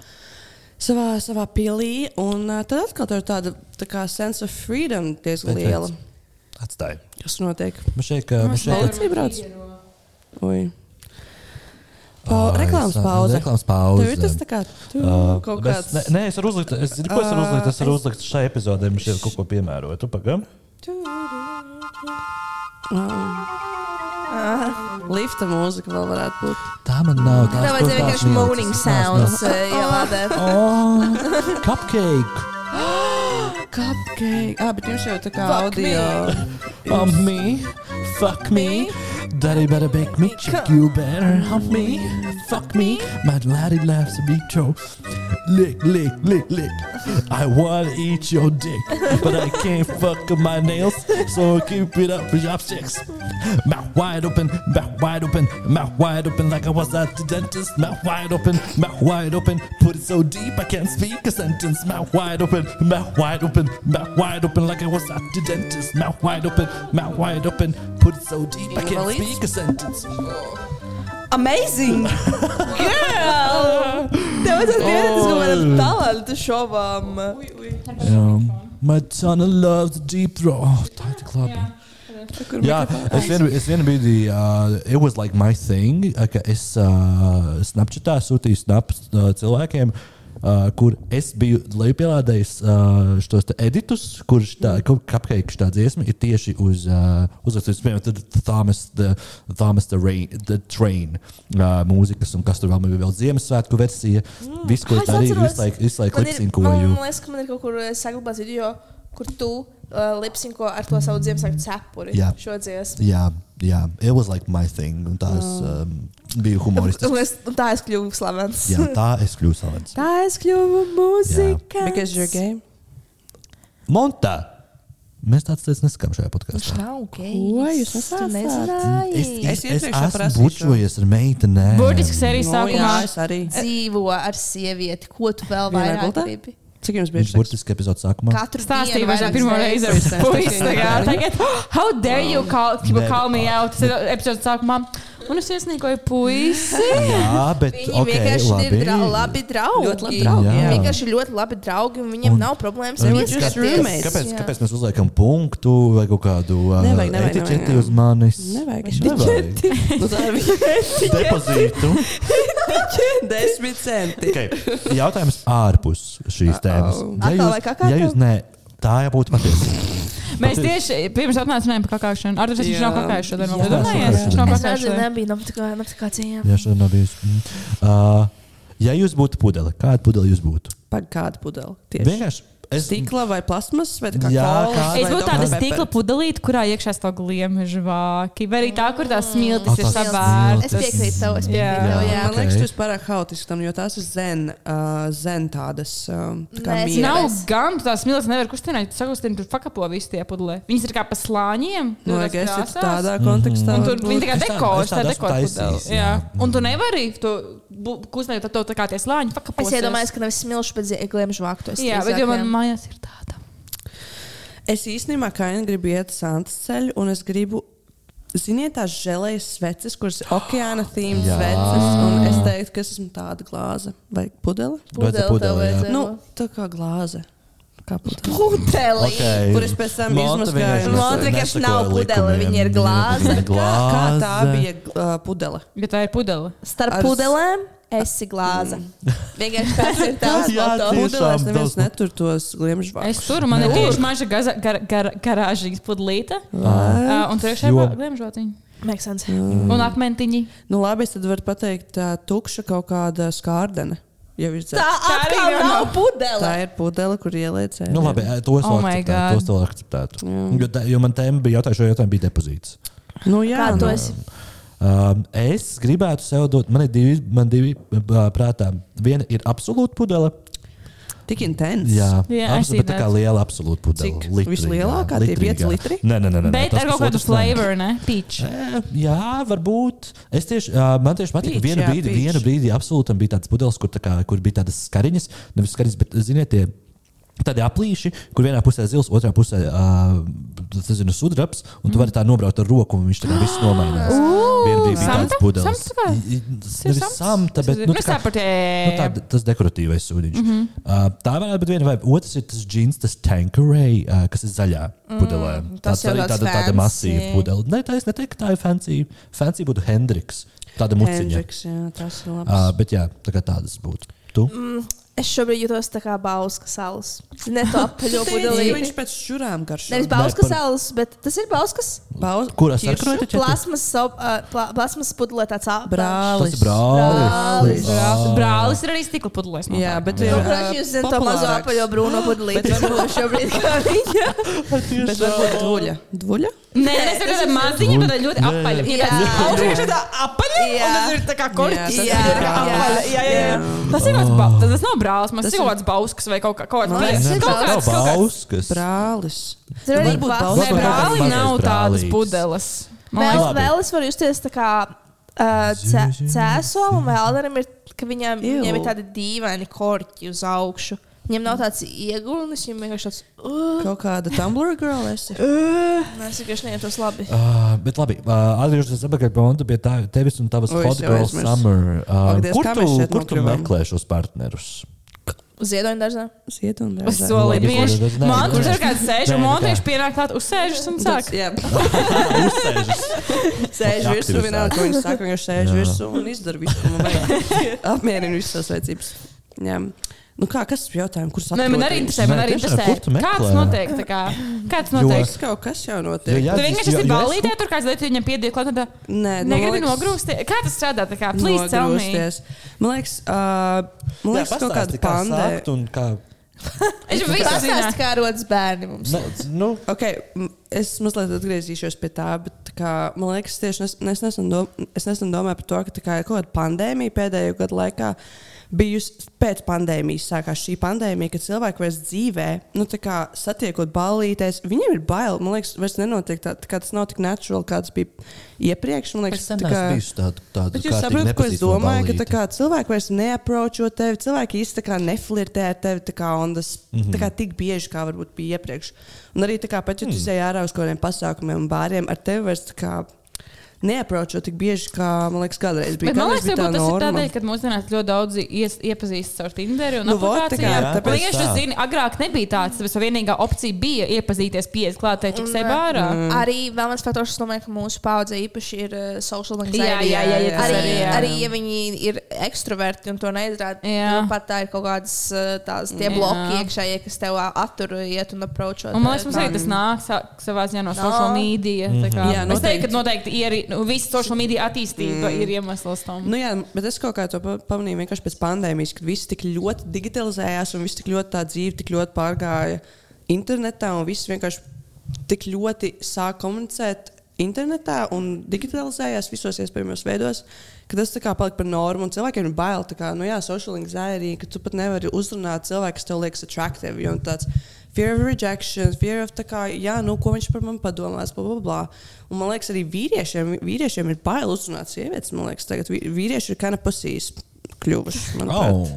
S5: Savā, savā pilī, un uh, tad atkal tur ir tāda tā kā sense of freedom diezgan
S3: Bet,
S5: liela.
S3: Atstāj.
S5: Kas notiek?
S3: Man šeit,
S5: Nu,
S3: ka man šeit,
S5: Policija brauc. Oi.
S3: Ai,
S5: Pa, reklāmas
S3: sa-
S5: pauze.
S3: Reklāmas pauze.
S5: Tev ir tas tā kā tu,
S3: Ā,
S5: kaut
S3: bet
S5: kāds.
S3: Ne, ne, es varu uzlikt, es zinu, ko es varu
S5: Ā,
S3: uzlikt. Es varu
S5: es-
S3: uzlikt šai epizodē, man šeit kaut ko piemēroju. Tu pagam?
S5: Lifta mūzika vēl varētu būt.
S3: Tā man nav. tās
S4: Tā vajag
S3: tos
S4: vienkārši
S3: tās nav,
S4: moaning
S3: tas tās nav.
S4: sounds. eh, ielādēt.
S3: Oh, cupcake.
S5: Cupcake. Ah, bet jums jau tā kā
S4: Fuck me.
S5: audio.
S3: Hump me, fuck me. Daddy better bake me, chick you better hump me, fuck me. My laddie laughs at me, cho. Lick, lick, lick, lick. I wanna eat your dick, but I can't fuck up my nails, so I keep it up with chopsticks. Mouth wide open, mouth wide open, mouth wide open, like I was at the dentist. Mouth wide open, mouth wide open, put it so deep I can't speak a sentence. Mouth wide open, mouth wide open, mouth wide open, like I was at the dentist. Mouth wide open, mouth wide open, put it so deep I can't
S5: Invalīds?
S3: speak a sentence.
S4: Amazing! Girl! Tev tas pienācis kaut kādam talantu šovam.
S3: My son loves deep throat. Oh, tā ir tik labi. Jā, es vienu, es vienu brīdi, uh, it was like my thing, uh, ka es uh, Snapchatā sūtīju snaps uh, cilvēkiem, uh, kur es biju lejupielādējis uh, šos te editus, kurš tā,
S4: Mm.
S3: kaut kāpēc šī tā dziesma ir tieši uz, uh, uzrakstīts, piemēram, tad Thomas the, Thomas the, Rain, the Train uh, mūzikas, un kas tur vēl man bija vēl Ziemassvētku versija, mm. viss, ko
S4: Ah,
S3: es darīju,
S4: atceros.
S3: visu laiku, visu laiku
S4: Man ir- ah,
S3: lipsinkoju.
S4: Man liekas, ka man ir kaut kur eh, saglabāts video, kur tu uh, lipsinko ar to savu Ziemassvētku cepuri.
S3: Jā.
S4: Šo dziesmu.
S3: Jā, jā, it was like my thing, un tā es um, biju
S4: *laughs*
S3: humoristisks.
S4: Un es- un Tā es kļuvu slavens.
S3: Jā, tā es kļuvu slavens.
S4: Tā es kļuvu mūzika.
S5: Because you're gay.
S3: Monta! Mēs tādas lietas neskatām šajā
S4: Viņš
S3: podkāstā.
S4: nav ok.
S5: Ko jūs nesācāt?
S3: Es,
S4: nezināju?
S3: es, es,
S5: iepriekš
S3: esmu
S5: saprasīšu.
S3: bučojies ar meitenēm.
S2: Burtiski sērijas
S5: Nu, jā,
S2: sākumā.
S5: es arī.
S4: Dzīvo ar sievieti, ko tu vēl
S5: Vienā
S4: vairāk
S5: gultā?
S4: gribi?
S5: Cik jums
S3: Viņš
S5: bija šis?
S3: burtiski epizodes sākumā.
S4: Katru
S2: Stāstīju,
S4: dienu
S2: vai tas
S4: vairākas
S2: pirmo reizi ar
S4: reizes.
S2: puisi. tagad. Tagad, "Oh, how dare you call, people
S3: Nē.
S2: call me out? Tas ir epizodes sākumā. Un es iesnīgoju
S3: *laughs*
S2: puisi.
S3: Jā, bet
S4: Viņi
S3: ok,
S4: vienkārši ir dra
S3: labi.
S4: labi draugi.
S5: Ļoti labi draugi,
S3: Jā.
S4: Viņi vienkārši ir ļoti labi draugi, un viņiem
S3: Un-
S4: un, nav problēmas
S3: un
S4: ar
S3: viņi
S4: viņu
S5: just roommates.
S3: Kāpēc, kāpēc mēs uzliekam punktu vai kaut kādu ā,
S5: Nevajag, nevajag,
S3: etiķeti
S5: nevajag.
S3: uz manis?
S5: Nevajag.
S3: Nevajag.
S2: *laughs*
S5: Nu, tā bija *laughs*
S3: Depozītu.
S5: 10 centi.
S3: Okay. Jautājums ārpus šīs tēmas. Ja
S4: Atkal vai
S3: jūs,
S4: kakā
S3: ja jūs
S4: tev?
S3: nē, tā jau būtu patiesa.
S2: Mēs tieši pirms atnācām par kakāšanu. Ar to viņš
S5: Jā.
S2: nav kakājis šodien.
S3: Jā,
S2: Jūs domājat,
S3: šodien.
S2: viņš nav
S4: Es
S2: kakājis
S4: nezinu,
S2: šodien?
S4: nebija notifikācijām.
S3: Jā, šodien nav bijis. Mm. Ā, Ja jūs būtu pudele, kāda pudele jūs būtu?
S5: Par kādu pudeli? Tieši.
S3: Vienkārši. Es,
S5: Stikla vai plasmas, vai tā kā
S3: Jā,
S5: kolas
S3: kā-
S5: vai
S2: Es būtu tāda
S5: Dr. Pepper?
S2: stikla pudelīte, kurā iekšā stāv gliemeža vāki. Vai arī tā, kur tās
S3: Ah,
S2: smiltis ir
S3: tās
S2: savērtas.
S4: Es piekrītu tev, es
S2: Jā.
S4: piekrītu tev. Jā.
S5: Man
S3: Ok.
S5: liekas, tas ir pārāk haotiski tam, jo tās ir zen, uh, zen tādas. Um, tā kā
S4: Nē, es
S5: mieras.
S2: Nav
S4: Es-
S2: gan tās smiltis, nevar kustināt. Tu sakustini, tur pakapo visu tie pudelē. Viņas ir kā pa slāņiem.
S3: Nu,
S5: Man
S2: tādās
S5: liekas, tas
S2: krāsās.
S5: ir Nu, tādā kontekstā.
S2: Mhm. Un tur viņi tā kā
S3: Es tā- es
S2: dekorēs, tā
S3: tādu esmu
S2: dekorēs.
S3: taisījis,
S2: Jā.
S3: jā.
S2: Un tu nevari to bu- kustināt, tad to tā kā tie slāņi pakāpēs.
S4: Es iedomājos, ka nevis smilšu, bet gliemežu vāktu.
S2: Jā, bet jau man mājās ir tāda.
S5: Es īstenībā kā viena gribu iet sāntas ceļu, un es gribu, ziniet, tās žēlējas sveces, kuras ir okeāna
S3: *gasps*
S5: tēmas
S3: Jā.
S5: sveces, un es teiktu, ka es esmu tāda glāze vai pudele.
S3: Redzi, pudeli, jā.
S5: Nu, tā kā glāze. Kā pudele.
S4: Puteli!
S3: Okay.
S5: Kur es pēc tam
S3: Monta
S5: izmazgāju.
S3: vienkārši
S4: Monta
S3: nes-
S4: vienkārši
S3: nesekoja
S4: nav pudele,
S3: likumiem.
S4: viņa ir glāze.
S3: Viņa ir
S5: Kā
S3: glāze.
S5: tā bija uh, pudele?
S2: Ja tā ir pudele.
S4: Starp
S5: Ar s-
S4: pudelēm esi glāze. *laughs* Vienkārši tas ir tavs
S3: Jā,
S4: moto.
S3: tieši.
S5: Pudelēs
S3: Tiešām
S5: neviens
S3: daudz-
S5: netur tos
S2: Es
S5: gliemžvākus.
S2: turu, man ir
S5: Kur?
S2: tieši maza gaza- gar- gar- garāžīga pudelīte.
S3: Ah.
S2: Uh, Un tur ir
S3: Jo- Mm.
S2: šāda gliemežotiņa.
S4: Makes sense.
S2: Un akmentiņi.
S5: Nu, labi, es tad varu pateikt, tā tukša kaut kāda skārdene. Ja viņš
S4: Tā
S5: dzēr.
S2: arī
S4: atkal
S2: jau
S4: nav
S2: nav.
S5: tā
S4: pudele.
S5: ir pudele, kur ieliecēja.
S3: Nu, labi, ā, tos
S2: Oh
S3: vēl
S2: my
S3: akceptētu,
S2: God.
S3: tos vēl akceptētu. Jo, tā, jo man tēma bija jautājums, jo jautājums bija depozīts.
S5: nu, jā,
S4: Kā tu
S5: nu.
S4: esi?
S3: Um, es gribētu sev dot, man ir divi, man divi uh, prātā. Viena ir absolūta pudele.
S5: Tik intens.
S3: Jā,
S2: Jā, I
S3: abas,
S2: see
S3: bet tā kā
S2: that.
S3: liela absolūta pudele.
S5: Cik?
S3: Litrīgā,
S5: Vislielākā tie
S3: litrīgā.
S5: pieci litri?
S3: Nē, nē, nē, nē, nē.
S2: Bet
S3: tas
S2: ar kaut kādu
S3: pusotrs nē.
S2: flavoru, ne? Peach.
S3: Eh, Jā, varbūt. Es tieši, uh, man tieši patīk, ka
S5: Peach,
S3: vienu
S5: jā,
S3: brīdi,
S5: peach.
S3: vienu brīdi absolūtam bija tāds pudeles, kur, tā kā, kur bija tādas skariņas, nevis skariņas, bet ziniet, tie tādi aplīši, kur vienā pusē zils, otrā pusē uh, zinu, sudrabs, un tu vari tā nobraukt ar roku, un viņš tā kā viss nomainās. Vienu brīdi bija
S2: Samta?
S3: tāds pudeles.
S2: Samta vai?
S3: I- i-
S2: Tas ir
S3: nevis Samta, bet nu, tā kā- Nu,
S2: nu,
S3: tā,
S2: sapratē.
S3: tas dekoratīvais sūdiņš. Mm -hmm. uh, tā varētu būt viena, vai otrs ir tas džins, tas tankerai, uh, kas ir zaļā pudelē.
S4: tas jau
S3: arī
S4: tāds
S3: tāda, tāda
S4: fancy.
S3: masīva pudele. Nē, tā es neteiktu, ka tā ir fancy. Fancy būtu Hendriks, tāda muciņa.
S5: Hendriks, jā, tas ir labi.
S3: Uh, bet jā, tā kā tādas būtu. Tu?
S4: Es šobrīd jūtos tā kā Bauskas salas. Ziniet, to
S5: *laughs*
S4: apaļo
S5: Viņš
S4: pudelīti.
S5: pēc šurām garšo.
S4: Nevis
S3: par-
S4: Bauskas salas, bet tas ir Bauskas.
S5: Bauz...
S3: Kurā
S5: Ķiršu?
S3: sarkanā ir tas
S4: Plasmas, so- ā, pla- plasmas pudelē tāds apbrālis.
S5: Brālis.
S3: ir brālis?
S4: Brālis.
S3: Ā,
S2: Brālis ir arī stikla pudelēs.
S5: Jā, bet ir,
S4: Nu,
S5: ā,
S4: protams, jūs zināt to mazo
S5: populārāks.
S4: apaļo brūno pudelīti.
S5: Bet varbūt-
S4: *laughs* Šobrīd kā viņa.
S5: Bet varbūt dvuļa. Dvuļa?
S2: Nē, tas ir tāds maziņš, bet ļoti
S3: Nē.
S2: apaļš.
S4: Jā.
S2: Augšējā tā apaļa.
S4: Jā.
S2: un tas ir tā kā
S5: Jā,
S2: korķis.
S5: tas
S2: Jā,
S5: ir
S2: tā kā
S3: Ah,
S5: brālis.
S2: apaļa. Jā, jā, jā. Tas ir kaut kāds,
S3: Oh.
S2: ba- tas nav brālis, man tas ir kaut kāds bauskas vai kaut kā- kaut
S4: Man liekas,
S2: kāds.
S4: ir
S2: kaut
S3: Nav
S2: kāds- kaut kāds-
S3: bauskas.
S5: Brālis.
S4: Tur arī
S5: Varbūt
S4: plasmas.
S5: Bauskas
S2: Nē,
S3: Varbūt kaut
S2: brāli
S3: kāds
S2: nav tādas
S3: brālis.
S2: pudeles. Man
S4: Vēl,
S3: Labi.
S4: vēl es varu justies tā kā uh, cēsolim, vai Alderam ir, ka viņam,
S5: Ew.
S4: viņam ir tādi dīvaini korķi uz augšu. Viņam nav tāds iegulnis, viņam vienkārši tāds, uh,
S5: Kaut kāda Tumblr girl esi.
S4: nē, es vienkārši nejūtos labi.
S3: Uh, bet labi, uh, atgriežoties atpakaļ pie monta, pie tā, tevis un tavas
S5: Oi,
S3: hot
S5: es jau
S3: girl
S5: aizmirsu.
S3: summer. Uh,
S5: Ak, Dievs,
S3: kur
S5: kā
S3: tu,
S5: mēs šeit
S3: kur tu
S5: nokļuvām?
S3: meklē šos partnerus?
S4: Ziedoņa dažnā.
S5: Ziedonis.
S2: Uz soli
S3: Labi,
S2: bieži.
S3: kur- nē,
S2: Man
S3: kur-
S2: tur ir kāds sēž, un
S3: Nē, nu
S2: man
S3: nekā.
S2: tieši pienāk klāt, uzsēžas un sāk. *laughs*
S5: Jā,
S3: Uzsēžas.
S5: sēž virsū,
S3: Aktivizēts.
S5: vienalga, ko viņš saka. Viņš sēž
S3: Jā.
S5: virsū un izdara visu, ko man
S2: *laughs*
S5: vajag. Apmierina visas savas vajadzības. Jā. Nu kā, kas ir jautājums? Kurš
S2: Nē, man arī interesē, man
S3: Nē,
S2: arī
S3: tiešām, kur
S2: interesē.
S3: tu meklē?
S2: Kāds notiek? tā kā? Kāds notiek?
S5: Tas kaut kas jau
S3: Jo
S5: notiek.
S3: jā-
S2: Tur vienkārši
S3: jo-
S2: esi
S3: jo es-
S2: balītē, tur kāds lietu viņam piediet klāt. un tā,
S5: Nē, nu,
S2: Negribu
S5: man liekas-
S2: nogrūsties. Kā tas strādā? Tā kā, please tell me.
S5: Nogrūsties. Man liekas, uh, man liekas kaut kāda pandēmija.
S3: pandēma.
S2: Es jau visu zinu.
S4: Pastāst, kā rodas bērni mums.
S3: Nu,
S5: Okay, m- es mazliet atgriezīšos pie tā, bet tā kā, man liekas, tieši nes, nes, nesen dom, es nesen domāju par to, ka tā kā ir kaut kāda pandēmija pēdējo gadu laikā. bijusi pēc pandēmijas. Sākās šī pandēmija, kad cilvēki vairs dzīvē, nu, tā kā satiekot ballīties, viņiem ir bail. Man liekas, vairs nenotiek tā, tā kā tas nav tik naturāli, kāds bija iepriekš. Man liekas,
S3: Es tam
S5: tā kā-
S3: biju tādu tādu
S5: Bet jūs saprotat, ko es domāju, ka tā kā, cilvēki vairs neapročo tevi, cilvēki īstenībā neflirtē ar tevi tā kā, on the s- tā kā tik bieži, kā varbūt bija iepriekš. Un arī tā kā, pat ja tu izēji ārā uz kaut kādiem pasākumiem un bāriem, ar tevi vairs tā kā neapročo tik bieži, kā man liekas, kādreiz bija.
S2: Bet man liekas,
S5: Kādreiz bija tā
S2: varbūt tas ir
S5: norma.
S2: tādēļ, ka mūsdienās ļoti daudz iepazīstas ar Tinderu un
S5: Nu, vot, tā kā,
S2: aplikācijām.
S5: jā,
S2: Man
S5: tāpēc
S2: liekas, tas
S3: tā.
S2: zini, agrāk nebija tāds, tas vienīgā opcija bija iepazīties pieiet klātē, cik sev ārā.
S4: Mm. Arī vēl viens faktors, kas domāju, ka mūsu paudze īpaši ir uh, social anxiety.
S2: Jā, jā, jā, jā, tas
S4: arī,
S2: arī,
S4: arī,
S2: jā.
S4: arī ja viņi ir ekstroverti un to neizrāda,
S2: Jā.
S4: tad pat tā ir kaut kādas uh, tās tie
S2: Jā.
S4: bloki iekšējie, kas tev uh, attur iet un appročot.
S2: Un, man liekas, mums arī
S4: mm.
S2: tas nāk sa- savā ziņā no social media. tā kā.
S5: Mhm. Jā,
S2: Es teiktu,
S5: noteikti.
S2: ka noteikti ir nu, visa social media attīstība
S4: Mm.
S2: ir iemesls tam.
S5: Nu, jā, bet es kaut kā to pa- pamanīju vienkārši pēc pandēmijas, kad viss tik ļoti digitalizējās un viss tik ļoti tā dzīve tik ļoti pārgāja internetā un viss vienkārši tik ļoti sāk komunicēt internetā un digitalizējās visos iespējamos veidos, ka tas tā kā palika par normu un cilvēkiem ir bail. tā Kā, nu jā, social anxiety, ka tu pat nevari uzrunāt cilvēku, kas tev liekas attraktīvi. jo tāds Fear of rejection, fear of tā kā, jā, nu, ko viņš par mani padomās, bla, bla, bla. Un man liekas, arī vīriešiem, vīriešiem ir bail uzrunāt sievietes. Man liekas, tagad vī- vīrieši ir kā nepasīs kļuvuši. manuprāt.
S3: Oh.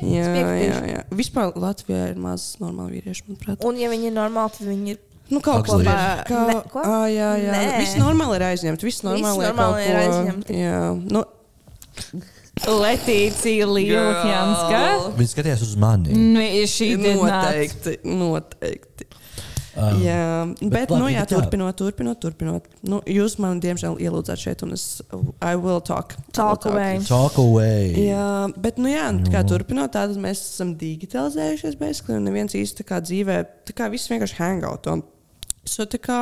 S5: Jā,
S4: Piekrītu.
S5: jā, jā. Vispār Latvijā ir maz normāli vīrieši, manuprāt.
S4: Un, ja viņi ir normāli, tad viņi ir.
S5: Nu, kaut ko
S3: Ugly.
S5: tādu. Kā,
S4: Ne, ko?
S5: Ā, jā, jā.
S4: Nē.
S5: Viss normāli ir aizņemts. Viss normāli,
S4: normāli ir
S5: kaut
S4: aizņemti.
S5: ko- Jā, nu,
S2: Letīcija Liljanska.
S3: Viņš skatījās uz mani.
S5: Mm.
S2: Nu, Šī ir noteikti.
S5: noteikti. noteikti.
S3: Um,
S5: Jā, Ah, bet,
S3: labi,
S5: nu, jā,
S3: bet jā.
S5: turpinot, turpinot, turpinot. Nu, jūs man, diemžēl, ielūdzat šeit, un es I will talk.
S4: Talk
S5: I will
S4: away.
S3: Talk away.
S5: Jā, bet, nu, jā, tā kā turpinot, tad mēs esam digitalizējušies, basically, un neviens īsti tā kā dzīvē, tā kā viss vienkārši hangout. Un, so, tā kā,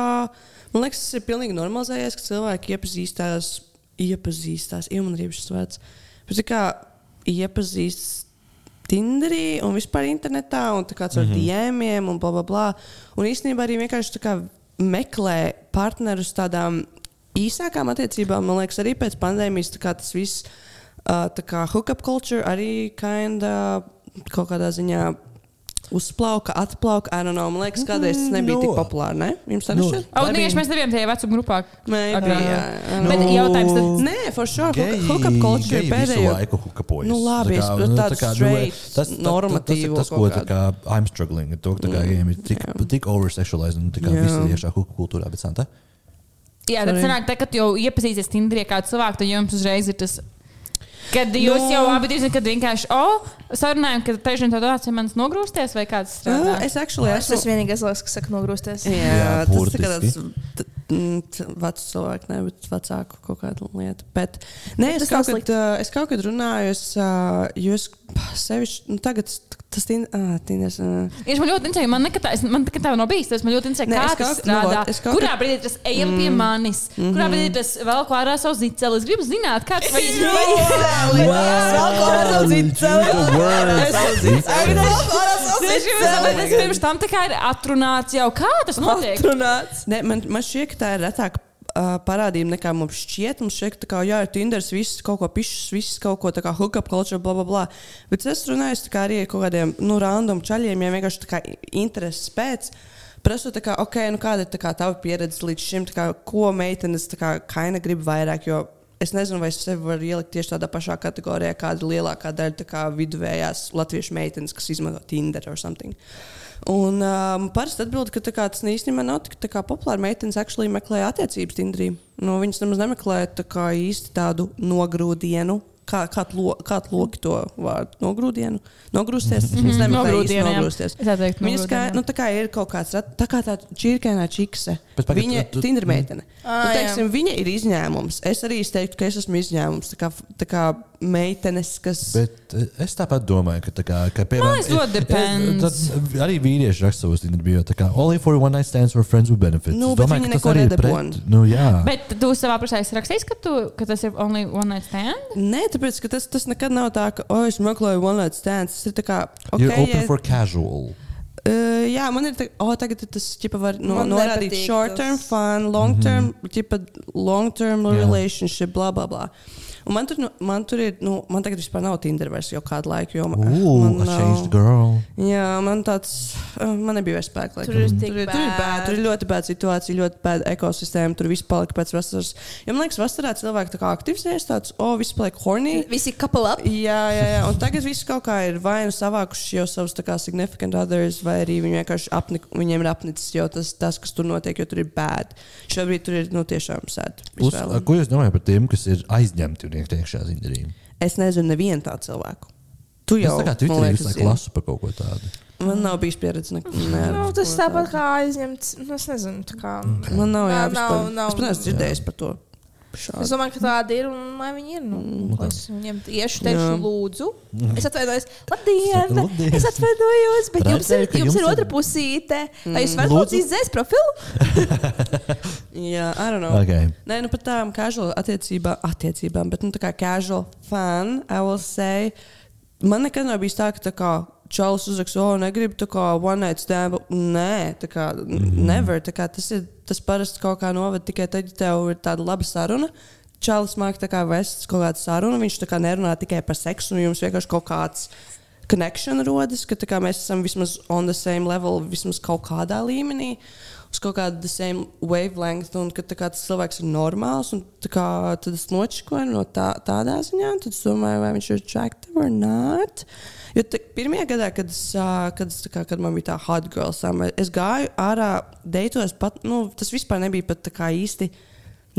S5: man liekas, tas ir pilnīgi normalizējies, ka cilvēki iepazīstās, iepazīstās, ir man arī šis vārds, bet tā kā iepazīstās. Tinderī un vispār internetā, un tā kā
S3: Mhm.
S5: caur mm -hmm. dēmiem un bla bla bla. Un īstenībā arī vienkārši tā kā meklē partnerus tādām īsākām attiecībām. Man liekas, arī pēc pandēmijas tā kā tas viss, uh, tā kā hookup culture arī kinda kaut kādā ziņā uzplauka, atplauka. I don't know, man liekas, kādreiz tas nebija
S3: Nu.
S5: tik populāri, ne? Jums tā
S3: Nu.
S5: nešķiet?
S2: Oh, nē, mēs nebijām tajā vecuma grupā.
S5: Maybe,
S2: agrāk.
S5: jā, jā.
S2: Bet
S3: Nu,
S2: jautājums tad.
S5: Nē, for sure.
S3: Geji-
S5: hook- Hookup culture
S3: geji visu
S5: pēdējo.
S3: laiku hukapojas.
S5: Nu, labi,
S3: Tā
S5: es saprotu,
S3: nu, tā
S5: tādu
S3: kā, nu,
S5: straight,
S3: tas- tas- Tas ir
S5: normatīvo
S3: tas, ko
S5: kaut Mm.
S3: tā kā, I'm struggling. ar To, ka tā kā, gejiem ir tik, tik oversexualized un tā kā
S5: Jā.
S3: visi ir iekšā hukapu kultūrā. Bet, Santa,
S2: Jā, tad
S5: Sorry.
S2: sanāk, tā, kad jau iepazīsies Tinderī kā cilvēku, tad jums uzreiz ir tas. Kad jūs
S5: Nu.
S2: jau abi zināt, kad vienkārši, o, oh, sarunājam, ka trešdien tādā vācijā manas nogrūsties vai kāds strādā.
S5: Ah, Es actually
S4: Tas
S5: esmu
S4: ir vienīgais, liekas, kas saka nogrūsties.
S5: Jā,
S3: Jā,
S5: tas ir tāds
S3: burtiski.
S5: t- mm, t- vecs cilvēks, nevis vecāku kaut kāda lieta. Bet, nē, es,
S4: Tas
S5: kaut
S4: nav
S5: kad, uh, es kaut kad runāju, es, uh, jo es sevišķi, nu, tagad s- tas tin- ā, Tinders. ā.
S2: Viņš man ļoti interesē, man nekad tā, es- man nekad tā nav bijis. Tas man ļoti interesē,
S5: Nē,
S2: kā
S5: es
S2: tas
S5: kaut- nu,
S2: strādā.
S5: vot, es kaut Mm. Mhm.
S2: Kurā brīdī tas ejam pie manis, kurā brīdī tas vēl ko ārā savu ziceli. Es gribu zināt, kāds
S5: *laughs*
S2: vai Es gribu zināt, tas pirms tam tā kā ir atrunāts jau, kā tas notiek.
S5: Atrunāts. Nē, man, man šķiet, ka tā ir retāk. Uh, parādība nekā mums šķiet. Mums šķiet, ka tā kā, jā, ir Tinders, viss kaut ko pišķis, viss kaut ko tā kā hookup culture, bla, bla, bla. Bet es runāju es tā kā, arī ar kaut kādiem nu, random čaļiem, ja vienkārši tā kā intereses pēc. Prasu, tā kā, ok, nu kāda ir tā kā tava pieredze līdz šim, tā kā, ko meitenes tā kā kaina grib vairāk, jo es nezinu, vai es sevi varu ielikt tieši tādā pašā kategorijā, kāda ir lielākā daļa tā kā viduvējās latviešu meitenes, kas izmanto Tinder or something. Un um, parasti atbild, ka tā kā, tas īstenībā nav tik tā kā populāri. Meitenes actually meklē attiecības Tinderī. Nu, viņas nemaz nemeklē tā kā īsti tādu nogrūdienu. Kā, kā, lo, kā logi to vārdu? Nogrūdienu. Nogrūsties. Viņas nemeklē īsti
S2: nogrūdienu, jā.
S5: nogrūsties.
S2: Es tā teiktu,
S5: Viņas kā,
S2: nogrūdienu.
S5: nu, tā kā ir kaut kāds, rat- tā kā tā čirkainā čikse.
S3: Bet pagaid, tu-
S5: Viņa
S3: Mhm.
S5: ir Tinder
S4: Ā,
S5: meitene. Nu,
S4: Ah, jā.
S5: teiksim, viņa ir izņēmums. Es arī teiktu, ka es esmu izņēmums. Tā kā, tā kā meitenes, kas.
S3: Bet eh, es tāpat domāju, ka, tā kā, ka piemēram,
S2: liekas, ļoti depends.
S3: es- tad arī vīrieši raksta savos intervijos, ka only for one night stands for friends with benefits.
S5: Nu,
S3: Es
S5: bet
S3: domāju,
S5: viņi
S3: ka tas
S5: neko
S3: arī ir
S5: nedabūna.
S3: pret. Nu, jā.
S2: Bet tu savā prasē esi rakstījis, ka, tu, ka tas ir only one night stand?
S5: Nē, tāpēc ka tas, tas nekad nav tā, ka, oh, es meklēju one night stands. Tas ir tā kā, ok,
S3: You're open
S5: ja-
S3: for casual.
S5: Uh, jā, man ir tā, oh, tagad ir tas tipa, var, no,
S4: Man
S5: norādīt
S4: nepatīk
S5: short term
S4: tas.
S5: fun, long term, mm -hmm. tipa, long term
S3: Mhm. Jā.
S5: relationship, bla bla bla. Un man tur, nu, man tur ir, nu, man tagad vispār nav Tinder vairs jau kādu laiku. Jo, man-
S3: Ooh, I
S5: Ah, man
S3: changed girl.
S5: Jā, man tāds, uh, man nebija vairs spēka. laikam.
S4: Tur ir tik
S5: tur, ir- tur ir bēda, tur ir ļoti bēda situācija, ļoti bēda ekosistēma, tur viss palika pēc vasaras. Ja man liekas, vasarā cilvēki tā kā aktivizējas, tāds, o, viss paliek horny.
S4: Visi couple up.
S5: Jā, jā, jā. Un tagad viss kaut kā ir vai nu savākuši jau savus tā kā significant others, vai arī viņi vienkārši apnik, viņiem ir apnicis jau tas, tas, kas tur notiek, jo tur ir bēda. Šobrīd tur ir, nu, tiešām sēdi.
S3: Uz, ko jūs domājat par tiem, kas ir aizņemti un iekšā zindarījumā?
S5: Es nezinu nevienu tādu cilvēku. Tu
S3: Es
S5: jau
S3: tā kā
S5: man
S3: Twitterī
S5: liekas,
S3: visu laiku
S5: zini.
S3: lasu par kaut ko tādu.
S5: Man nav bijis pieredze. Nek... Nē,
S4: Nu,
S5: ar
S4: tas
S5: ko
S4: tāpat
S5: tādu.
S4: kā aizņemts. Nu, es nezinu, tā kā.
S5: Man
S4: Nā,
S5: nav
S4: nav,
S5: jāapstāv.
S4: nav.
S5: Es pat neesmu dzirdējis par to.
S4: Es
S5: Šādi.
S4: domāju, ka tāda ir un lai viņi ir. Nu, ko es viņiem iešu, teikšu,
S5: Jā.
S4: lūdzu. Es atvainojos, labdien!
S3: Labdien.
S4: Es atvainojos, bet
S3: Bet
S4: jums ir,
S3: atceru, ka
S4: jums
S3: jums
S4: ir
S3: ir-
S4: otra pusīte. Vai jūs varat
S3: Lūdzu.
S4: lūdzu izdzēst profilu?
S5: Jā, I don't know.
S3: Okay.
S5: Nē, nu par tām casual attiecībām, attiecībām, bet nu, tā kā casual fan, I will say, man nekad nav bijis tā, ka tā kā čalis uzraksta, o, negribu tā kā one night stand, bu-" nē, tā kā mm. never, tā kā tas ir, tas parasti kaut kā noved tikai tad, ja tev ir tāda laba saruna. Čalis māk tā kā vest kaut kādu sarunu, viņš tā kā nerunā tikai par seksu, un jums vienkārši kaut kāds connection rodas, ka tā kā mēs esam vismaz on the same level, vismaz kaut kādā līmenī, uz kaut kāda the same wavelength, un ka tā kā tas cilvēks ir normāls, un tā kā tad es nočikoju no tā, tādā ziņā, un tad es domāju, vai viņš ir attractive or not. Jo tā, pirmajā gadā, kad, es, ā, kad, es, tā kā, kad man bija tā hot girl summer, es gāju ārā, deitos pat, nu, tas vispār nebija pat tā kā īsti.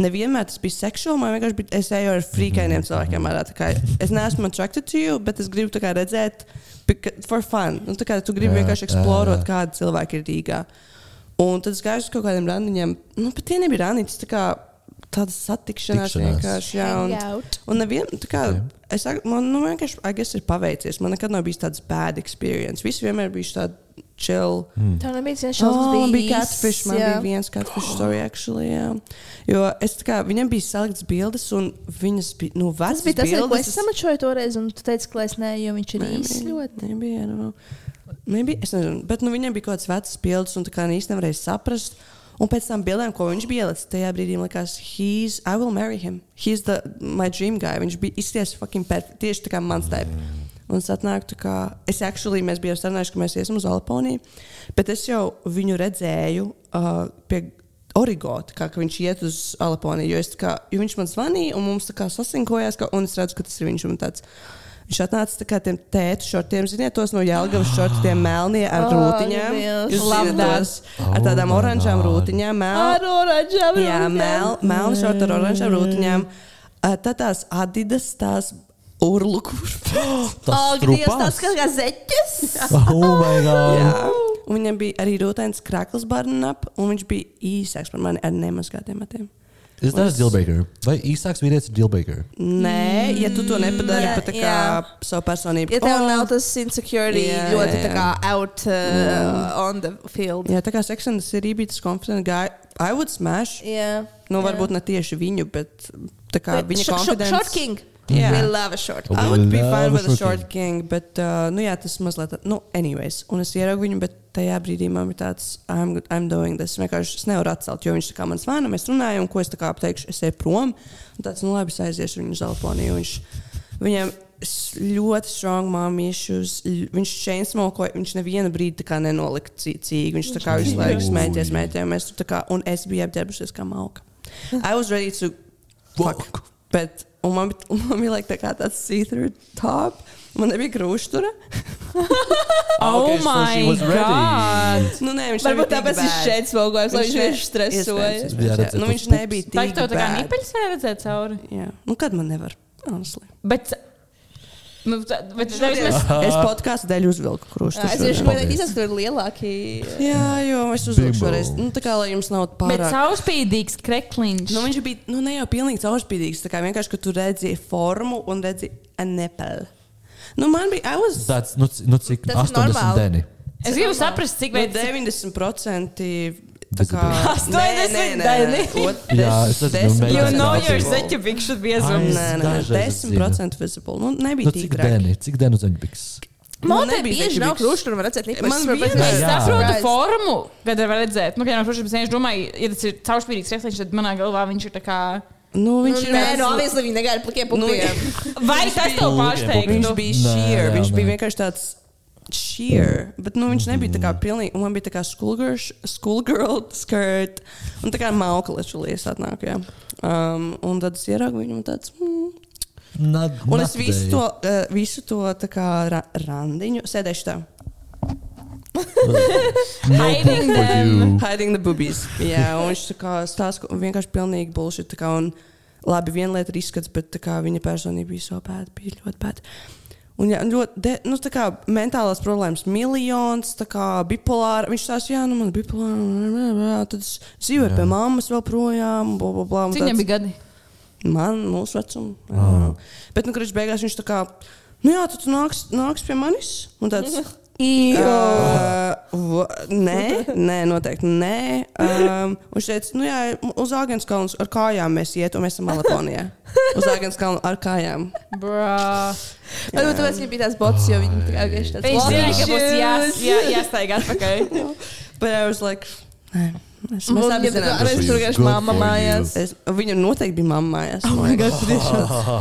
S5: Nevienmēr tas bija seksuāli, man vienkārši bija. Es eju ar
S3: Mhm.
S5: frīkainiem cilvēkiem. Arā, tā kā, es neesmu attracted to you, bet es gribu tā kā redzēt, pika- for fun. Nu, tā kā tu gribi
S3: Jā, jā,
S5: vienkārši eksplorot,
S3: jā.
S5: kāda cilvēka ir Rīgā. Un tad es gāju uz kaut kādiem randiņiem. Nu, pat tie nebija randiņi, tas tā kā tāda satikšanās
S3: Tikšanās.
S5: vienkārši. Jā, un,
S4: Hangout.
S5: un nevien, tā kā,
S3: Ok.
S5: es, ak- man nu, vienkārši, I guess, ir paveicies. Man nekad nav bijis tāds bad experience. Visi vienmēr bija tādi chill.
S4: Tā nebija viena
S5: Oh,
S4: šāda.
S5: man bija catfish, man bija viens catfish story actually, jā. Jo es tā kā, viņam bija salikts bildes un viņas bija, nu,
S4: Tas
S5: vecas
S4: bija tas, ar ko
S5: bildes,
S4: es samačoju toreiz, un tu teici, ka es nē, jo viņš ir īss ļoti.
S5: Nebija, nu, nebija, es nezinu, bet nu, viņam bija kaut kāds vecs bildes, un tā kā īsti nevarēja saprast. Un pēc tam bildēm, ko viņš bija ielicis, tajā brīdī man likās, he's, I will marry him. He's the, my dream guy. Viņš bija izties fucking perfect, tieši tā kā mans type. Un es atnāku, tā kā, es actually, mēs bijām sarunājuši, ka mēs iesim uz Alponiju, bet es jau viņu redzēju uh, pie Origo, tā kā, ka viņš iet uz Alponiju, jo, es tā kā, jo viņš man zvanīja, un mums tā kā sasinkojās, ka, un es redzu, ka tas ir viņš un man tāds. Viņš atnāca tā kā tiem tēta šortiem, ziniet, tos no Jālgavas šortiem melnie ar
S4: Oh,
S5: rūtiņām.
S4: mīļš.
S5: Jūs zināt, tās ar tādām
S3: Oh my
S5: oranžām
S3: God.
S5: rūtiņām, melnām.
S4: Ar oranžām
S5: Jā,
S4: rūtiņām.
S5: mel, melna šorta ar oranžām rūtiņām. Uh, Tad tās adidas, tās urlu kurpes.
S3: *gasps* Tas
S4: Ak, Dievs,
S3: trupas?
S4: tas kā kā zeķis!
S3: Oh
S4: *laughs*
S3: my god!
S5: Jā. Un viņam bija arī rūtēns krāklis barnap, un viņš bija īsāks par mani ar nemazgātiem matiem.
S3: Is that a deal breaker? Vai īsāks vīrietis ir deal breaker?
S5: Nē, ja tu to nepadari
S4: Mm. jā,
S5: pat tā kā
S4: jā.
S5: savu
S4: *laughs*
S5: personību. Oh.
S4: Ja tev
S5: O,
S4: nav tas insecurity
S5: Jā,
S4: ļoti
S5: jā,
S4: tā kā out uh, on the field.
S5: Jā, tā kā seksuāls ir rībītas konfidents guy, I would smash.
S4: Jā.
S5: Nu, varbūt ne tieši viņu, bet tā kā viņa konfidents.
S4: Short king.
S5: Jā.
S4: We love a short king.
S5: I would be
S3: Love
S5: fine with a
S3: short
S5: short king, bet, uh, nu jā, tas mazliet, tā- nu, anyways. Un es ieraugu viņu, bet tajā brīdī man ir tāds, I'm, I'm doing this. Vienkārši es nevaru atcelt, jo viņš tā kā man zvana, mēs runājam, ko es tā kā pateikšu, es eju prom. Un tāds, nu, labi, es aiziešu viņu uz Alponiju. Viņš, viņam s- ļoti strong mom issues. L- Viņš chain smokoja, viņš nevienu brīdi tā kā nenolika cī- cīgi. Viņš tā kā visu laiku smēķēja, smēķēja. Mēs tur tā kā, un es biju apģērbusies kā malka. I was ready to fuck. Bet, un man bija, un man bija like, tā kā tāds see-through top. Man nebija krūštura.
S2: Oh
S3: Okay, so she
S2: my
S3: was ready.
S2: god!
S5: nu, nē, viņš
S4: Varbūt
S5: nebija tik
S4: tāpēc viņš
S5: bad.
S4: šeit smogojās, lai viņš
S5: ne-
S4: vienkārši stresoja.
S5: iespējams,
S3: Jā,
S5: iespējams,
S3: redzēt
S5: jā. Nu,
S3: tos
S5: viņš
S3: pups.
S5: nebija
S2: Vai tev
S5: tik
S2: tā kā
S5: bad.
S2: nipeļs var redzēt cauri?
S5: Jā. Nu, kad man nevar? Honestly.
S2: Bet, nu, tā- bet tev vismaz
S5: Es podkāstu dēļ uzvilku
S4: Jā, Es
S5: krūštus.
S4: vienkārši
S3: Paldies.
S4: domāju, ka tur ir lielāki.
S5: Jā, jo es uzvilku
S3: Bimbo.
S5: šoreiz. Nu, tā kā lai jums nav
S2: Bet
S5: pārāk.
S2: caurspīdīgs krekliņš.
S5: Nu, viņš bija nu, ne jau pilnīgi caurspīdīgs. Tā kā vienkārši, ka tu redzi formu un redzi anepeli. Nu, man bija, I was
S3: Tāds, nu, c- nu cik
S4: Tas ir
S3: 80
S4: normāli.
S3: deni.
S2: es gribu saprast, cik
S5: Nu,
S2: veids.
S5: 90%. tā
S3: Visibility.
S5: Kā, Nē, nē, nē, nē.
S2: Deni.
S5: Ot-
S3: Jā, es nu, esmu mēģinājis
S5: desmit
S2: You
S5: procenti
S2: know your
S5: visible.
S2: zeķa bikšu
S5: Nē,
S2: biezums.
S3: Ai,
S5: nē, nē,
S3: Dažreiz es
S5: 10% visible. Nu, nebija
S3: Nu,
S5: tik
S3: cik
S5: traki.
S3: deni? Cik denu zeņbiks?
S5: Man
S4: Monēta
S5: nebija
S4: bieži
S5: zeķa
S4: nav
S5: biks.
S4: krūšs, tur var redzēt,
S5: Man bija.
S3: Jā,
S2: Es
S3: jā.
S2: saprotu
S4: Surprise.
S2: formu, kad var redzēt. Nu, piemēram, protams, es domāju, ja tas ir caurspīdīgs krekliņš, tad manā galvā viņš ir tā kā
S5: Nu, viņš ir.
S1: Nē,
S5: viens-
S1: no obviously viņi negāja ar plikiem
S5: Nu,
S1: pupiem. Vai tas tev
S3: Plikiem
S1: pārsteigts?
S3: pupiem.
S5: Viņš nu- bija
S3: Nē,
S5: šīr.
S3: jā,
S5: Viņš
S3: nē.
S5: bija vienkārši tāds. Sheer, bet nu, viņš nebija
S3: Mm.
S5: tāds pilnīgi. un Man bija tāds schoolgirl, schoolgirl skirt. Un tā kā mauka lečulīs atnāk. jā. Um, un tad es ieraugu viņu un tāds. Mm.
S3: Not,
S5: Un
S3: not
S5: es
S3: today.
S5: visu to, uh, visu to tā kā ra randiņu sēdēšu tā.
S3: No
S2: Hiding
S3: poop for
S2: them.
S3: you.
S5: Hiding the boobies. Jā, un viņš tā kā stāsta ko- vienkārši pilnīgi bullshit. tā kā, un Labi, viena lieta ir izskats, bet tā kā, viņa personība bija so bad, bija ļoti bad. Un, jā, un ļoti, de, nu, tā kā mentālās problēmas, miljons, tā kā bipolāra. Viņš tās, jā, nu, man ir bipolāra, un bla, bla, bla, tad es dzīvoju pie mammas vēl projām, bla, bla, bla. un
S2: Cik viņam
S5: tāds-
S2: bija gadi?
S5: Man, mūsu vecumam. Bet, nu, kurš beigās viņš tā kā, nu jā, tad tu nāks, nāks pie manis. Un tāds, "Ā, va- nē, nē, noteikti nē. Um, un viņš teica, nu jā, uz Agenskalnu ar kājām mēs iet, un mēs esam Malaponijā. Uz Agenskalnu ar kājām.
S2: Brā.
S4: Varbūt tāpēc viņi bija tās bots, jo viņi tā kā vienkārši tāds.
S2: Viņš
S4: "Lol,
S2: zina, ka būs jā,
S4: shoes."
S2: jā, jāsteigā atpakaļ.
S5: But I was like, nē. Mēs
S4: Un
S5: mēs
S4: viņam
S5: abi
S4: tā kā
S5: zinām.
S4: Reiz tur vienkārši mamma mājās.
S5: Es, viņam noteikti bija mamma mājās. Oh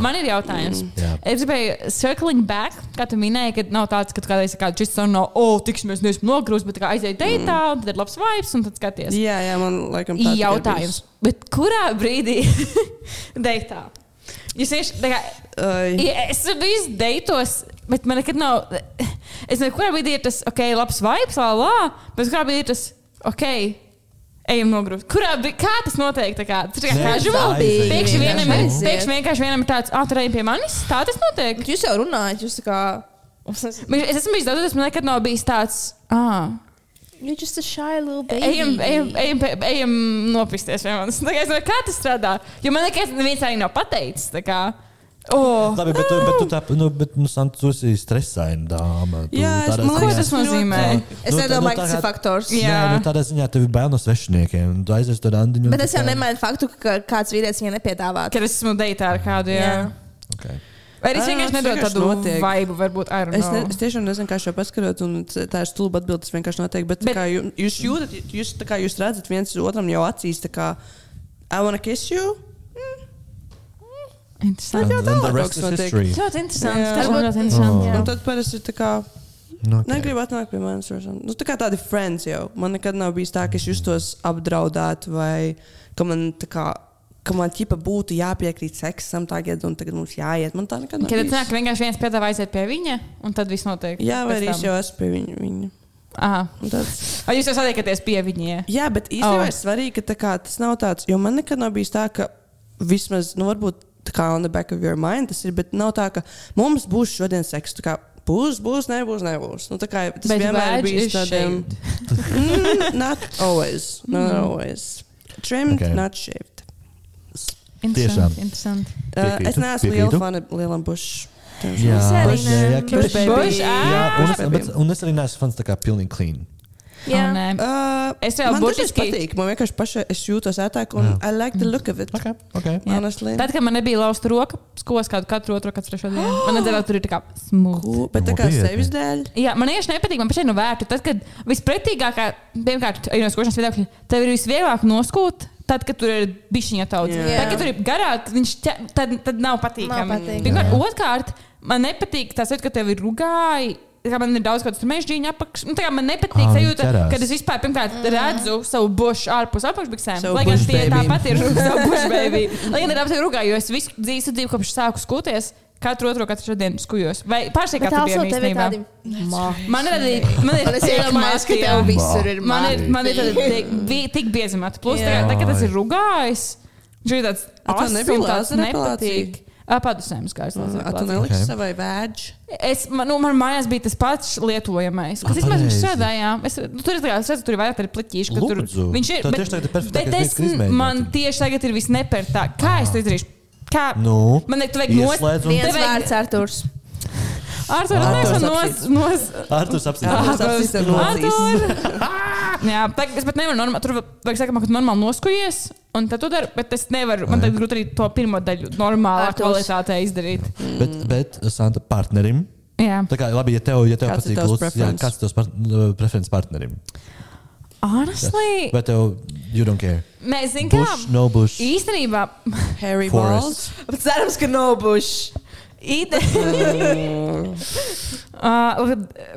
S2: *laughs* Man ir jautājums.
S3: Jā.
S2: Es gribēju, circling back, kā tu minēji, ka nav tāds, ka tu kādreiz kā čits un no, o, tiksimies, neesmu nogrūst, bet tā kā aiziet deitā, un tad ir labs vibes, un tad skaties.
S5: Mm. jā, jā, man laikam tā tikai bija.
S2: Jautājums. Bet kurā brīdī *laughs* deitā? Jūs vienkārši, tā kā,
S5: Ai.
S2: Ja es bijis deitos, bet man nekad nav. Es nezinu, kurā brīdī ir tas, ok, labs vibes, lā, lā, bet kurā brīdī ir tas, ok. Ejam nogrūst. Kurā brīdī, kā tas notiek? Tā kā tas ir
S3: Nē,
S2: casual.
S3: aiziet.
S2: Pēkšņi vienam ir,
S4: Aiziet.
S2: pēkšņi vienkārši vienam ir tāds, ah, tur ejam pie manis. Tā tas notiek.
S4: Jūs jau runājat, jūs tā kā.
S2: Bet Es esmu bijis daudz, tas man nekad nav bijis tāds, ah,
S4: You're just a shy little baby.
S2: ejam, ejam, ejam, pie- ejam nopisties pie manis. Tā kā es nezinu, kā tas strādā. Jo man nekad neviens arī nav pateicis. tā kā, Oh.
S3: Labi, bet tu, bet tu tā, nu, bet, nu, Santa, tu esi stresaina dāma. Tu
S5: Jā, es
S3: tādā
S5: man
S3: ziņā-
S2: Ko
S5: liekas,
S2: tas nozīmē?
S4: Es
S3: Nu, tā- nu,
S4: nedomāju,
S3: tā
S4: ka tas ir
S3: kā-
S4: faktors.
S2: Jā.
S3: Nē, nu, tādā ziņā tev ir bail no svešiniekiem. un Tu aizies tur randiņu. un
S4: Bet es
S3: tu
S4: jau
S3: tā-
S4: nemainu faktu, ka kāds vīrietis viņai nepiedāvā.
S2: Kad es esmu deitā ar kādu, jā. jā.
S4: Jā.
S3: Okay.
S2: Vai arī es
S5: Ā,
S2: vienkārši
S5: tas
S2: nedodu
S5: vienkārši nu,
S2: tādu
S5: notiek.
S2: vibru, varbūt ar
S5: Es, ne, es tiešām nezinu, kā šo paskatot, un c- tā ir stulba atbilde. Tas vienkārši notiek. Bet,
S2: Bet-
S5: bet kā jū- jūs jūtat, jūs, tā kā jūs redzat viens otram jau acīs, tā kā I wanna kiss you. Mm.
S2: Interesanti.
S5: jau
S3: And then the
S5: tālāk
S3: rest
S5: kaut
S3: is
S5: kas notiek.
S3: history.
S2: Ļoti interesanti.
S5: Jā.
S2: Tas
S4: Varbūt-
S2: man ļoti interesanti.
S4: Jā.
S5: Un tad parasti ir tā kā
S3: Nu, okay.
S5: negribu atnākt pie manis. or something. Nu, tā kā tādi friends jau. Man nekad nav bijis tā, ka es justos apdraudēt vai ka man tā kā. Ka man ķipa būtu jāpiekrīt seksam tagad, un tagad mums jāiet. Man tā nekad nav.
S2: Kad
S5: bijis.
S2: tad nāk, vienkārši viens piedāvā aiziet pie viņa, un tad viss notiek.
S5: Jā,
S2: pēc
S5: vai arī es
S2: tam.
S5: jau esmu pie viņa. viņa.
S2: Aha.
S5: Un tāds-
S2: Vai jūs jau satiekaties pie viņiem?
S5: Jā, bet īstenībā
S2: Oh.
S5: oh. ir svarīgi, ka tā kā, tas nav tāds, jo man nekad nav bijis tā, ka vismaz, nu, varbūt tā kā on the back of your mind tas ir, bet nav tā, ka mums būs šodien seks. tā kā Būs, būs, nebūs, nebūs. Nu, tā kā, tas
S2: Bet
S5: bet vienmēr
S2: vajadz
S5: bija
S2: ir
S5: tādiem. Mm, not always. Not
S2: Mm.
S5: always. Trimmed,
S3: Okay.
S5: okay. not shaved.
S3: Tiešām.
S2: Interesanti.
S5: Uh,
S3: Piekrītu,
S5: es neesmu liela
S3: piekrītu.
S5: fana lielam bušam.
S3: Jā, jā,
S4: arī
S3: jā,
S4: ne.
S3: Kim-
S4: Bush baby.
S2: Bush,
S3: jā,
S2: ā.
S3: un es,
S5: Bush
S3: bet,
S5: baby.
S3: un es arī neesmu fans tā kā pilnīgi clean.
S2: Jā,
S4: Jā.
S2: nē.
S5: Uh,
S2: Es vēl
S5: man dažreiz
S2: burtiski-
S5: patīk. Man vienkārši pašai es jūtos ētāk un
S3: Jā.
S5: I like the look of it.
S2: Mm.
S3: Okay, okay.
S2: Jā.
S5: Honestly.
S2: Tad, kad man nebija lausta roka, skos kādu katru otru, katru trešo dienu.
S5: *gasps*
S2: Man nedzēra, tur ir tā kā smūgi.
S5: Ko, bet tā kā
S3: Nopietni.
S5: sevis dēļ.
S2: Jā, man īstenībā nepatīk. Man pašai nav vērta. Tad, kad vispretīgākā, pirmkārt, ir no skošanas viedokļa, tev ir visvieglāk noskūt. Tad, kad tur ir bišķiņa daudz,
S5: Jā.
S2: yeah. tad, kad tur ir garāk, viņš ķe, tad, tad nav patīkami.
S4: Nav patīkami.
S2: Pirmkārt,
S3: Jā.
S2: otrkārt, man nepatīk tas, ka tev ir rugāji. tā kā Man ir daudz kādas mežģīņa apakšā. Man nepatīk
S3: Ā,
S2: ah,
S3: viņi
S2: sajūta,
S3: ķerās.
S2: kad es vispār pirmkārt,
S4: Mm.
S2: redzu savu bušu ārpus apakšbiksēm.
S5: Savu
S2: Lai gan
S5: bush
S2: tie
S5: baby.
S2: tāpat
S5: *laughs*
S2: ir savu bušu baby. Lai gan ir apziņā rugā, jo es visu dzīves dzīvi kopš sāku skūties. Katru otro, katru dienu skūjos. Vai pārsteigts,
S4: Bet
S2: kā tev
S4: tālāk tev ir
S2: bija?
S4: tādi.
S2: Man ir arī man ir
S4: Un es iedomājos, *laughs* ka tev visur ir
S2: Man ir,
S4: mati.
S2: man ir tāda tik- bi- tik biezi mati. Plus,
S4: Jā.
S2: tagad, tagad tas ir rugājis. Viņš ir tāds
S5: A, tev nebija
S2: tāds
S5: lāzera
S2: nepatīk. Apādusējums, kā es
S5: Tu
S2: lasu.
S5: neliksi
S3: Ok.
S5: okay. savai vēdži.
S2: Es, man, nu, man mājās bija tas pats lietojamais.
S3: Ah,
S2: Kas īstenībā mēs
S3: pareizi.
S2: strādājām? Es, nu, tur ir tā, kā, es redzu, tur ir vairāk tādu pliķīšu, ka tur
S3: Lūdzu.
S2: viņš ir.
S3: Tā tieši tagad ir perfektākais
S2: bet
S3: brīdis,
S2: es,
S3: kad izmēģināt.
S2: man tieši tagad ir visnepertā. Kā es to izdarīšu? Kā?
S3: Nu,
S2: Man liekas, tu vajag nos-
S3: ieslēdz un-
S4: *laughs* Viens
S2: Tev vajag-
S4: vārds Arturs.
S2: Ar to
S3: Ārturs
S2: jāsaka, nos.
S3: Arthurs apstāties.
S5: Ārturs.
S2: Ārpus
S5: apsis tev
S2: apsis.
S5: nocīs.
S2: Ārtur! *laughs* Jā, tā, es pat nevaru normāli, tur vajag sakām, ka tu normāli noskujies, un tad tu dari, bet es nevaru, man tagad grūti arī to pirmo daļu normālā
S4: Ārturs.
S2: kvalitātē izdarīt.
S3: Bet, bet Santa, partnerim.
S2: Jā.
S3: Tā kā, labi, ja tev, ja tev
S5: Kāds ir
S3: patīk,
S5: tavs
S3: lūdzu, jā,
S5: preference?
S3: kāds ir tavs par- preferences partnerim?
S2: Honestly,
S3: Bet tev, you don't care.
S2: mēs zinām, kā
S3: Bush, no bush.
S2: īstenībā
S5: Harry
S3: Forests.
S5: *laughs* Balls.
S4: Bet cerams, ka nav bušs.
S2: *laughs* Ide... uh,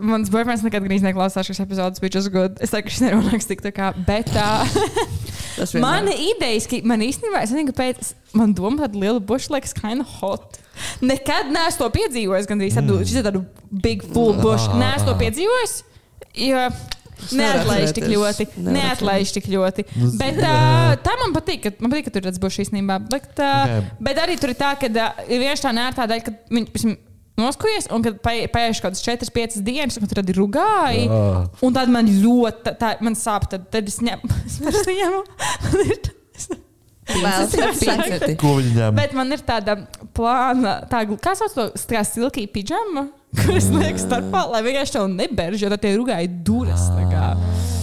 S2: mans boyfriends nekad gandrīz neklausās šīs epizodes, bija just good. Es saku, šis nerunāks tik tā kā, bet tā.
S5: Tas
S2: man idejaski, man īstenībā, es nezinu, kāpēc, man doma tāda liela buša liekas kinda hot. Nekad neesmu to piedzīvojis, gandrīz tādu, mm. tādu big full bušu.
S3: Ah,
S2: Neesmu to
S3: ah.
S2: piedzīvojis, jo
S5: nevaru
S2: neatlaiž tik
S5: atcerēties.
S2: ļoti.
S5: Nevaru
S2: Neatlaiž tik ļoti.
S3: Nu,
S2: Bet
S3: jā.
S2: uh, tā man patīk, ka, man patīk, ka tur redz bušu īstenībā. Bet, uh,
S3: Okay.
S2: Bet arī tur ir tā, ka ir vienkārši tā nērtā daļa, ka viņi piemēram, noskujies, un kad pai- paiet kaut kādas 4, 5 dienas, un tad ir rugāji.
S3: Jā.
S2: Un tad man ļoti, tā- tā, man sāp, tad, tad es ņemu, *laughs* es vairs neņemu. Man ir tā-
S4: Vēl
S5: piecirti.
S3: Ko viņi ņem?
S2: Bet man ir tāda plāna, tā, gl- kā sauc to tā kā silkija *laughs* pidžama, kuras liek starpā, lai vienkārši to neberž, jo tad tie rugāji duras. Tā kā,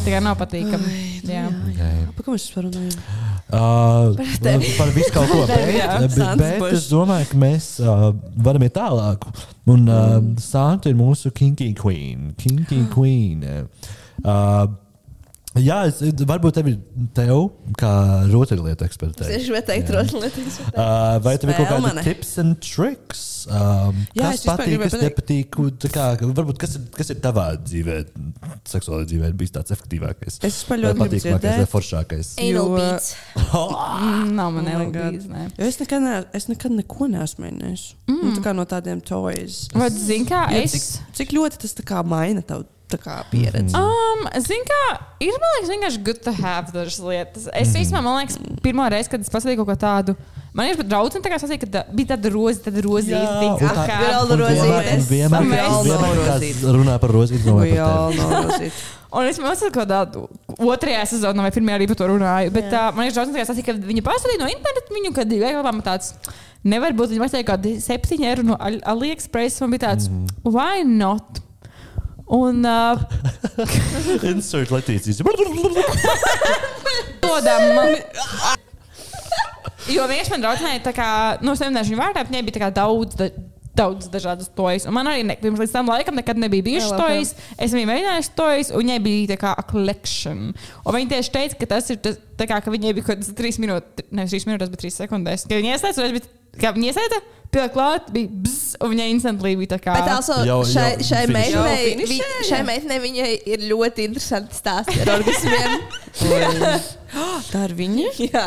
S5: Ah.
S2: tā kā nav patīkami. Jā.
S3: Okay.
S5: Par ko mēs vispār runājam?
S3: Uh, par visu kaut
S5: *laughs*
S3: ko bet,
S5: Sandra
S3: bet
S5: Bush.
S3: es domāju, ka mēs uh, varam iet tālāk. Un uh,
S5: Mm.
S3: Santa ir mūsu kinky queen.
S5: *gasps*
S3: Kinky queen. Uh, jā, es, varbūt tev ir tev, kā rotaļlietu ekspertei.
S4: Es gribēju teikt,
S3: Jā.
S4: rotaļlietas.
S3: Uh, vai tev ir kaut
S5: Spēle
S3: kādi
S5: mane.
S3: tips un tricks? Um, jā,
S5: Jā,
S3: kas
S5: es vispār
S3: patīk,
S5: gribēju
S3: kas nepatīk? un tā Kā, varbūt kas ir, kas ir tavā dzīvē, seksuālajā dzīvē, bijis tāds efektīvākais?
S5: Es vispār
S3: Vai
S5: ļoti gribu
S3: patīkamākais, vai
S5: dzirdēt.
S3: foršākais.
S5: Jo-
S6: Anal beats.
S2: Mm, Nav man
S5: Oh my God.
S2: nelegāls. Ne.
S5: Jo Es nekad, ne, es nekad neko neesmu mēģinājis. Mm. Nu, tā kā no tādiem toys.
S2: Vai zini, kā
S5: Jo
S2: es.
S5: Cik, cik ļoti tas tā kā maina tavu tā kā pieredzi?
S2: Um, Ziniet, kā ir man liekas, vienkārši good to have dažas lietas. Es
S5: Mhm.
S2: īstenībā, man liekas, pirmā reize, kad es pasaku kaut ko tādu, man ir pat draudzene, tā kā sasīja, ka tā- bija tāda rozi, tad rozīte,
S3: Jā, un
S2: tik
S3: tā-
S2: kā.
S4: vēl-
S3: Un vienmēr, un
S4: Rozītes.
S3: vienmēr,
S2: Un
S3: kad-
S2: vēl
S3: vienmēr kāds
S5: rozītes.
S3: runā par rozīti, domāju
S5: Jā,
S3: par tevi.
S2: *laughs*
S5: nolasīt.
S2: Un es mācīju kaut kādu otrajā sezonā, vai pirmajā arī par to runāju. Bet uh, man ir draudzene, tā kā sasīja, ka viņa pasūtīja no interneta viņu, kad bija veikalā tāds. Nevar būt, viņi maksāja kaut kādu septiņu eiro no Al- AliExpress, un bija tāds, mm. why not? Un uh,
S3: Insert Latīcijas.
S2: Dodam, man... Jo vienkārši man draudzenei, tā kā, nu, es nemanāšu viņu vārdā, bet viņai bija tā kā daudz. Da Daudz dažādas tojas. Un man arī ne, pirms līdz tam laikam nekad nebija bijušas tojas. Es viņai mēģināju tojas, un viņai bija tā kā a collection. Un viņa tieši teica, ka tas ir tas, tā kā, ka viņai bija kaut kādas trīs minūtes, nevis trīs minūtes, bet trīs sekundes. Kad viņa iesaistās, un es biju, kā viņa iesaistās, pilnīgi klāt, bija bzz, un viņai instantly bija tā kā.
S6: Bet also,
S3: Jau-
S6: jau, šai,
S3: jau
S6: šai,
S3: finišē.
S6: meitenei,
S5: Jau
S6: vi,
S5: finišē,
S6: šai
S5: jā.
S6: meitenei viņai ir ļoti interesanti stāsti ar orgasmiem.
S5: Tā ir viņa.
S6: jā.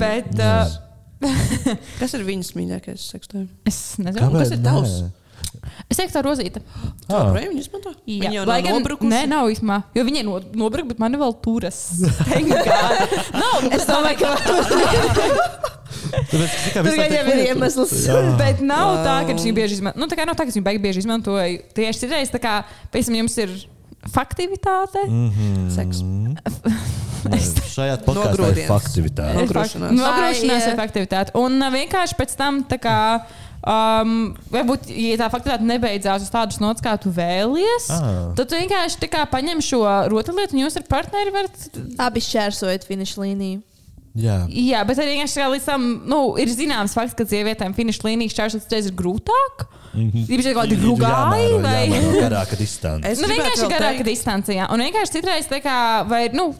S2: bet, uh,
S5: Kas ir viņas mīļākais seksuālais?
S2: es nezinu,
S5: Kāpēc? kas ir tavs?
S2: es teiktu, tā rozīta.
S5: Ah. Viņu izmanto?
S2: Jā,
S5: Viņa jau
S2: lai
S5: nav
S2: gan
S5: nobrukusi?
S2: Nē, nav īstenībā. Jo viņi ir nobrukti, bet man ir vēl turas. Nav, es domāju, ka tur gan jau ir iemesls.
S3: Jā.
S2: Bet nav wow. tā, ka viņi bieži izmanto. Nu, tā kā nav tā, ka viņi baigi bieži izmantoja. Tieši citreiz, tā kā, piemēram, jums ir faktivitāte. Mm.
S5: Seks.
S3: Šajā podkāstā ir
S5: Nogrūdienas.
S3: faktivitāte.
S5: Nogrūšanās.
S6: Vai,
S2: Nogrūšanās nu, ir faktivitāte. Un ā, vienkārši pēc tam tā kā. Um, varbūt, ja tā faktiski nebeidzās uz tādas nots, kā tu vēlies,
S3: Ah.
S2: tad tu vienkārši tā kā paņem šo rotaļlietu, un jūs ar partneri varat
S6: Abi šķērsojot finišu līniju.
S3: Jā.
S2: Jā, bet arī vienkārši tā līdz tam nu, ir zināms fakts, ka sievietēm finīša līnijas čāršas reizes ir grūtāk.
S5: Mhm.
S2: Viņam ir kaut kāda grūgāja vai
S3: Garāka distance.
S5: Es
S2: nu,
S5: gribētu
S2: vienkārši
S5: vēl
S2: garāka
S5: teikt-
S2: distance. Jā. Un vienkārši citreiz, tā kā, vai, nu,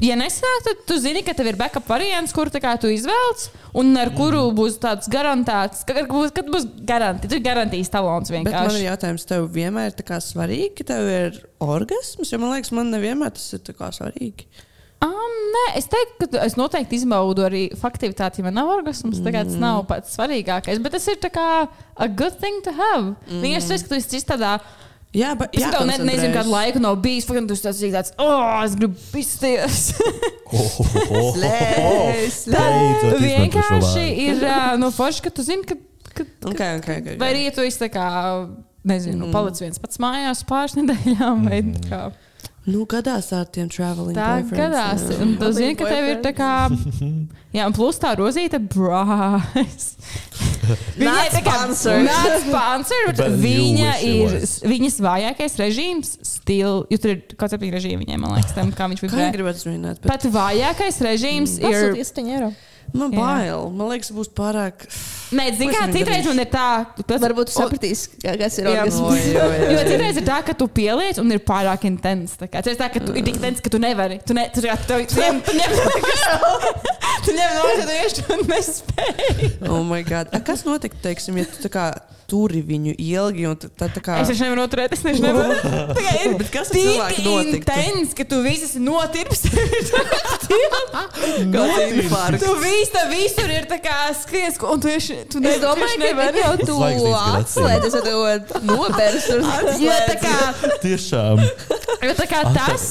S2: ja nesanāk, tad tu zini, ka tev ir backup variants, kur tā kā tu izvēlies, un ar
S5: Mhm.
S2: kuru būs tāds garantēts, ka- kad būs, kad būs garanti, tu garantīs talons
S5: Bet man ir
S2: vienkārši.
S5: jautājums, tev vienmēr ir tā kā svarīgi, ka tev ir orgasms, jo man liekas, man nevienmēr tas ir tā kā svarīgi.
S2: Um, nē, es teiktu, ka es noteikti izbaudu arī faktivitāti, ja man nav orgasms. Tagad
S5: Mhm.
S2: tas nav pats svarīgākais, bet tas ir tā kā a good thing to have. Mm.
S5: Mhm.
S2: Vienkārši tas, ka tu esi tādā.
S5: Jā, bet
S2: Es tev ne, nezinu, kādu laiku nav bijis. Faktiski, tas tas ir tāds, oh, es gribu pisties. *laughs*
S3: Beidzot izmanto šo
S2: vienkārši
S3: vārdu.
S2: ir ā, nu, forši, ka tu zini, ka, ka, ka
S5: Okay, okay, okay,
S2: vai arī ja tu esi tā kā, nezinu, mm. palicis viens pats mājās pāris nedēļām.
S3: Mm.
S2: vai tā kā.
S5: Nu, gadās ar tiem traveling.
S2: Tā
S5: boyfriends,
S2: gadās. Mm,
S5: jā.
S2: Un tu zini, ka tev ir tā kā. Jā, un plus tā rozīta brālis. Viņa ir
S6: sponsored.
S2: Not sponsored, bet
S3: But you
S2: viņa
S3: wish it
S2: ir
S3: was.
S2: viņas vājākais režīms. Stil, jo tur ir kaut kāds režīms viņai, man liekas, tam, kā viņš
S5: Kā viņi
S2: bija.
S5: gribētu zināt? Bet...
S2: Pat vājākais režīms ir.
S6: Pasūties 7 eiro.
S5: Man
S2: Jā.
S5: bail. Man liekas, būs
S2: *laughs*
S5: pārāk.
S2: Nē, zini, kā citreiz man ir tā, tas,
S4: Varbūt jūs sapratīsiet, kas ir orgasms.
S2: jo
S5: *laughs*
S2: citreiz ir tā, ka tu pieliec un ir pārāk intens. Tā kā, citreiz tā, ka tu ir tik intens, ka tu nevari. Tu, ne, tu, tu, tu, tu, ne, tu nevari. *laughs* Tu nevari nožēloties, tu nespēji.
S5: Oh my God. A, kas notiktu, teiksim, ja tu tā kā turi viņu ilgi un tu- tad tā kā.
S2: *laughs* Es taču nevaru noturēt, es taču *laughs* nevaru. Tā kā ir
S5: Bet kas ar cilvēku
S2: tik
S5: notiktu?
S2: intens, ka tu viss esi notirps. *laughs*
S5: *laughs*
S2: Tu viss, tev visur ir tā kā skriens, un tu esi. Tu
S4: Es
S2: ne- tu
S4: domāju, ka
S2: nevari.
S4: tad jau tu
S3: Laiks līdz
S4: atslēdzies, ja tu nobērsi uz
S2: Jo tā kā,
S3: Tiešām.
S2: jo tā kā tas.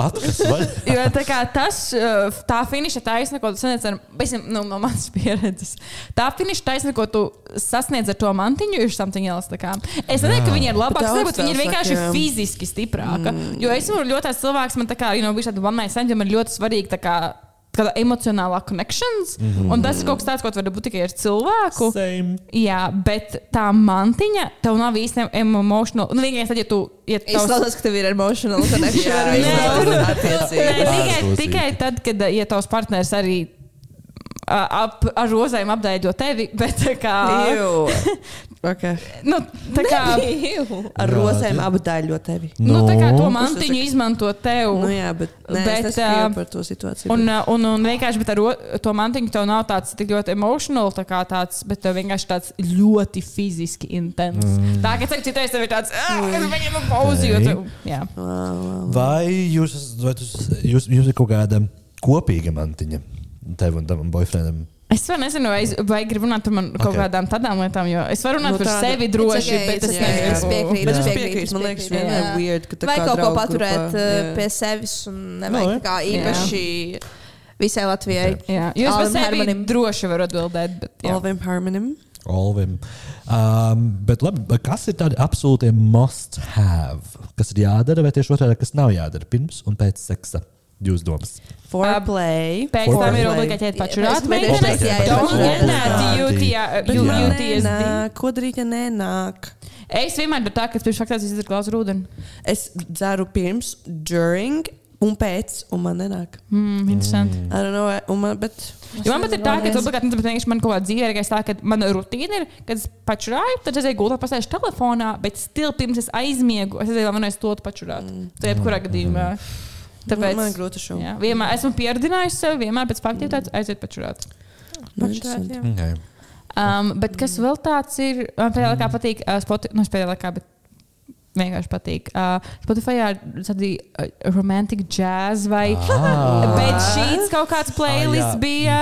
S3: Atkas vai?
S2: Jo tā kā tas, uh, tā finīša taisna, ko tu sasniedz ar, besim, nu, no manas *laughs* pieredzes, tā finīša taisna, ko tu sasniedz ar to mantiņu, ir something else. tā kā. Es nezinu, ka viņi ir labāki,
S5: Bet
S2: es nezinu, ka viņi ir
S5: augstāk
S2: vienkārši
S5: saka, jā.
S2: fiziski stiprāki. Mm. Jo es esmu ļoti tāds cilvēks, man tā kā, you know, bija tāda one night stand, jo man ir ļoti svarīgi tā kā, kāda emocionālā connections, mm -hmm. un tas ir kaut kas tāds, ko tu vari būt tikai ar cilvēku.
S3: Same.
S2: Jā, bet tā mantiņa tev nav īsti emocionāla. Nu, vienīgais, tad, ja tu ja
S4: Es
S2: tavs-
S4: klausos, ka tev ir emotional connection ar viņu.
S2: jā.
S5: attiecīgi.
S2: Nē, tikai,
S3: Ārpusīgi.
S2: tikai tad, kad ja tavs partneris arī ā, ap, ar rozēm apdēļo tevi, *laughs* bet tā kā. *laughs*
S5: Okay.
S2: Nu, tā kā,
S5: Ar
S3: Jā,
S5: rozēm
S3: tie-
S5: apdaļo tevi.
S2: nu, tā kā to
S3: Nu.
S2: mantiņu izmanto tev.
S5: Nu, jā, bet, nē,
S2: Bet,
S5: bet es domāju
S2: ā,
S5: par to situāciju.
S2: Un, uh, un, un vienkārši bet ar o- to mantiņu tev nav tāds tik ļoti emocionāls, tā kā tāds, bet tev vienkārši tāds ļoti fiziski intens. Mm. Tā kā cik citreiz tev ir tāds, ah, es viņam pauzi, jo
S3: Ok.
S2: tu. Jā.
S3: Vai jūs, esat- vai jūs, jūs, jūs ir kaut kāda kopīga mantiņa tev un tam boyfriendam?
S2: Es vēl nezinu, vai, es, vai gribu runāt par man kaut
S3: Ok.
S2: okay. kādām tādām lietām, jo es varu runāt nu,
S5: Nu,
S2: par
S5: tāda-
S2: sevi droši, okay, bet es
S5: okay, it's
S2: negribu.
S5: Bet es
S4: Es
S5: piekrītu, man liekas, vienmēr
S4: jā.
S5: weird, ka tā
S4: Vai
S5: kā
S4: kaut ko
S5: draugu
S4: paturēt
S5: grupā,
S4: eh,
S5: jā.
S4: pie sevis un nevajag
S3: Nu,
S4: tā kā īpaši visai Latvijai.
S2: Jā, jūs
S4: Alvim
S2: par sevi
S4: Hermanim.
S2: droši varat atbildēt, bet jā.
S5: Alvim Harmonim.
S3: Olvim. Um, bet labi, bet kas ir tādi absolūti must have? Kas ir jādara, vai tieši otrādi, kas nav jādara pirms un pēc seksa? Jūs domas.
S5: Foreplay.
S2: Pēc tam ir
S5: Foreplay.
S2: obligāti ķēt pašu
S4: Pēc-
S2: rādu.
S4: pēc-
S2: Meitenes,
S4: jā, jā,
S2: don't
S3: jā.
S2: get that UTI
S5: Bet
S3: Jū-
S5: man
S2: UTSD.
S5: nenāk. Ko darīt, ja nenāk?
S2: Es vienmēr daru tā, ka es pirms faktās izdzēru glāzi ar ūdeni.
S5: Es dzeru pirms, during un pēc, un man nenāk.
S2: Mm, interesanti.
S5: I don't know, un man, bet
S2: Jo man pat ir tā, ka tas obligāti ir vienkārši man kaut kāda dzīve, ka es tā, ka man rutīna ir, kad es pačurāju, tad es eju gultā, pasēžu telefonā, bet stil pirms es aizmiegu, es aizēju, man es to pačurāt. Tur jebkurā gadījumā.
S5: Tāpēc,
S2: Tāpēc.
S5: man ir grūti šo.
S2: Jā, vienmēr esmu pieradinājusi sev, vienmēr pēc faktivitātes aiziet pačurāt.
S5: Nu, interesanti.
S3: Okay.
S2: Um, bet kas vēl tāds ir? Man
S3: Mm.
S2: pēdējā laikā patīk, uh, Spotify, nu, es pēdējā laikā, bet vienkārši patīk. Uh, Spotify ir tādi uh, romantic jazz vai
S3: Ah.
S2: bedsheets kaut kāds
S3: Ah,
S2: playlists
S3: jā.
S2: bija,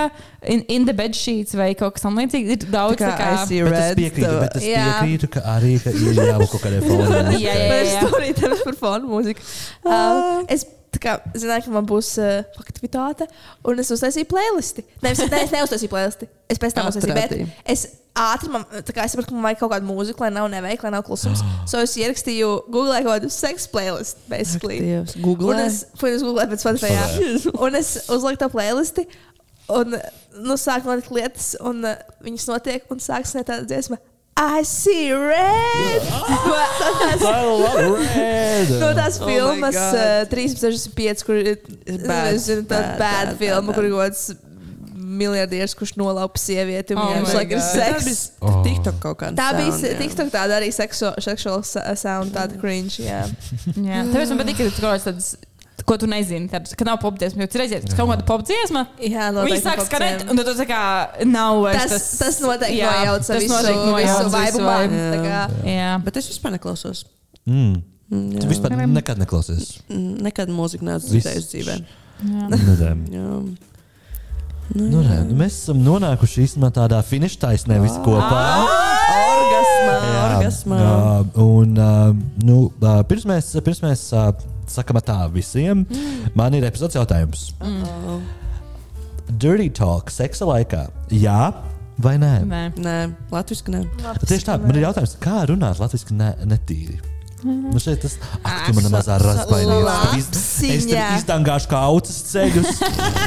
S2: in, in the bedsheets vai kaut kas tamlīdzīgs. Ir
S5: Tā
S2: daudz
S5: kā
S2: tā kā.
S5: I see uh,
S3: Bet es
S5: red.
S3: piekrītu,
S5: tā-
S3: bet es
S4: Jā.
S3: piekrītu, ka arī ka ir jābūt kaut kādai
S4: *laughs*
S3: formai.
S2: Jā, jā,
S4: Man ir
S2: jā.
S4: stāstīja tevis par fonu mūziku.
S5: Ah.
S4: Um, es tā kā, zināju, ka man būs uh, aktivitāte, un es uztaisīju playlisti. Nē, es, ne, es neuztaisīju playlisti. Es pēc tam uztaisīju, bet
S5: Atradi.
S4: es ātri man, tā kā es sapratu, ka man vajag kaut kādu mūziku, lai nav neveikla, lai nav klusums.
S5: Ah.
S4: So es ierakstīju Google kaut kādu seksu playlistu, basically.
S5: Dievs, Google.
S4: Un es, un es googlēju pēc Spotify, jā. un es uzliku to playlisti, un, nu, sāk notikt lietas, un uh, viņas notiek, un sāk sniegt tāda dziesma. I see red! *laughs* Tas
S3: I love red.
S4: No tās
S5: Oh my
S4: filmas
S5: God.
S4: uh, 365, kur uh, ir
S5: Bad,
S4: tāda
S5: bad,
S4: bad
S5: bad,
S4: filma,
S5: bad,
S4: kur ir gods miljardieris, kurš nolaupa sievieti un
S2: Oh
S4: viņam
S2: my
S4: šlaik ir
S2: God.
S5: Tā
S4: seks.
S5: bija oh. TikTok kaut kāda.
S4: Tā bija TikTok tāda arī seksuāla sound, tāda cringe, jā.
S2: jā. Tāpēc man patīk, ka tu kaut kāds tāds. Ko tu nezini, tad, ka nav popdziesma, jo reizē ir kaut kāda popdziesma. Viņa
S4: Jā, noteikti
S2: sāk
S4: popciem.
S2: skanēt, un tad tu tā kā nav vairs
S4: Tas, tas noteikti
S2: jā,
S4: nojauca
S2: tas
S4: visu,
S2: noteikti nojauca
S4: visu vibe. man,
S5: vibe.
S4: tā kā.
S2: Jā.
S5: Bet es vispār neklausos.
S3: Mm.
S5: Mm,
S3: Tu
S5: jā.
S3: vispār nekad neklausies.
S5: Mm, Nekad mūziku neesmu
S3: Viss.
S5: dzirdējusi dzīvē.
S2: jā.
S3: Nu, nē.
S5: Jā.
S3: Nu, nē, nu mēs esam nonākuši īstenībā tādā finiša taisnē visi kopā.
S5: Orgasmā, orgasmā.
S3: Jā, un, uh, nu, uh, pirms mēs, pirms mēs uh, sakām tā visiem, mm. man ir epizodes jautājums.
S5: Oh.
S3: Dirty talk seksa laikā, jā vai nē?
S2: Nē.
S5: *laughs* Nē, latviski nē.
S3: Tieši tā, man ir jautājums, kā runāt latviešu ne, netīri? Nu šeit tas ak, tu mana mazā rasbainīgs. Es tev
S4: lapsiņā.
S3: izdangāšu kā aucis ceļus.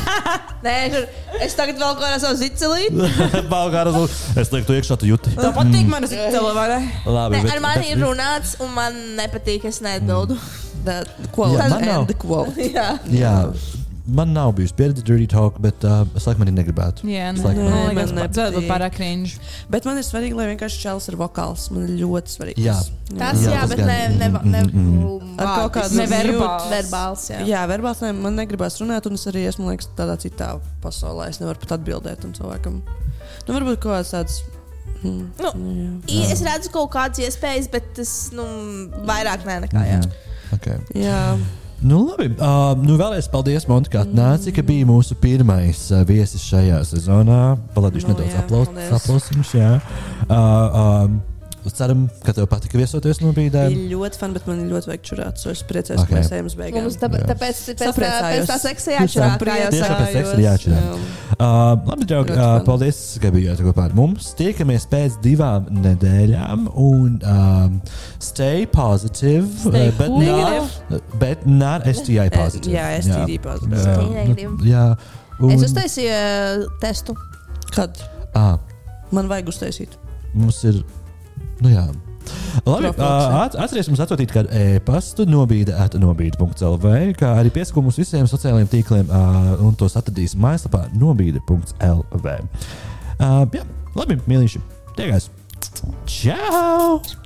S3: *laughs*
S4: Nē, kur- es tagad vēl kaut kādā savu zicilīti.
S3: Balgāras, es lieku to iekšā, tu jūti.
S2: Tā patīk man uz Itālijas, vai ne?
S3: Labi,
S4: Nē,
S3: bet-
S4: ar mani
S3: bet-
S4: ir runāts, un man nepatīk, es neatbildu.
S5: Tā- Quote.
S3: Jā, man nav.
S5: End quote.
S4: Jā.
S3: Jā, man nav bijusi pieredze dirty talk, bet uh, es laikam arī negribētu.
S2: Jā,
S3: Es laikam
S2: nē,
S3: arī-
S2: man
S5: man
S2: liekas, tas būtu
S5: nepatīk.
S2: pārāk cringe.
S5: Bet man ir svarīgi, lai vienkārši čels ir vokāls. Man ir ļoti svarīgi.
S3: Jā.
S6: Tas
S3: Jā,
S6: jā,
S3: tas
S6: bet
S3: gan.
S6: ne, ne, ne, ne
S5: Ar kaut kādu
S2: neverbāls.
S6: Verbāls, jā.
S5: Jā, verbāls ne, man negribas runāt, un es arī esmu man liekas, tādā citā pasaulē. Es nevaru pat atbildēt tam cilvēkam. Nu, varbūt kaut kāds tāds. Mm,
S6: Nu,
S5: jā.
S6: I, es redzu kaut kādas iespējas, bet tas nu, vairāk nē, nekā jā.
S3: Okay.
S5: jā.
S3: Nu, labi. Uh, nu, vēlreiz paldies, Monte, kā nāci, ka bija mūsu pirmais uh, viesis šajā sezonā. Paladīšu
S5: Nu,
S3: nedaudz
S5: jā, paldies.
S3: aplausīšu. Uh, uh, ceram, ka tev patika viesoties no brīdēm.
S5: Bija ļoti fani, bet man ļoti vajag čurāt. So es priecājos,
S3: Okay.
S5: okay. ka mēs ejam uz beigām.
S6: Mums tā,
S3: Jā.
S6: tāpēc pēc tā,
S5: Sapriecājos.
S6: pēc tā seksa
S3: Tiešām.
S6: jāatšķirās. Kā jau
S3: Tiešām
S6: saka,
S3: pēc seksa ir jāatšķirās. Uh, labi, draugi,
S5: Ļoti
S3: uh,
S5: fun.
S3: paldies, ka bijāt kopā ar mums. Tiekamies pēc divām nedēļām. Un, um, stay positive,
S2: Stay
S3: uh, bet
S2: cool.
S3: not, bet not STI positive.
S5: Jā, STD pozitīvs.
S3: Jā,
S6: STI negative.
S3: nu, jā. Un,
S6: es uztaisīju eh, testu.
S5: Kad
S3: à,
S5: man vajag uztaisīt?
S3: mums ir. Nu, jā. Labi,
S5: Profilakse.
S3: uh, at, atcerieties, mums atsūtīt kādu e-pastu, nobīde at nobīde.lv, kā arī piesakot mums visiem sociālajiem tīkliem, uh, un tos atradīs mājaslapā nobīde.lv. Uh, jā, labi, mīļīši, tiekās! Ciao!